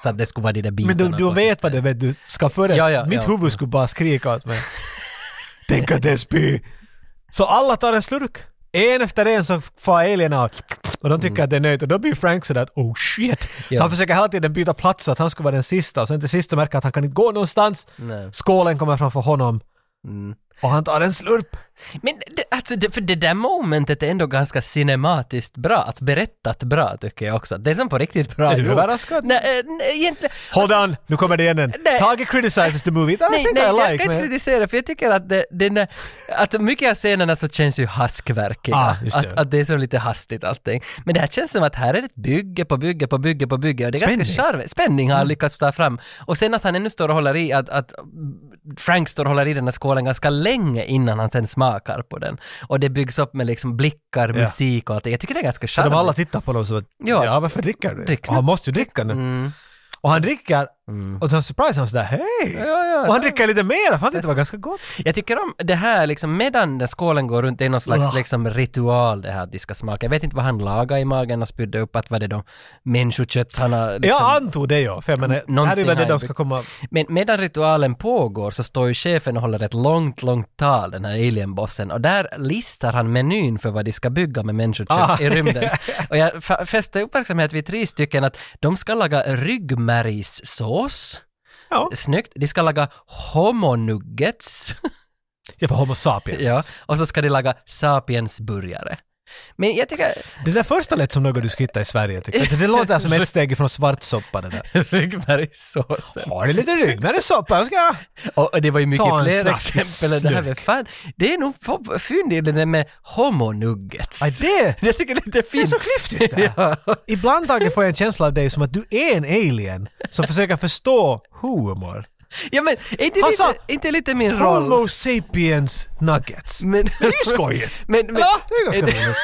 Så att det skulle vara de där bitarna.
Men du, du
på
vet vad
sistone.
det vet du ska föreställa.
Ja, ja,
Mitt
ja.
huvud skulle bara skrika åt mig. Tänk att det är spy. Så alla tar en slurk. En efter en så far alienerna och- och de tycker att det är nöjt och då blir Frank sådär att oh shit.
Mm. Ja.
Så han försöker hela tiden byta plats så att han ska vara den sista och sen till sist så märker han att han kan inte gå någonstans.
Nej. Mm.
Skålen kommer framför honom och han tar en slurp.
Men det, alltså, det, för det där momentet är ändå ganska cinematiskt bra, alltså berättat bra tycker jag också. Det är som på riktigt bra
Är du
gjort.
överraskad?
Nej, eh, nej, egentligen.
Hold on, nu kommer det igen en.
Nej.
Tage criticizes the movie. I
Nej,
think
nej,
I
jag
like,
ska inte
men-
kritisera för jag tycker att det, den är, att mycket av scenerna så känns ju haskverkiga.
Ah, just det.
att, att det är så lite hastigt allting. Men det här känns som att här är det ett bygge på bygge på bygge på bygge och det är ganska
Spänning. Mm.
charmigt. Spänning har han lyckats ta fram. Och sen att han ännu står och håller i, att, att Frank står och håller i den här skålen ganska länge innan han sen smakar på den. Och det byggs upp med liksom blickar,
Ja.
musik och allt det. Jag tycker det är ganska
Så
charmigt.
de alla tittar på dem så att,
Ja.
ja, varför dricker du?
Dricker. Mm.
Och han måste ju dricka nu. Och han dricker, och sen surprise han sådär hej! och han dricker lite mer, för han tyckte det var ganska gott.
Jag tycker om det här liksom, medan den skålen går runt, det är någon slags liksom, ritual det här att de ska smaka. Jag vet inte vad han lagade i magen och spydde upp, att vad det då, människokött han har liksom.
Jag antog det ja, för jag menar, det här är
någonting
ju väl det
har
de
jag
ska
byggt.
komma...
Men medan ritualen pågår så står ju chefen och håller ett långt, långt tal, den här alienbossen, och där listar han menyn för vad de ska bygga med människokött
Ah.
i rymden. och jag fa- fäste uppmärksamhet vid tre stycken att de ska laga ryggmärgssås,
Ja,
snyggt, de ska laga homonuggets,
jag var homo sapiens.
Ja, och så ska de laga sapiensburgare. Men jag tycker
Det där första lät som något du skulle hitta i Sverige tycker jag. Det låter som ett steg ifrån svartsoppa det där.
ryggmärgssåsen.
Har du lite ryggmärgssoppa? Jag ska...
Och, och det var ju mycket
Ta en
fler
snaskig
exempel än det här. Men
slurk.
fan, det är nog f- fynd i det där med homonuggets.
Aj, det...
Jag tycker det är lite
Det är
fint.
så klyftigt det här.
Ja.
Ibland Tage får jag en känsla av dig som att du är en alien som försöker förstå humor.
ja, men är inte,
Han
lite,
sa-
inte lite min roll?
Alltså, Homo sapiens nuggets.
Men, det är
ju skojigt.
Men, men,
Ja, det är ganska roligt.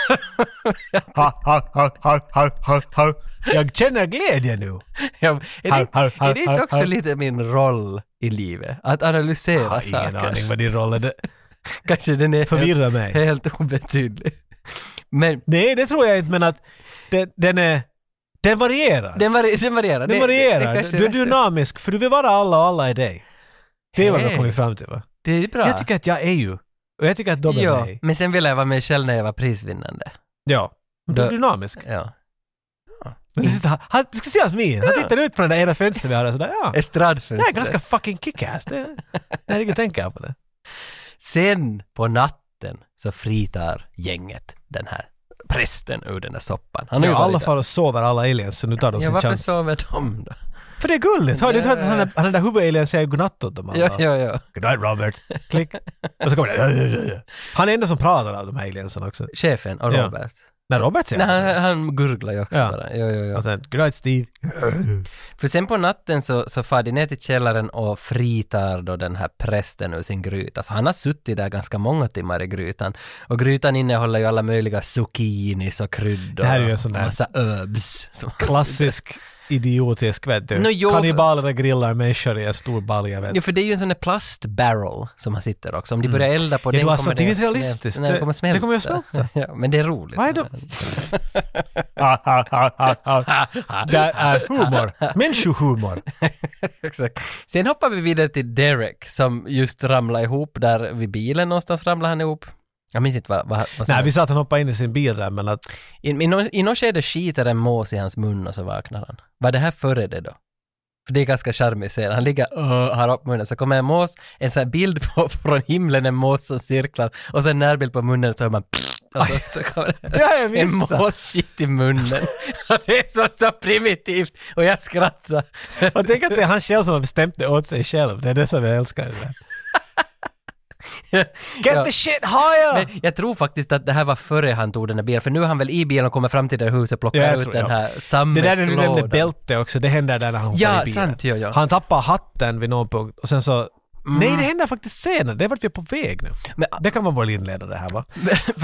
Ha, ha, ha, ha, ha, ha, ha. Jag känner glädje nu.
Ja, är, det,
Har, har,
inte- är det
har,
inte
har,
också
har.
lite min roll i livet? Att
Jag
analysera
har ingen
saker.
aning vad din roll är. Det-
Kanske den är
Förvirrar
helt,
mig.
helt obetydlig. Men
Nej, det tror jag inte, men att den, den är... Den varierar. Den,
Den, vari- den varierar. Det-
varierar.
det kanske
du är
rätt.
dynamisk, för du vill vara alla och alla är dig. Det är vad vi har
Hej.
kommit fram till, va?
Det är bra.
Jag tycker att jag är ju. Och jag tycker att de är
ja,
mig.
men sen ville jag vara mig själv när jag var prisvinnande.
Ja. Men Du är
Då-
dynamisk.
Ja.
Men du sitter, han, han, du ska se hans min. Han tittar ut från det där ena fönstret vi har där sådär, ja. Det
Estradfönster.
här är ganska fucking kick-ass. Det, när jag tänker på det.
Sen på natten så fritar gänget den här prästen ur den där soppan. Han har
Ja,
ju
alla
varit
far och sover alla aliens, så nu tar de
där. Ja,
sin
varför
chans.
sover de då?
För det är gulligt! Har du inte hört att
Ja.
han, är- han är där huvudalien säger godnatt åt dem alla?
Ja, ja, ja.
Godnight Robert! Klick! Och så kommer det... Han är enda som pratar av de här aliensen också.
Chefen och
Ja.
Robert.
När Robert säger
Nej,
det.
han, han gurglar ju också
Ja.
bara. Jo, jo, jo.
Och sen Godnight Steve!
För sen på natten så, så far de ner till källaren och fritar då den här prästen ur sin gryta. Så han har suttit där ganska många timmar i grytan. Och grytan innehåller ju alla möjliga zucchinis och kryddor.
Det här är ju en
och
sån där-
Massa herbs. som-
Klassisk idiotisk vet du.
Nå, jo, för-
Kannibaler grillar människor i en stor balja vet du.
Jo, för det är ju en sån där plastbarrel som han sitter också. Om de börjar elda på den
Mm. Ja, du har
kommer
sagt, det är inte realistiskt.
Nej, det
Det-
kommer smälta.
det kommer att smälta.
ja, men det är roligt.
Vad är det? Det är humor. Människohumor.
Exakt. Sen hoppar vi vidare till Derek som just ramlade ihop där vid bilen någonstans ramlade han ihop. Jag minns inte vad, vad, vad som
Nej, vi sa att han hoppade in i sin bil där men att...
I, i, nå- I något skede skiter en mås i hans mun och så vaknar han. Var det här före det då? För det är ganska charmig scen. Han ligger och har upp munnen, så kommer en mås, en sån här bild på, från himlen, en mås som cirklar och sen närbild på munnen så hör man och så, så kommer det.
Det har jag
En
missat!
måsskit i munnen. Och det är så, så primitivt och jag skrattar.
Och tänk att det är han själv som har bestämt det åt sig själv. Det är det som jag älskar. Det där. Get
Ja.
the shit higher!
Men jag tror faktiskt att det här var före han tog den här bilen, för nu är han väl i bilen och kommer fram till det här huset och
Ja,
plockar
jag
ut
tror-
den
ja.
här
det där när
sammetslådan.
du nämnde bälte också, det händer där när han hoppar
Ja,
i bilen.
sant, ja, ja. Mm.
Han tappar hatten vid någon punkt och sen så... Nej, det händer faktiskt senare. Det är vart vi är på väg nu.
Men-
det kan vara vår inledare här va?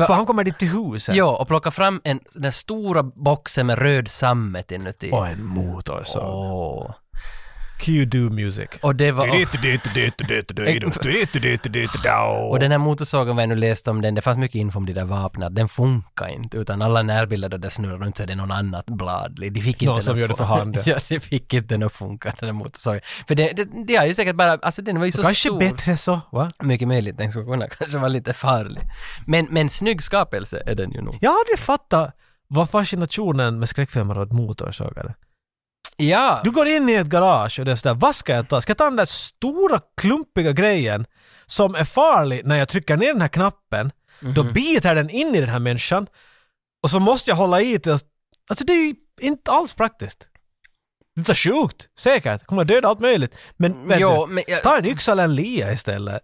För han kommer dit till huset.
Ja, och plocka fram en, den här stora boxen med röd sammet inuti.
Och en motorsåg.
Åh.
Q do music.
Och det var... Och den här motorsågen vad jag nu läste om den, det fanns mycket info om de där vapnen, att den funkar inte, utan alla närbilder där det snurrar runt så är det någon annat blad. De fick inte
Någon som
någon
gör det för
fun-
hand.
ja, de fick inte den att funka, den där motorsågen. För det, det, det är ju säkert bara, alltså den var ju så
Kanske
stor.
bättre så, va?
Mycket möjligt, den skulle kunna kanske vara lite farlig. Men, men snygg skapelse är den ju nog.
Jag har aldrig fattat vad fascinationen med skräckfilmer och motorsågar är.
Ja!
Du går in i ett garage och det är sådär, vad ska jag ta? Ska jag ta den där stora klumpiga grejen som är farlig när jag trycker ner den här knappen? Då
Mhm.
biter den in i den här människan och så måste jag hålla i tills... Alltså det är ju inte alls praktiskt. Det är sjukt, säkert. Kommer att döda allt möjligt. Men vet
Jo,
du,
men jag,
ta en yxa eller en lia istället.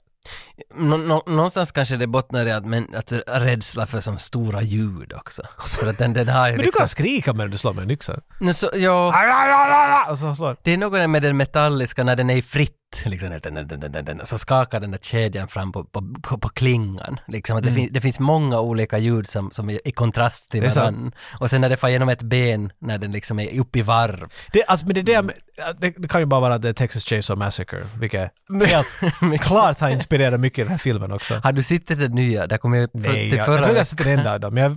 nå, nå, någonstans kanske det bottnar i att, men, att rädsla för som stora ljud också. För att den, den har ju liksom-
Men du kan skrika med du slår med en yxa.
Nu så, ja.
Och så slår.
Det är något med den metalliska när den är i fritt, liksom, den, den, den, den, den, den, så skakar den där kedjan fram på, på, på, på klingan. Liksom, att det, fin, det finns många olika ljud som, som är i kontrast till
Mm. Det är sant.
varandra. Och sen när det far genom ett ben, när den liksom är upp i varv.
Det, alltså, men det, är det, jag
Mm.
men- det, det kan ju bara vara The Texas Chainsaw Massacre, vilket helt klart har inspirerat mycket i den här filmen också.
Har du sett den nya? Där kom jag för,
Nej,
till
jag, jag
förra
tror jag har sett den enda av dem. Jag,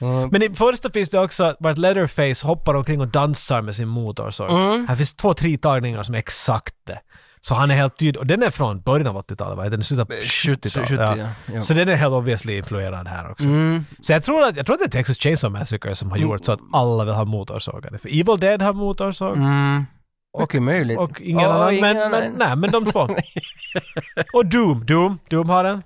Mm.
Men i första finns det också vart Leatherface hoppar omkring och dansar med sin motorsåg.
Mm.
Här finns två, tre tagningar som är exakt det. Så han är helt tydlig, och den är från början av 80-talet va? Den är slutet av 70-talet.
70,
ja.
ja. Eh, Ja.
Så den är helt obviously influerad här också.
Mm.
Så jag tror, att, jag tror att det är Texas Chainsaw Massacre som har gjort så att alla vill ha motorsågar. För Evil Dead har motorsåg.
Mm. Mycket möjligt.
Och ingen
Och
annan. Men,
ingen
men,
annan.
nej, men de två. och Doom, Doom, Doom har den.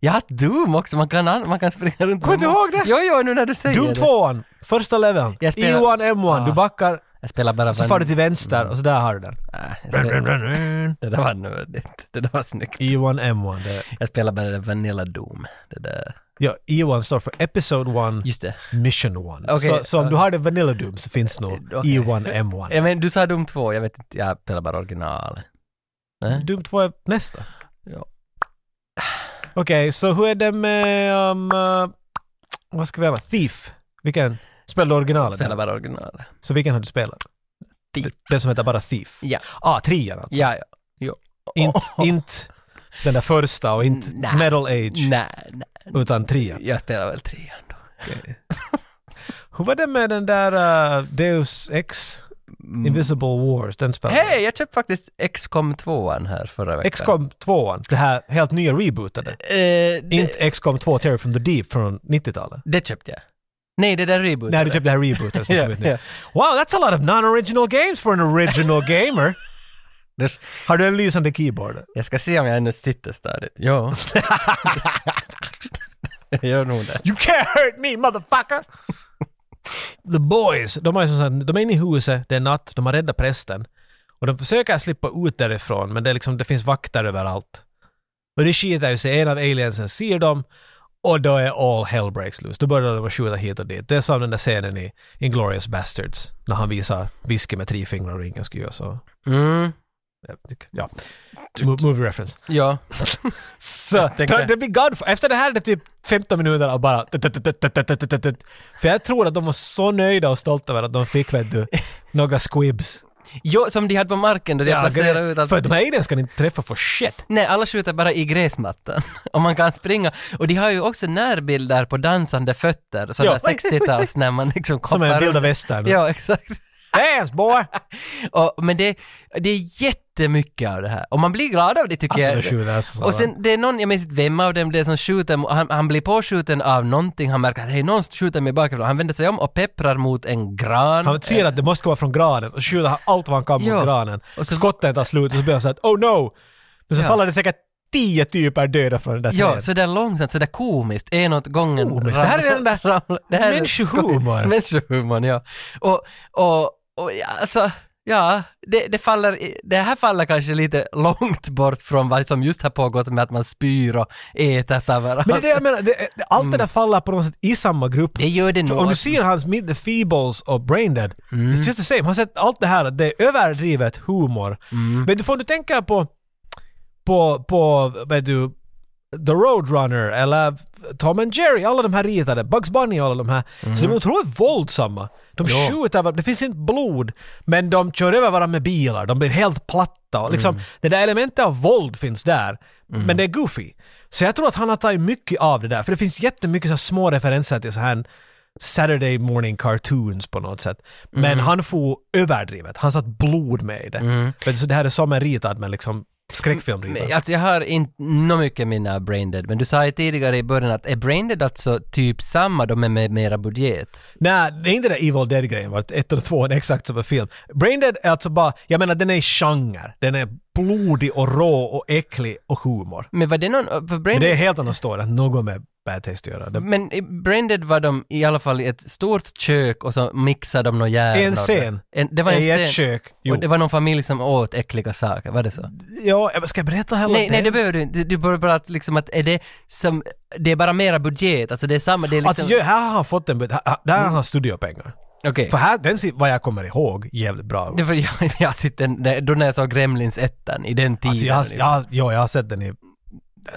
Ja, Doom också. Man kan, an- man kan springa runt.
Kommer du
med-
ihåg det?
Jo, jo, nu när du säger
Doom
det.
2, första leveln. E
Jag spelar-
E1, M1, du
Ah.
backar,
Jag spelar bara...
så
van-
far du till vänster och så där har du den.
Äh, jag spelar- Det där var nördigt. Det där var snyggt.
E1, M1. Det,
Jag spelar bara det Vanilla Doom. Det där.
ja, E1 står för Episode 1,
Just det.
Mission 1.
Okej,
så, så om du
okej.
har det Vanilla Doom så finns nog E
Okej.
E1, M1.
Ja, men du sa Doom 2, jag vet inte, jag spelar bara original. Nej?
Doom 2 är nästa.
Ja.
Okej, så hur är det med... Um, uh, vad ska vi göra? Thief? Vilken? Spelade du
Jag
originalet?
spelar bara original.
Så vilken har du spelat?
Thief.
Det- Den som heter bara Thief?
Ja.
Ah, trean alltså.
Ja, ja. Jo.
Inte,
Oh.
inte den där första och inte
Nej.
Metal Age,
Nej, nej.
utan trean.
Jag spelar väl trean då.
Hur var det med den där uh, Deus Ex? Invisible Wars, den spelade
Mm. Hej, jag köpte faktiskt XCOM 2an här förra veckan.
XCOM 2, det här helt nya rebootade.
Eh, det,
Inte XCOM 2 Terror from the Deep från 90-talet.
det köpte jag. Nej, det där reboot.
När du köpte det här rebooten som
Ja,
kom ut nu.
ja.
Wow, that's a lot of non-original games for an original gamer.
Det-
Har du en lysande keyboard?
Jag ska se om jag ännu sitter stadigt. Jo. jag gör nog det.
You can't hurt me motherfucker! The boys, de är, som sagt, de är inne i huset, det är natt, de har räddat prästen. Och de försöker slippa ut därifrån men det, är liksom, det finns vakter överallt. Och det skiter ju sig, en av aliensen ser dem och då är all hell breaks loose. Då börjar de att skjuta hit och dit. Det är som den där scenen i Inglourious Bastards när han visar whisky med tre fingrar och ingen skulle göra så.
Mm,
Ja. Mo- Movie reference.
ja.
Så,
Jag tänkte-
det, det blir Godfather. Efter det här är det typ 15 minuter av bara... För jag tror att de var så nöjda och stolta över att de fick, vet du, några squibs.
Jo, som de hade på marken då de placerade ut
gre-
allt.
för att de här aliens kan inte träffa för shit.
Nej, alla skjuter bara i gräsmattan. Och man kan springa. Och de har ju också närbilder på dansande fötter, sådana
Ja.
60-tals när man liksom
Som
koppar
en vilda
runt.
västern.
Ja, exakt.
Dance boy!
Och, men det, det är jättemycket av det här. Och man blir glad av det tycker
Alltså de
jag.
skjuter alltså så.
Och sen det är någon, jag minns inte vem av dem det är som skjuter, mo- han, han blir påskjuten av någonting, han märker att hej någon skjuter mig bakifrån, han vänder sig om och pepprar mot en gran.
han ser att det måste komma från granen och skjuter han allt vad han kan
Ja.
mot granen.
Och så-
Skottet tar slut och så blir han såhär oh no! Men så
Ja.
faller det säkert tio typer döda från den där
Ja,
trädet.
så där långsamt, så där komiskt, en åt gången.
Komiskt. Det här är den där
ramla- det här är
människohumor.
skoj- Människohumorn, ja. Och, och, och ja, alltså, ja, det, det, faller, i- det här faller kanske lite långt bort från vad som just har pågått med att man spyr och äter av varandra.
Men det är det jag menar, det, det- allt det
Mm.
där faller på något sätt i samma grupp.
Det gör det
För
nog.
Om du ser hans Meet the Feebles och Braindead, it's just the same. Han sett allt det här, att det är överdrivet humor. Men du får du tänka på, på, på, vet du, The Roadrunner eller Tom and Jerry, alla de här ritade, Bugs Bunny och alla de här. Så de är otroligt våldsamma. De skjuter, var- det finns inte blod, men de kör över varandra med bilar, de blir helt platta. Och liksom, Det där elementet av våld finns där, men det är goofy. Så jag tror att han har tagit mycket av det där, för det finns jättemycket så här små referenser till så här Saturday morning cartoons på något sätt. Men han får överdrivet, han satt blod med i det. För så det här är som en ritad, men liksom skräckfilmritad.
Men, Alltså jag har inte nå mycket minne av Braindead, men du sa ju tidigare i början att är Braindead alltså typ samma, de är med mera budget?
Nej, det är inte den där Evil Dead-grejen, vart ett och två är exakt samma film. Braindead är alltså bara, jag menar den är genre. Den är blodig och rå och äcklig och humor.
Men var det någon, eh, för
Men
Braindead,
det är helt annan story, att något med bad taste att göra. Det,
men i Braindead var de i alla fall i ett stort kök och så mixade de några hjärnor.
en scen.
En, det var en
I
scen.
ett kök. Jo.
Och det var någon familj som åt äckliga saker, var det så?
Ja, jag- ska jag berätta hela
Nej, nej,
den?
det behöver du inte. Du behöver bara att liksom att är det som, det är bara mera budget, alltså det är samma, det är liksom...
Alltså ju, här har han fått en, här- här- där har han studiopengar.
Okej.
För här, den ser, vad jag kommer ihåg, jävligt bra ut.
Det var jag, jag sitter, då när jag såg Gremlins ettan i den tiden. liksom.
Alltså jag, har-
ungefär.
jag, ja, jag har sett den i,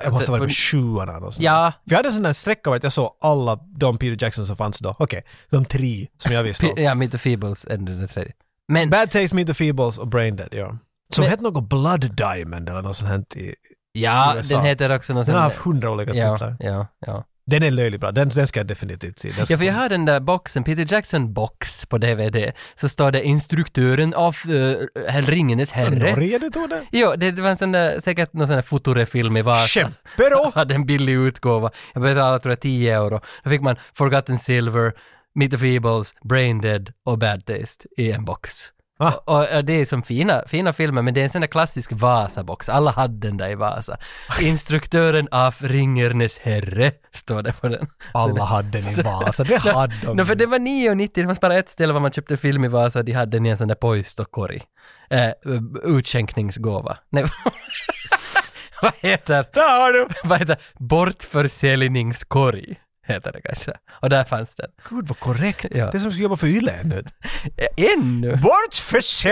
jag måste
Alltså,
ha varit
på-
på sjuan eller något sånt.
Ja,
För jag hade en sån där sträcka var att jag såg alla de Peter Jackson som fanns då. Okej, de tre som jag visste
P-
om.
ja Meet the Feebles är den tredje. Men,
Bad Taste, Meet the Feebles och Braindead, ja. Som
Men-
hette något Blood Diamond eller något sånt här. i-
ja,
USA.
den heter också något
Den har
sånt-
haft hundra olika
Ja,
titlar.
ja, ja.
Den är löjligt bra, den, den ska jag definitivt se. Den ska
Ja, för jag har den där boxen, Peter Jackson box på DVD, så står det instruktören av uh, Ringenes herre.
Norge du tog den?
Jo, det, det var en sån där, säkert någon sån där fotorefilm i Vasa.
Kämpe då!
Jag hade en billig utgåva. Jag betalade tror jag 10 euro. Då fick man Forgotten Silver, Meet the Feebles, Brain Dead och Bad Taste i en box.
Ah.
Och, och, och det är som fina, fina filmer, men det är en sån där klassisk Vasa-box. Alla hade den där i Vasa. Instruktören av Ringernes herre, står det på den. Så
Alla
det-
hade den i Vasa, det hade de.
No, för det var 9,90, det fanns bara ett ställe var man köpte film i Vasa och de hade den i en sån där poistokorg. Eh, utskänkningsgåva. Nej, vad heter Där har du! Vad heter Bortförsäljningskorg, heter det kanske. Och där fanns den.
Gud vad korrekt.
Ja.
Det är som ska jobba för YLE nu.
Eh, Ännu!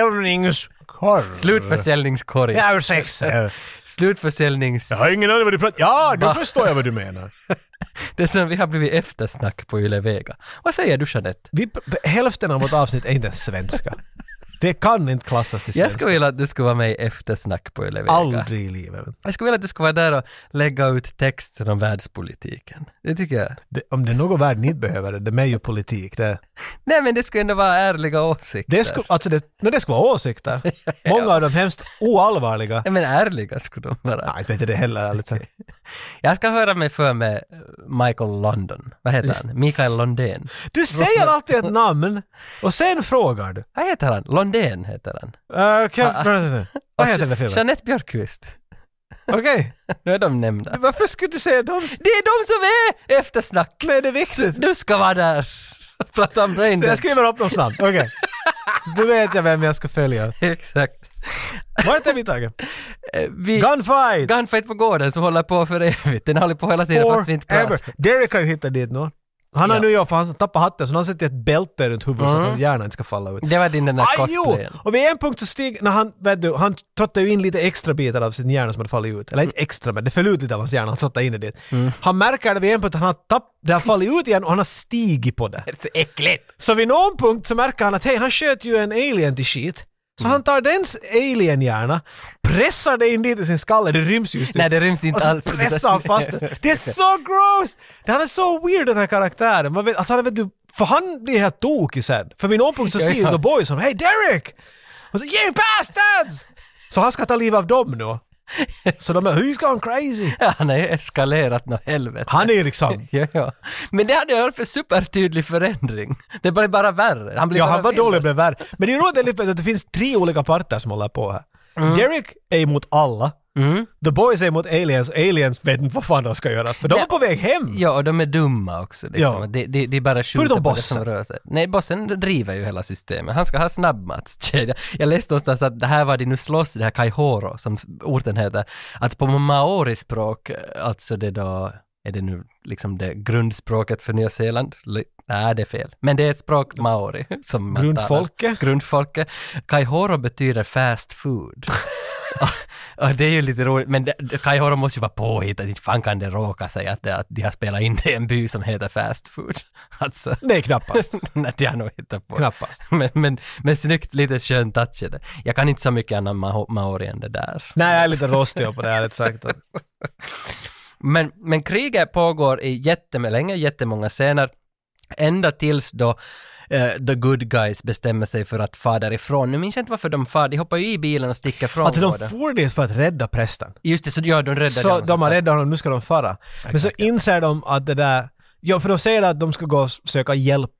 Bortförsäljningskorv.
Slutförsäljningskorg.
Ja, ursäkta.
Slutförsäljnings...
Jag har ingen aning vad du pratar... Ja,
Va?
då förstår jag vad du menar.
Det som vi har blivit eftersnack på Yle Vega. Vad säger du Jeanette?
Vi, hälften av vårt avsnitt är inte ens svenska. Det kan inte klassas till
Jag
svenska.
skulle vilja att du skulle vara med i eftersnack på Yle Vega.
Aldrig i livet.
Jag skulle vilja att du skulle vara där och lägga ut texten om världspolitiken. Det tycker jag.
Det, om det är något världen inte behöver, det är ju politik. Det,
Nej men det skulle ändå vara ärliga åsikter.
det, sku, alltså det, no, det skulle vara åsikter. Många av dem hemskt oallvarliga.
Nej men ärliga skulle de vara.
Nej, inte vet jag det heller ärligt sagt.
Jag ska höra mig för med Michael London. Vad heter han? Mikael Londén.
Du säger alltid ett namn och sen frågar du.
Vad heter han? Londén heter han.
Uh, kan, vad heter den där filmen?
Jeanette Björkqvist.
Okej,
Nu är de nämnda.
varför skulle du säga dem?
Det är de som är eftersnack!
Men är det viktigt?
Du ska vara där! Prata om brain
Så jag
dead.
skriver upp dem snabbt, okej. Då vet jag vem jag ska följa.
Exakt.
Vart är vi tagen?
Eh, Vi...
Gunfight!
Gunfight på gården som håller på för evigt. Den håller på hela tiden fast vi inte klarar
Forever. Derek har ju hittat dit nu. Han har
Ja.
nu gjort, för han tappade hatten, så nu har han sätter ett bälte runt huvudet så att hans hjärna inte ska falla ut.
Det var din den där
Aj, jo!
cosplayen.
Och vid en punkt så steg, när han, vet du, han trottade ju in lite extra bitar av sin hjärna som hade fallit ut. Eller
Mm.
inte extra, men det föll ut lite av hans hjärna, han trottade in i det. Han märker det vid en punkt att han har tapp, det har fallit ut igen och han har stigit på det.
Det är Så äckligt!
Så vid någon punkt så märker han att hej, han sköt ju en alien till skit. Så
Mm.
han tar dens alien-hjärna, pressar det in dit i sin skalle, det ryms just
Nej det ryms
och
inte
så
alls.
pressar han fast den. Det är så gross! Det här är så weird den här karaktären. Man vet, alltså, han vet du, för han blir helt tokig sen. För vid någon punkt så
Ja,
ser ju
ja.
The Boys som ”Hey Derek!” och så ”You bastards!” Så han ska ta livet av dem nu. Så de är ”He's gone crazy”.
Ja, han har ju eskalerat nå helvete.
Han är ju liksom...
Ja, ja. Men det hade varit för supertydlig förändring. Det blev bara värre. Han blev
Ja,
bara
han var
värre.
dålig och blev värre. Men det är roligt att det- att det finns tre olika parter som håller på här.
Mm.
Derek är emot alla. The Boys är emot aliens och aliens vet inte vad fan de ska göra för de
Nej.
är på väg hem.
Ja, och de är dumma också. Liksom.
Mm. Ja.
De, de, de bara skjuter
Förutom
på det
bossen.
som rör sig. Nej, bossen driver ju hela systemet. Han ska ha snabbmatskedja. Jag läste någonstans att det här var de nu slåss, det här Kaihoro, som orten heter, att på maori-språk, alltså det då, är det nu liksom det grundspråket för Nya Zeeland? Li- Nej, det är fel. Men det är ett språk, maori, som man talar.
Grundfolket?
Grundfolket. Kaihoro betyder fast food. och det är ju lite roligt, men det, det- Kai Horo måste ju vara påhittad, inte fan kan det råka sig att, det, att de har spelat in det i en by som heter fast food. Alltså,
Nej, knappast.
nej, det har nog hittat på.
Knappast.
Men, men, men snyggt, lite skön touch är det. Jag kan inte så mycket annan ma- maori än det där.
Nej, jag är lite rostig på det här, rätt sagt. Att-
Men, men kriget pågår i jättelänge, jättemånga scener, ända tills då eh, the good guys bestämmer sig för att fara därifrån. Nu minns jag inte varför de far, de hoppar ju i bilen och sticker från
Alltså, de
båda.
får dit för att rädda prästen.
Just det, så ja, de räddar
Så de har räddat honom, nu ska de fara. Men så inser de att det där... Ja, för de säger att de ska gå och söka hjälp.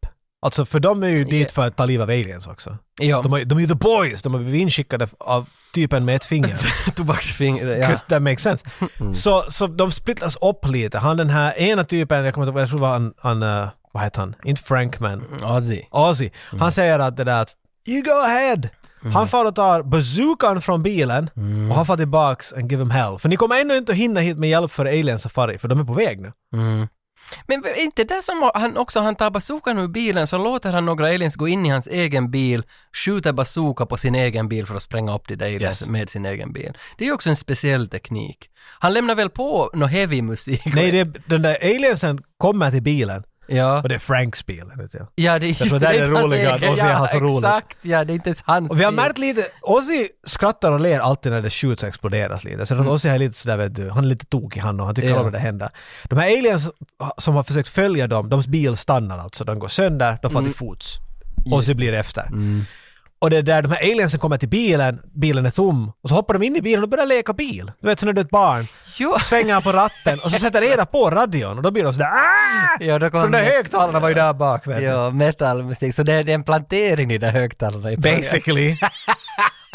Alltså, för de är ju dit för att ta livet av aliens också.
Ja,
De, har, de är ju the boys! De har blivit inskickade av typen med ett finger.
tobaksfingret, ja.
'Cause that makes sense. Så, så de splittras upp lite. Han den här ena typen, jag kommer inte ihåg, jag tror det var han, han eh, vad heter han? Inte Frankman.
Ozzy.
Ozzy. Han säger att det där att “You go ahead”. Han far och tar bazookan från bilen och han far tillbaks and give him hell. För ni kommer ännu inte hinna hit med hjälp för Alien Safari, för de är på väg nu.
Men är inte det som han också, han tar bazookan ur bilen så låter han några aliens gå in i hans egen bil, skjuter bazooka på sin egen bil för att spränga upp de där aliens
Yes.
med sin egen bil. Det är ju också en speciell teknik. Han lämnar väl på någon heavy musik?
Nej, det, är- den där aliensen kommer till bilen
Ja.
och det är Franks bil. vet jag.
Ja, det är just
tror det är
inte hans
roligt att
egen.
Ozzy har så roligt.
Exakt, ja, det är inte ens hans
Och vi har
bil.
märkt lite, Ozzy skrattar och ler alltid när det skjuts och exploderas lite. Så Ozzy är lite sådär vet du, han är lite tokig han och han tycker
Mm. Ja.
om när det händer. De här aliens som har försökt följa dem, deras bil stannar alltså, de går sönder, de
Mm.
får till fots. Ozzy blir efter. Och det är där de här aliensen kommer till bilen, bilen är tom, och så hoppar de in i bilen och börjar leka bil. Du vet, så när du är ett barn,
Jo.
svänger på ratten och så sätter Eda på radion och då blir de sådär "Ah!"
Ja, då kommer-
För de där högtalarna var ju där bak vet du.
Ja, metalmusik. Så det är, det är en plantering i de där högtalarna i början.
Basically.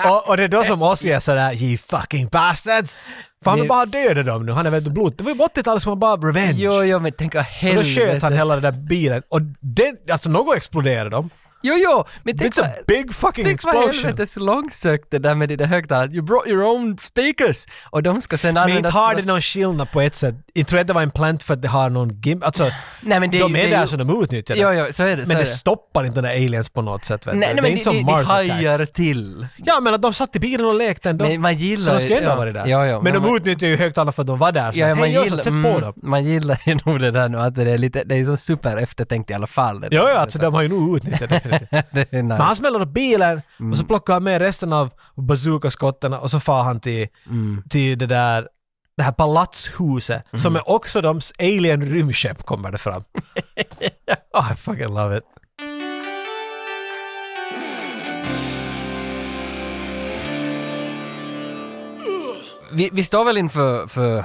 och, och det är då som Ozzy är sådär “You fucking bastards!” För han
Det-
vill bara döda dem nu, han är väldigt blod. Det var ju 80-talet som han bara “revenge”.
Jo, jo, men tänk vad
så då
helvete.
sköt han hela den där bilen och det, alltså något exploderade dem.
Jo, jo, men tänk
It's a
vad...
big fucking
Tänk vad
explosion.
helvetes långsökt det där med de där högtalarna. You brought your own speakers! Och de ska sen
Men inte
användas...
har
för-
det någon skillnad på ett sätt. Inte tror jag det var en plant för att det har någon gim... Alltså,
Nej, men det är
de
ju-
är
det är
där
ju-
så de utnyttjar det.
Jo, jo, så är det. så
men
är
det stoppar inte de där aliens på något sätt.
Nej,
Vet du.
nej,
det är
men
inte
de,
som
de, de
Mars
hajar
attacks.
till.
Ja, men att de satt i bilen och lekte ändå.
Men man
Så
gillar
de skulle ändå
ja.
ha varit där.
Ja, ja,
men de
man-
utnyttjar ju högtalarna för att de var där. Så
Ja,
ja,
man,
hej, gillar,
gillar,
sätt på
mm,
dem.
man gillar ju nog det där nu, att det är lite, det är som super eftertänkt i alla fall. Det
Ja,
där.
ja, alltså de har ju nog utnyttjat det. definitivt.
det är nice.
Men han smäller upp bilen och
Mm.
så plockar han med resten av bazookaskotten och så far han till,
Mm.
till det där det här palatshuset som är också deras alien rymdskepp kommer det fram. oh, I fucking love it.
vi, vi står väl inför för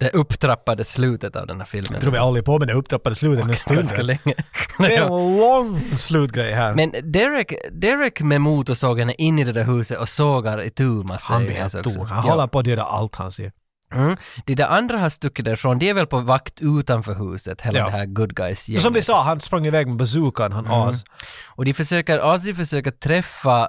det upptrappade slutet av den här filmen.
Jag tror vi alla är på med det upptrappade slutet nu
Ganska
stunden.
länge.
Det är en lång slutgrej här.
Men Derek, Derek med motorsågen är inne i det där huset och sågar i massa
han blir
aliens
helt
också.
tokig. Han
Ja.
håller på att döda allt han ser.
Mm. De där andra har stuckit därifrån, de är väl på vakt utanför huset, hela
Ja.
det här good guys
Så Som vi sa, han sprang iväg med bazookan,
Mm.
han as.
Och de försöker, Ozzy försöker träffa uh,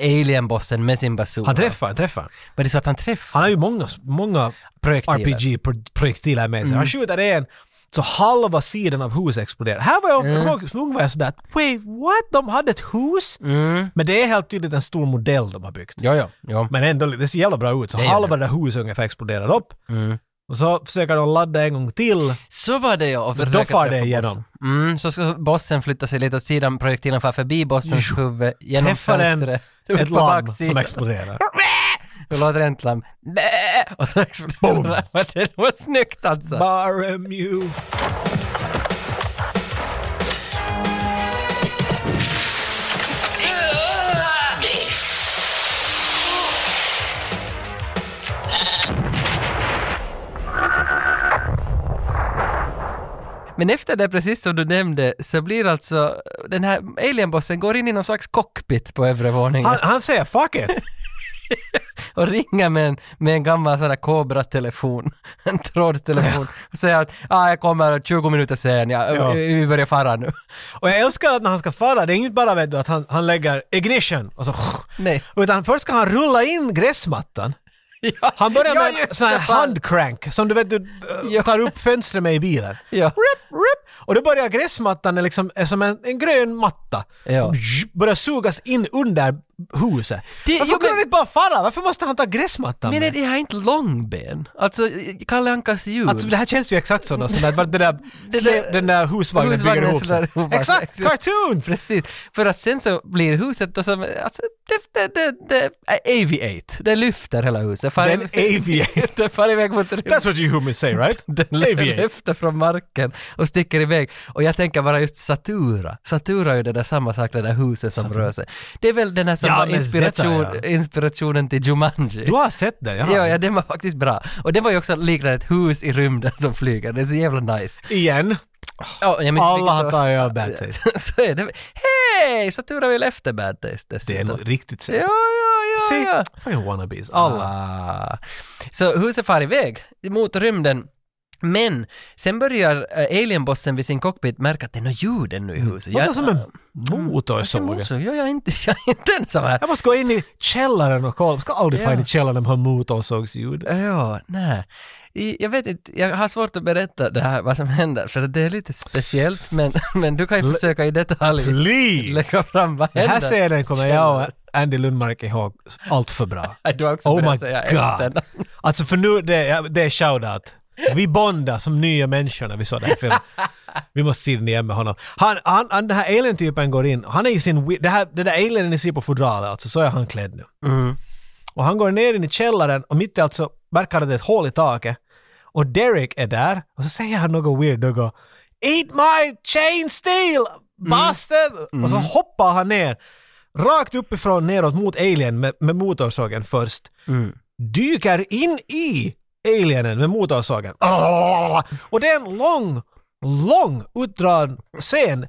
alienbossen med sin bazooka.
Han träffar, han träffar.
Men det är så att han träffar
Han har ju många, många
projektiler.
RPG-projektiler med sig.
Mm.
Han skjuter en, så halva sidan av huset exploderar. Här var jag, jag kommer ihåg, var jag sådär “Wait, what? De hade ett hus?”
Mm.
Men det är helt tydligt en stor modell de har byggt.
Ja, ja. ja.
Men ändå, det ser jävla bra ut. Så
Det Mm. gör
halva det där huset ungefär exploderar upp. Och så försöker de ladda en gång till.
Så var det ja. och
Då
försöker
far det
träffa
igenom.
bossen. Mm, så ska bossen flytta sig lite åt sidan, projektilen far förbi bossens huvud, genom
Träffar en,
fönstret, upp
ett
på
lamm som
baksidan.
exploderar.
Då låter det ett lamm. Bäh! Och så exploderar det. Det var snyggt alltså.
Bara Mew.
Men efter det, precis som du nämnde, så blir alltså den här alienbossen går in i någon slags cockpit på övre våningen
Han, han säger “fuck it”.
och ringer med en, med en gammal sån där Cobra-telefon, en trådtelefon, och säger att ah, jag kommer 20 minuter sen, ja,
Ja.
vi vi börjar fara nu.
Och jag älskar att när han ska fara, det är inte bara vet du, att han, han lägger ignition och så...
Nej.
Utan först ska han rulla in gräsmattan.
Ja,
Han börjar
ja,
med
just
en sån här
det, fan.
handcrank som du vet du äh,
Ja.
tar upp fönstret med i bilen.
Ja.
Rip, rip, och då börjar gräsmattan är liksom, är som en, en grön matta.
Ja.
Som zzzz börjar sugas in under huset.
Det-
Varför
jo,
kunde
men-
han inte bara fara? Varför måste han ta gräsmattan
Men är
med?
det här inte långben? Alltså, Kalle Ankas djur.
Alltså det här känns ju exakt sådana som att bara den där,
Det
sle-
där-
den där husvagnen bygger
husvagnen
ihop sig.
sådär ihop, alltså.
Exakt! Cartoon!
Precis, för att sen så blir huset då som, alltså, det, det, det, det är aviate, det lyfter hela huset. Far
Den aviator.
det far iväg mot rymden.
That's what you humans say right?
Den
Aviator.
lyfter från marken och sticker iväg. Och jag tänker bara just Satura. Satura är ju det där samma sak, det där huset som rör sig. Det är väl den här som
Ja,
var
men
inspiration,
Zeta, ja.
inspirationen till Jumanji.
Du har sett den, jaha.
Ja, ja, den var faktiskt bra. Och den var ju också liknande ett hus i rymden som flyger. Det är så jävla nice.
Igen.
Ja, jag minns
Alla har
vilket-
tagit över bad taste.
så är det. Hej! Så turar vi efter bad taste
Det är
dessutom.
nog riktigt så.
Ja, ja, ja,
Se,
ja.
fucking wannabes. Alla.
Ah. Så huset far iväg mot rymden. Men sen börjar eh, alienbossen vid sin cockpit märka att det är något ljud ännu i huset.
Mm. Låter som en
jag,
motorsåg.
motor. jag, jag, är inte, jag är inte ensam här.
Jag måste gå in i källaren och kolla. Jag ska aldrig
Ja.
få in i källaren om hur motorsågsljud.
Ja, nej. I- Jag vet inte, jag har svårt att berätta det här, vad som händer, för det är lite speciellt, men, men du kan ju försöka i detalj lägga
Please!
fram vad
Den
händer.
här scenen kommer jag och Andy Lundmark ihåg allt för bra.
Nej, Du har också
Oh
börjat
my
säga
God.
efternamn.
Alltså för nu, det, är- det är shoutout. Vi bondade som nya människor när vi såg den här filmen. Vi måste se den igen med honom. Han, han, han den här alien-typen går in, han är i sin, wi- det, här, det där alienen ni ser på fodralet alltså, så är han klädd nu. Och han går ner in i källaren och mitt i allt så verkar det ett hål i taket. Och Derek är där och så säger han något weird och går “Eat my chain steel, bastard!” Och så hoppar han ner. Rakt uppifrån neråt mot alien med, med motorsågen först. Dyker in i alienen med motorsågen. Och det är en lång, lång utdragen scen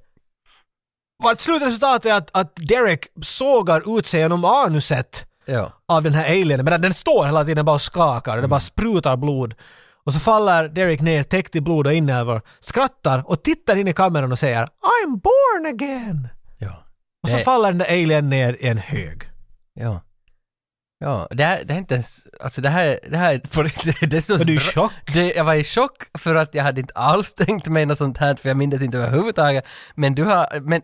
vart slutresultatet är att, att Derek sågar ut sig genom anuset
Ja.
av den här alienen medan den står hela tiden bara och skakar och
Mm.
det bara sprutar blod. Och så faller Derek ner täckt i blod och inälvor, skrattar och tittar in i kameran och säger “I'm born again”.
Ja.
Och så
Det-
faller den där alien ner i en hög.
Ja. Ja, det här, det här är inte ens, alltså det här, det här är på riktigt, det är så
Var du i
bra-
chock?
Det, jag var i chock för att jag hade inte alls tänkt mig något sånt här, för jag minns inte överhuvudtaget. Men du har, men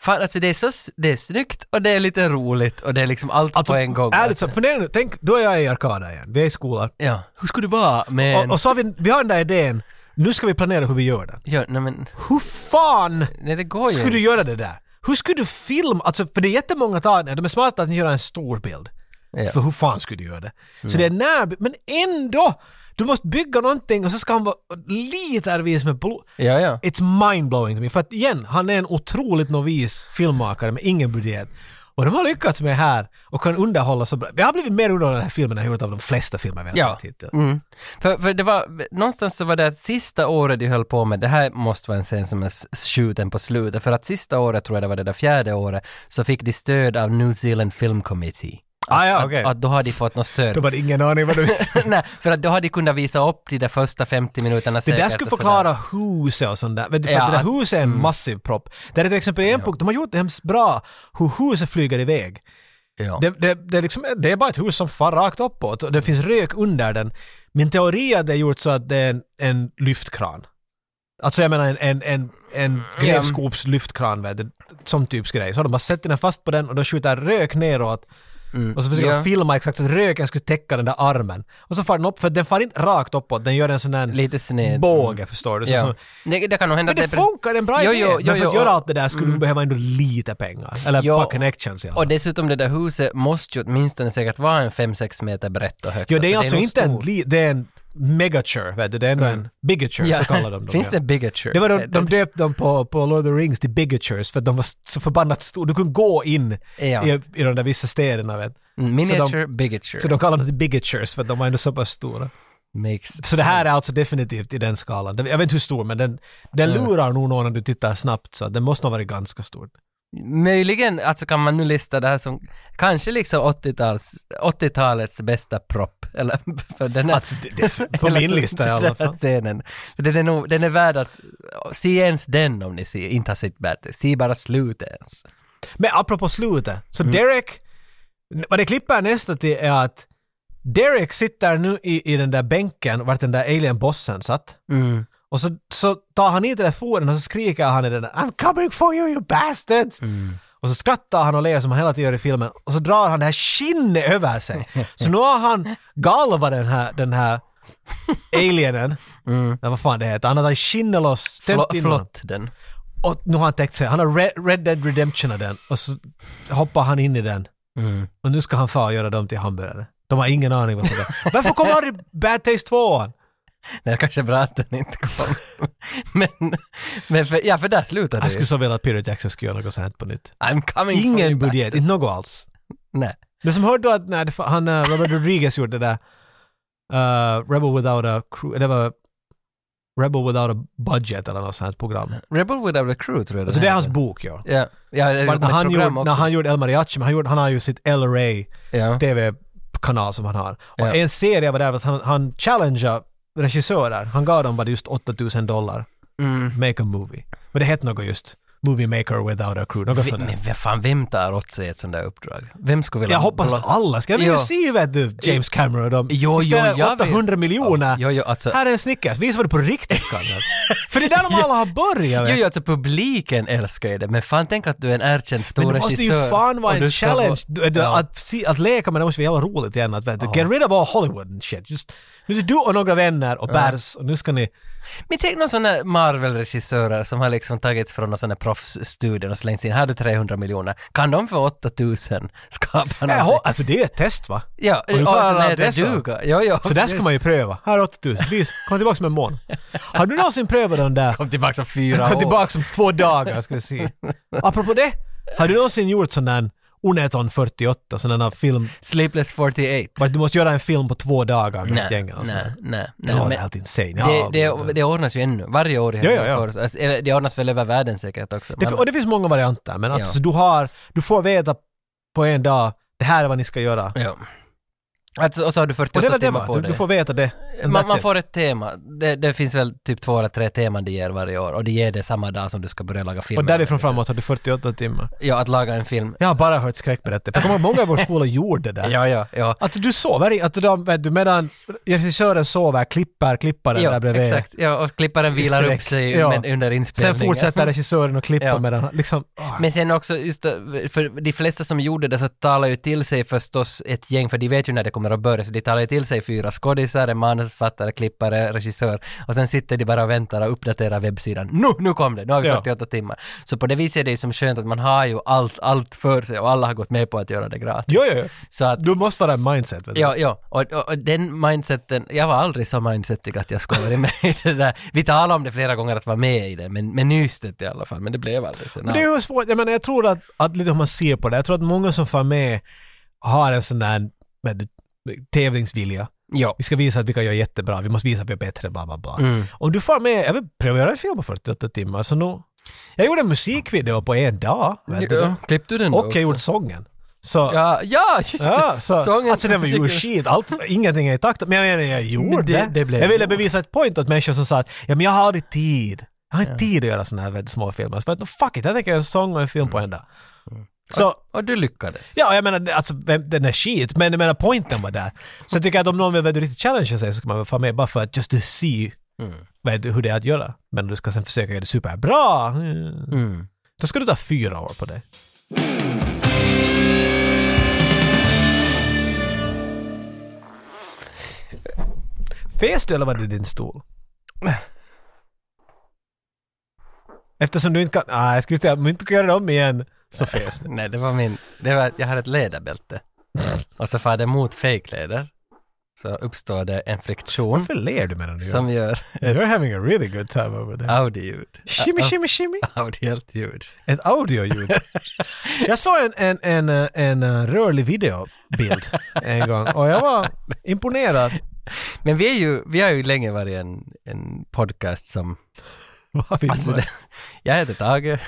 fan alltså det är så, s- det är snyggt och det är lite roligt och det är liksom allt
Alltså,
på en gång.
ärligt så, fundera nu, tänk, då är jag i Arkada igen, vi är i skolan.
Ja, hur skulle det vara med en-
Och, och så har vi, vi har den där idén, nu ska vi planera hur vi gör den.
ja, nej men,
Hur fan
nej det går ju
skulle du
inte.
göra det där? Hur skulle du filma? Alltså, för det är jättemånga tagningar, de är smarta att ni gör en stor bild.
Ja. Mm.
För hur fan skulle du göra det? Så det är när, men ändå! Du måste bygga någonting och så ska han vara litervis med blod.
Ja, ja.
It's mindblowing to me. För att igen, han är en otroligt novis filmmakare med ingen budget. Och de har lyckats med här och kan underhålla så bra. Jag har blivit mer underhållen av den här filmen än jag gjort av de flesta filmer vi har
Ja.
sett hittills.
Mm. För, för det var, någonstans så var det att sista året de höll på med, det här måste vara en scen som är s- skjuten på slutet, för att sista året, tror jag det var det där fjärde året, så fick de stöd av New Zealand Film Committee.
Ah, ja, okej.
Att, att då har de fått något
De
stöd.
hade ingen aning vad du...
Nej, för att då har de kunnat visa upp de där första 50 minuterna
Det där
säkert
skulle
och sådär.
förklara huset och sånt där. Vet du, för
Ja,
att det
att-
där huset är en massiv propp. Där är till exempel en punkt, de har gjort det hemskt bra, hur huset flyger iväg.
Ja.
Det, det, det, är liksom, det är bara ett hus som far rakt uppåt och det finns rök under den. Min teori är att det är gjort så att det är en, en lyftkran. Alltså jag menar en, en,
Mm.
en, en grävskops lyftkran, vet du, som typs grej. Så har de bara sätter den fast på den och då skjuter rök neråt. Och så försöker
Mm. ja.
de filma exakt så att röken skulle täcka den där armen. Och så far den upp, för den far inte rakt uppåt, den gör en sån där
Lite sned.
båge förstår du. Så,
ja.
alltså så,
det, det kan nog hända
men det
att är pre-
funkar, det är en bra
Jo,
idé.
jo, jo,
men för att
jo,
göra
och-
allt det där skulle du behöva ändå lite pengar. Eller
Jo,
bara connections i alla
Och
fall.
dessutom det där huset måste ju åtminstone säkert vara en 5-6 meter brett och högt.
Jo, det är alltså
nog
inte en,
stor. Mm.
li, det är en megature, vet du. Det är ändå en bigature, så kallar de dem.
Finns det
ja.
Eh, en bigature?
det var de, de döpte dem på, på Lord of the Rings till bigatures för att de var så förbannat stora. Du kunde gå in
Ja. Mm,
i, i de där vissa städerna. Vet. Så
Miniature
de-
bigature.
Så de kallar dem till bigatures för att de var ändå så pass stora.
Makes
Så det här är alltså definitivt i den skalan. Jag vet inte hur stor, men den, den
Mm.
lurar nog någon när du tittar snabbt. Så den måste ha varit ganska stor.
Möjligen alltså kan man nu lista det här som kanske liksom 80-tals, 80-talets bästa propp. Eller för den här,
Alltså, det, det, på
eller
min
så-
lista i alla
Den
fall.
här scenen. För Den är, nog, den är värd att, se ens den om ni ser, inte har sett Bertil, se bara slutet ens.
Men apropå slutet, så Derek, vad det klipper nästa till är att Derek sitter nu i, i den där bänken vart den där alien-bossen satt. Och så, så tar han i telefonen och så skriker han i den där, I'm coming for you you bastards! Och så skrattar han och ler som han hela tiden gör i filmen och så drar han det här skinnet över sig. Så nu har han galvat den här, den här alienen, ja, vad fan det heter, han har tagit skinnet loss,
Flå,
stämt in honom.
flott den.
Och nu har han täckt sig, han har Red, Red Dead Redemption av den och så hoppar han in i den.
Mm.
Och nu ska han fara och göra dem till hamburgare. De har ingen aning vad som är. Varför kom aldrig Bad Taste 2
Det är kanske bra att den inte kom. men, men för, ja, för där slutade
Jag
det ju.
skulle så vilja att Peter Jackson skulle göra något sånt här på nytt.
I'm coming for you
Ingen
back.
budget, inte något alls.
Nej.
Det som hörde då att när det, fa- han, eh, Robert Rodriguez gjorde det där eh, Rebel Without a Crew, det var Rebel Without a Budget eller något sånt här program.
Rebel Without a Crew tror jag
Alltså det
heter.
är hans bok ja.
Ja, ja det kom
Men När
ett
han,
program
gjorde,
också.
när han gjorde El Mariachi, men han, gjorde, han har ju sitt LRA
ja.
TV-kanal som han har. Och
Ja.
en serie var där att han, han challengeade regissörer. Han gav dem bara just 8000 dollar.
Mm.
Make a movie. Men det hette något just Movie Maker Without a Crew, något
Vi-
sånt där.
Men Alltså, vad fan, vem tar åt sig ett sånt där uppdrag? Vem skulle vilja...
Jag hoppas att
blå-
alla ska. Jag vill
Ja.
ju se vet du, James Cameron och dem.
Jo, jo,
Istället
jag vet.
800 miljoner.
Jo, jo, alltså...
Här är en Snickers. Visa vad det på riktigt kan. vara. För det är där de alla har börjat.
Jo,
vet
jo, alltså publiken älskar ju det, men fan tänk att du är en erkänd stor
Men
regissör.
det måste ju fan vara
och du
en
ska
challenge.
vara-
Du, du,
Ja.
att, se, att leka med det måste vara jävla roligt igen. Att, vet du, get rid of all Hollywood and shit. Just, nu är det du och några vänner och bärs och nu ska ni...
Men tänk någon sån där Marvel-regissörer som har liksom tagits från någon sån där proffsstudio och slängts in. Här har du 300 miljoner. Kan de för 8000 skapa
Nej,
någonting?
alltså det är ett test va?
Ja,
Och du
och
klarar
så
av
är det
dessa.
duga. Jo, jo.
Så där ska man ju pröva. Här är 8000. Vis, kom tillbaka om en månad. Har du någonsin prövat den där?
Kom tillbaka om fyra
Kom
år.
tillbaka om två dagar ska vi se. Apropå det, har du någonsin gjort sån där Uneton 48, sån där film,
Sleepless 48.
vart du måste göra en film på två dagar med ett
Nej,
gäng
nej,
eller så
nej,
där?
nej.
Det var
men-
helt insane.
Det,
Ja,
det, det ordnas ju ännu, varje år. i
Ja, ja, ja.
Helsingfors. Alltså, eller det ordnas väl över världen säkert också.
Det,
men-
och det finns många varianter, men alltså,
Ja.
du, har, du får veta på en dag, det här är vad ni ska göra.
ja. alltså, och så har du
Och det
48
är väl det
timmar
va?
på
Du,
dig.
du får veta det. And
man,
that's
man
it.
får ett tema. Det, det finns väl typ två eller tre teman de ger varje år och de ger det samma dag som du ska börja laga film.
och därifrån
Eller-
framåt har du 48 timmar.
Ja, att laga en film.
Jag har bara hört skräckberättelser. Jag kommer ihåg många i vår skola gjorde det där.
Ja, ja, ja.
Alltså du sover i, att de, vet du, medan regissören sover, klipper, klipparen
ja
där bredvid.
exakt. Ja, och klipparen
I
vilar
sträck.
upp sig
Ja.
men under
Sen
inspelningen.
fortsätter regissören att klippa
Ja.
medan han liksom... ah.
Men sen också, just det, för de flesta som gjorde det så talar ju till sig förstås ett gäng, för de vet ju när det kommer att börja, så de talar ju till sig fyra skådisar, en manusförfattare, klippare, regissör, och sen sitter de bara och väntar och uppdaterar webbsidan. Nu, nu kom det, nu har vi
Ja.
48 timmar. Så på det viset är det ju som skönt att man har ju allt, allt för sig och alla har gått med på att göra det gratis.
Jo, jo, jo.
Så att,
Du måste vara en mindset. Vet du.
ja, ja, och, och, och den mindseten, jag var aldrig så mindsetig att jag skulle vara med i det där. Vi talade om det flera gånger att vara med i det, men, men nystet i alla fall, men det blev aldrig så.
Men det är ju svårt, jag menar jag tror att, att lite hur man ser på det, jag tror att många som får med har en sån där vet du, tävlingsvilja.
ja.
Vi ska visa att vi kan göra jättebra, vi måste visa att vi är bättre, bla bla bla.
Mm.
Om du får med, jag vill pröva att göra en film på 48 timmar, så nu... Jag gjorde en musikvideo på en dag, vet du.
Ja, klippte du den då
Och
också?
jag gjorde sången. Så...
Ja, ja just
Ja,
det!
så, alltså det var ju skit, allt, ingenting är i takt. Men jag menar, jag gjorde
det-
det.
det blev
jag ville
gjort.
bevisa ett point åt människor som sa att ja, men jag har aldrig tid. Jag har inte tid att göra sådana här väldigt små filmer. Så jag bara, fuck it, jag tänker göra en sång och en film på en dag.
Mm.
Så,
Och du lyckades.
ja, jag menar, det- alltså vem- den är skit, men jag menar pointen var där. Så jag tycker att om någon vill vet du, riktigt challengea sig så ska man väl få med bara för att just to see
Mm.
vet du, hur det är att göra. Men du ska sen försöka göra det superbra. Mm.
Mm.
Då ska du ta fyra år på dig. Fes du eller var det din stol? Eftersom du inte kan... Nej, jag skulle säga om du inte kan göra det om igen så fes du.
Nej, det var min... Det var, jag hade ett läderbälte. och så far det mot fejkläder. Så uppstår det en friktion
Varför ler du medan du gör
som gör
det? You're having a really good time over there.
audioljud.
Shimmy, shimmy, shimmy.
Audiellt ljud.
Ett audioljud. jag såg en, en, en, eh, en eh, rörlig videobild en gång och jag var imponerad.
Men vi, är ju, vi har ju länge varit en, en podcast som...
Vad vill
Alltså
man?
det, jag heter Tage.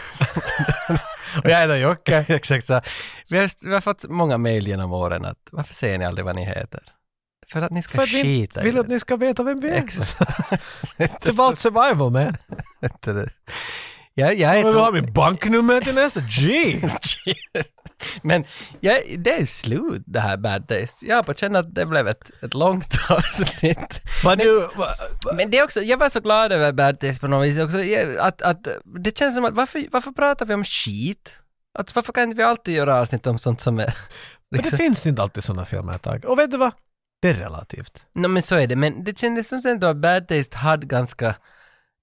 Och jag heter Jocke.
Exakt så. Vi har, vi har fått många mejl genom åren att varför säger ni aldrig vad ni heter? För att ni ska
För att ni
skita i
vill
det.
att ni ska veta vem vi är.
Exakt.
It's about survival man.
Inte det. Jag, jag är
Jag vill ha
to-
min banknummer till nästa. Gee!
Men jag, det är slut det här Bad Taste. Jag har på känn att det blev ett, ett långt avsnitt.
Vad du... va-
Men det är också, jag var så glad över Bad Taste på något vis också, Jag- att, att det känns som att varför, varför pratar vi om skit? Att varför kan inte vi alltid göra avsnitt om sånt som är...
Men det
Liksom,
finns inte alltid sådana filmer ett tag. Och vet du vad? Det är relativt.
no, men så är det, men det kändes som sen då att Bad Taste hade ganska...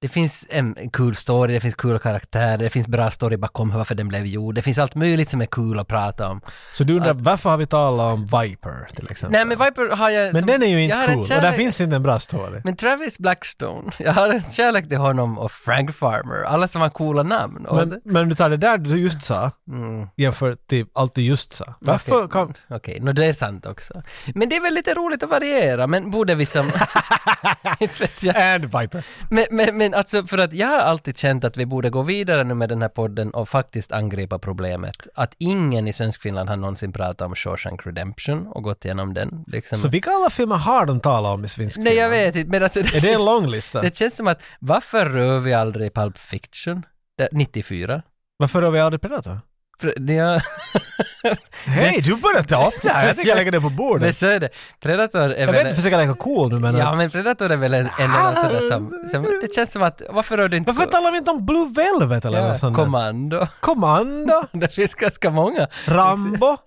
Det finns en en kul story, det finns coola karaktärer, det finns bra story bakom varför den blev gjord, det finns allt möjligt som är kul att prata om.
Så du undrar varför har vi talat om Viper till exempel?
Nej men Viper har jag...
Men
som-
den är ju
jag har
inte
en
cool. Och där
kärlek-
finns inte en bra story.
Men Travis Blackstone, jag har en kärlek till honom och Frank Farmer, alla som har coola namn. Och
Men, men du tar det där du just sa
Mm.
jämfört till allt du just sa. Varför
Okej.
kan...
Okej, nå det är sant också. Men det är väl lite roligt att variera, men borde vi som... Inte vet jag.
And Viper.
Men, men, men alltså, för att jag har alltid känt att vi borde gå vidare nu med den här podden och faktiskt angripa problemet. Att ingen i svensk Finland har någonsin pratat om Shawshank Redemption och gått igenom den. Liksom.
Så vilka alla filmer har de talat om i svensk
Nej, jag
film?
vet inte, men alltså...
Är det en lång lista?
Det känns som att varför rör vi aldrig Pulp Fiction? Det- 94?
Varför har vi aldrig Predator?
För, det är-
Hej, du börjar ta upp det här! Jag tänker lägga det på
men
bordet.
så är det. Predator är
Jag
väl...
vet inte försöka leka cool nu men... eh, Ah,
ja, men Predator är väl en, en av sådana som, som... Det känns som att varför rör du inte...
Varför talar vi inte om Blue Velvet eller något
ja,
sånt? där?
Kommando.
Kommando?
Det finns ganska många.
Rambo?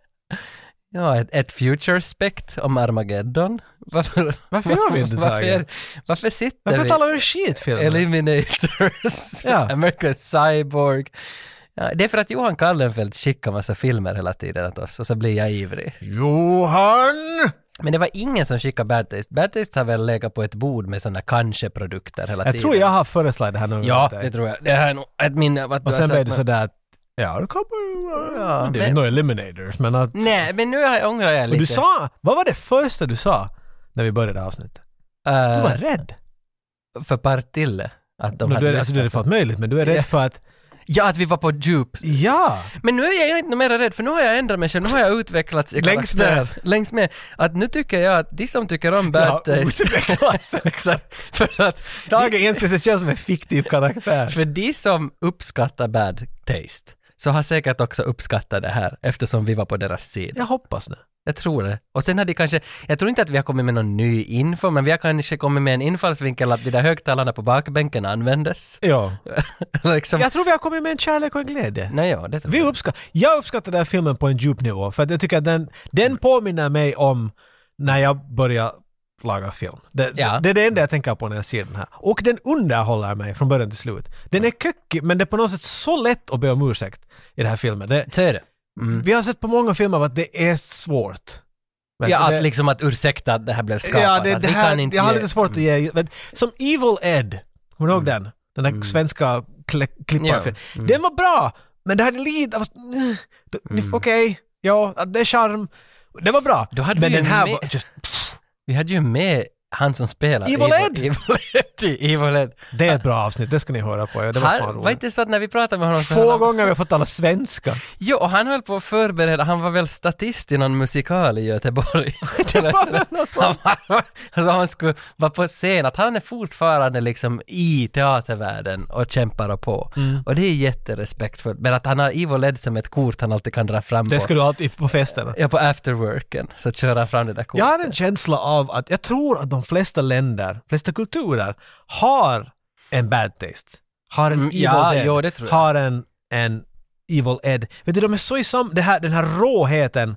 Ja, ett, ett Future Spect om Armageddon. Varför...
Varför gör vi inte
varför,
det?
varför sitter
Varför
vi...
talar vi om skitfilmer?
Eliminators,
Ja.
American Cyborg. Ja, det är för att Johan Kallenfeld skickar massa filmer hela tiden åt oss och så blir jag ivrig.
Johan!
Men det var ingen som skickade Bad Taste. Bad Taste har väl legat på ett bord med sådana kanske-produkter hela
Jag
tiden.
tror jag har föreslagit det här någon
Ja,
gång
det
till dig.
tror jag. Det här är nog ett minne av att
Och
har
sen
sagt
blev det
mig-
sådär att ja, det kommer...
Ja,
Ja, det
men-
är väl några eliminators men att...
Nej, men nu har jag- ångrar jag
Och
lite.
du sa... Vad var det första du sa när vi började avsnittet? Du var
Eh,
rädd.
för Partille. Att de
Men
hade
du är, alltså, du är
lyssnat
för allt
så.
möjligt men du är rädd
Ja.
för att...
Ja, att vi var på djup.
Ja!
Men nu är jag inte mer rädd, för nu har jag ändrat mig själv. Nu har jag utvecklats i
Längst
karaktär. Längs med. Att nu tycker jag att de som tycker om Bad
Jag har
Taste...
utvecklats.
Exakt. För att
Tage Enstedt känns som en fiktiv karaktär.
för de som uppskattar bad taste så har säkert också uppskattat det här eftersom vi var på deras sida.
Jag hoppas det.
Jag tror det. Och sen har de kanske, jag tror inte att vi har kommit med någon ny info, men vi har kanske kommit med en infallsvinkel att de där högtalarna på bakbänken användes.
Ja.
liksom.
Jag tror vi har kommit med en kärlek och en glädje.
Nej, ja, det tror
Vi
jag.
uppskattar, jag uppskattar den här filmen på en djup nivå för att jag tycker att den, den påminner mig om när jag började laga film. Det,
Ja.
det är det enda jag tänker på när jag ser den här. Och den underhåller mig från början till slut. Den är kökig men det är på något sätt så lätt att be om ursäkt i den här filmen. Det,
Så är det. Mm.
vi har sett på många filmer att det är svårt. Men
Ja,
det-
att liksom att ursäkta att det här blev skapat.
Ja, det,
att
det
vi
här,
kan inte
jag har
ge- Mm.
lite svårt att ge. Men, som Evil Ed, kommer du ihåg den? Den där svenska kle- klipparfilmen.
Ja, mm.
Den var bra, men det hade lite... Alltså, mm. Okej, ja, att det är charm. Det var bra.
Då hade
men
vi
den
ju
här
med-
var just...
Vi hade ju med han som spelar
Evil Ed.
Evil Ed. i Evil Ed.
Det är ett bra avsnitt, det ska ni höra på. Ja, det var
Här,
fan
var
roligt.
inte så att när vi pratade med honom så höll
Få
han-
gånger har vi fått tala svenska.
Jo, och han höll på att förbereda, han var väl statist i någon musikal i Göteborg.
Det var väl något
han,
sånt.
var, alltså han skulle vara på scen, att han är fortfarande liksom i teatervärlden och kämpar och på.
Mm.
Och det är jätterespektfullt. Men att han har Ivo Led som ett kort han alltid kan dra fram
Det
på.
ska du alltid på festerna.
Ja, på afterworken så kör han fram det där kortet.
Jag har en känsla av att jag tror att de flesta länder, flesta kulturer har en bad taste. Har en
Mm,
evil
ja,
dead.
jo, det tror jag.
Har en, en evil ed. Vet du, de är så i sam... Det här, den här råheten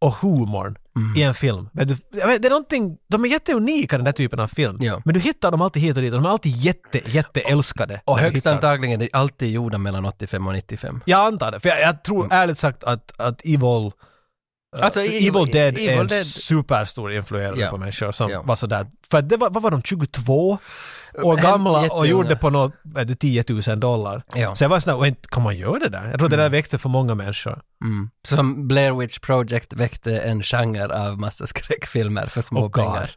och humorn
Mm.
i en film. Vet du, jag vet, det är någonting, de är jätteunika den där typen av film.
Ja.
Men du hittar dem alltid hit och dit och de är alltid jätte, jätteälskade.
Och
när du
högst
hittar dem.
antagligen är det alltid gjorda mellan 85 och 95.
Jag antar det, för jag, jag tror
Mm.
ärligt sagt att, att evil
Alltså,
Evil, Dead är en
Evil Dead-
superstor influerare
Ja.
på människor som
Ja.
var sådär. För att det var, vad var de, 22 år
Hem-
gamla och
Äh, jätteunga.
gjorde på något, vet du, 10 000 dollar.
Ja.
Så jag var sådär, "Och inte kan man göra det där? Jag tror det där väckte för många människor.
Mm. Som Blair Witch Project väckte en genre av massa skräckfilmer för små
Åh, Oh God.
pengar.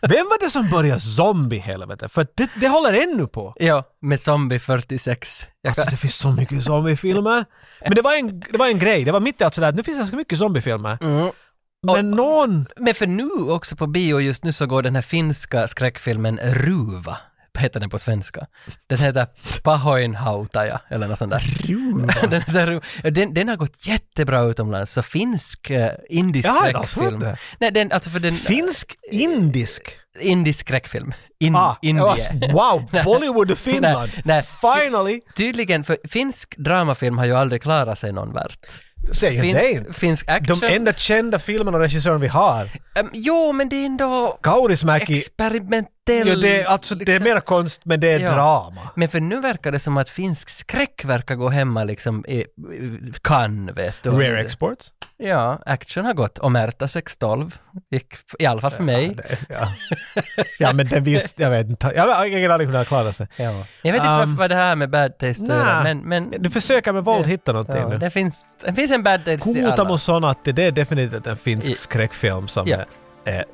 Vem var det som började zombie-helvete? För att det, det håller ännu på.
Ja, med Zombie 46. Jag kan...
Alltså det finns så mycket zombiefilmer. Men det var en, det var en grej, det var mitt i allt sådär, att nu finns det ganska mycket zombiefilmer.
mm.
Men någon...
Men för nu också på bio just nu så går den här finska skräckfilmen Ruva. heter den på svenska. Den heter Pahoinhautaja eller något sånt där. den, heter, den, den har gått jättebra utomlands, så finsk eh, indisk
Jag har inte alls hört
skräckfilm.
det.
Nej, den, alltså för den...
Finsk, indisk.
indisk skräckfilm. In,
Ah,
Mm, indie.
jag var- wow, Bollywood och Finland.
Nej, nej.
Finally.
Tydligen, för finsk dramafilm har ju aldrig klarat sig någon värt.
Säger jag det
Finsk,
inte.
finsk action.
De enda kända filmerna och regissören vi har.
Ehm, jo, men det är ändå
Kaurismäki.
experimentell...
Ja, det, är- alltså, det är
liksom.
mera konst men det är
Ja.
drama.
Men för nu verkar det som att finsk skräck verkar gå hemma liksom i, i Cannes, vet du.
Rare exports.
Ja, action har gått. Omerta 612 gick, f- i alla fall för mig.
Ja. ja men den visst, jag vet inte. Jag har ingen aning hur den har klarat sig.
Ja. Jag vet inte
Um,
varför vad det här med bad taste att göra, men... men
Du försöker med våld hitta någonting
ja,
nu.
det, finns, det finns en bad taste i alla.
Hotamo Sonatti, det är definitivt en finsk
Ja.
skräckfilm som
Ja.
är, är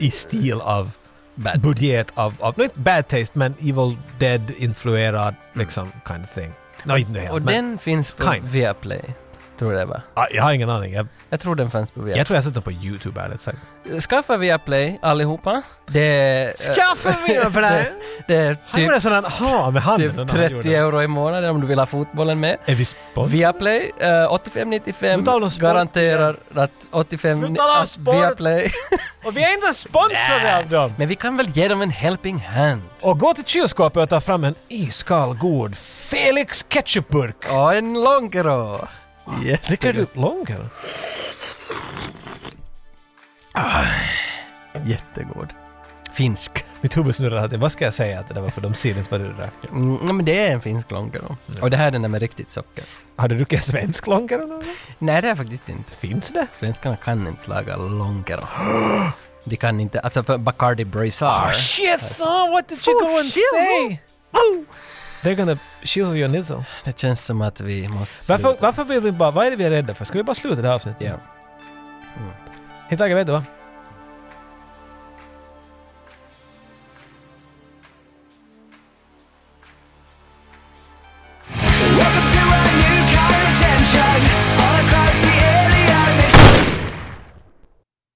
i stil av
Bad.
budget av, av no, inte bad taste men Evil Dead-influerad liksom kind of thing. No, inte helt,
Och
men
den finns på
Kind.
Viaplay, tror jag det var.
Ah, jag har ingen aning. Jag,
Jag tror den fanns på Viaplay.
jag tror jag har sett den på YouTube ärligt sagt.
Skaffa Viaplay allihopa. Det,
Skaffa mig på det här!
det är
Han gjorde en
typ,
sån här ha med handen. när
typ
han gjorde
30
det.
euro i månaden om du vill ha fotbollen med.
Är vi sponsrade?
Viaplay eh,
Nu talar
8595
du om sport
garanterar att 85
Nu talar du om
att
sport.
Viaplay.
Och vi är inte sponsrade av dem!
Men vi kan väl ge dem en helping hand.
Och gå till kylskåpet och ta fram en iskall god Felix ketchupburk.
Och en Lonkero.
Dricker du långkare?
Jättegod. Finsk.
Mitt huvud snurrar alltid. Vad ska jag säga att det där var för de ser inte vad du drack?
Mm, ja, men det är en finsk Lonkero. Och det här är den där med riktigt socker.
Har du druckit svensk långkare någon gång?
Nej, det är faktiskt inte.
Finns det?
Svenskarna kan inte laga longer. De kan inte, alltså för Bacardi Braisar.
Shit son, what did you go and say? They're gonna shizzle your nizzle.
Det känns som att vi måste sluta.
Varför, varför vill vi bara, vad är det vi är rädda för? Ska vi bara sluta det här avsnittet?
Ja.
Helt enkelt, vet du vad?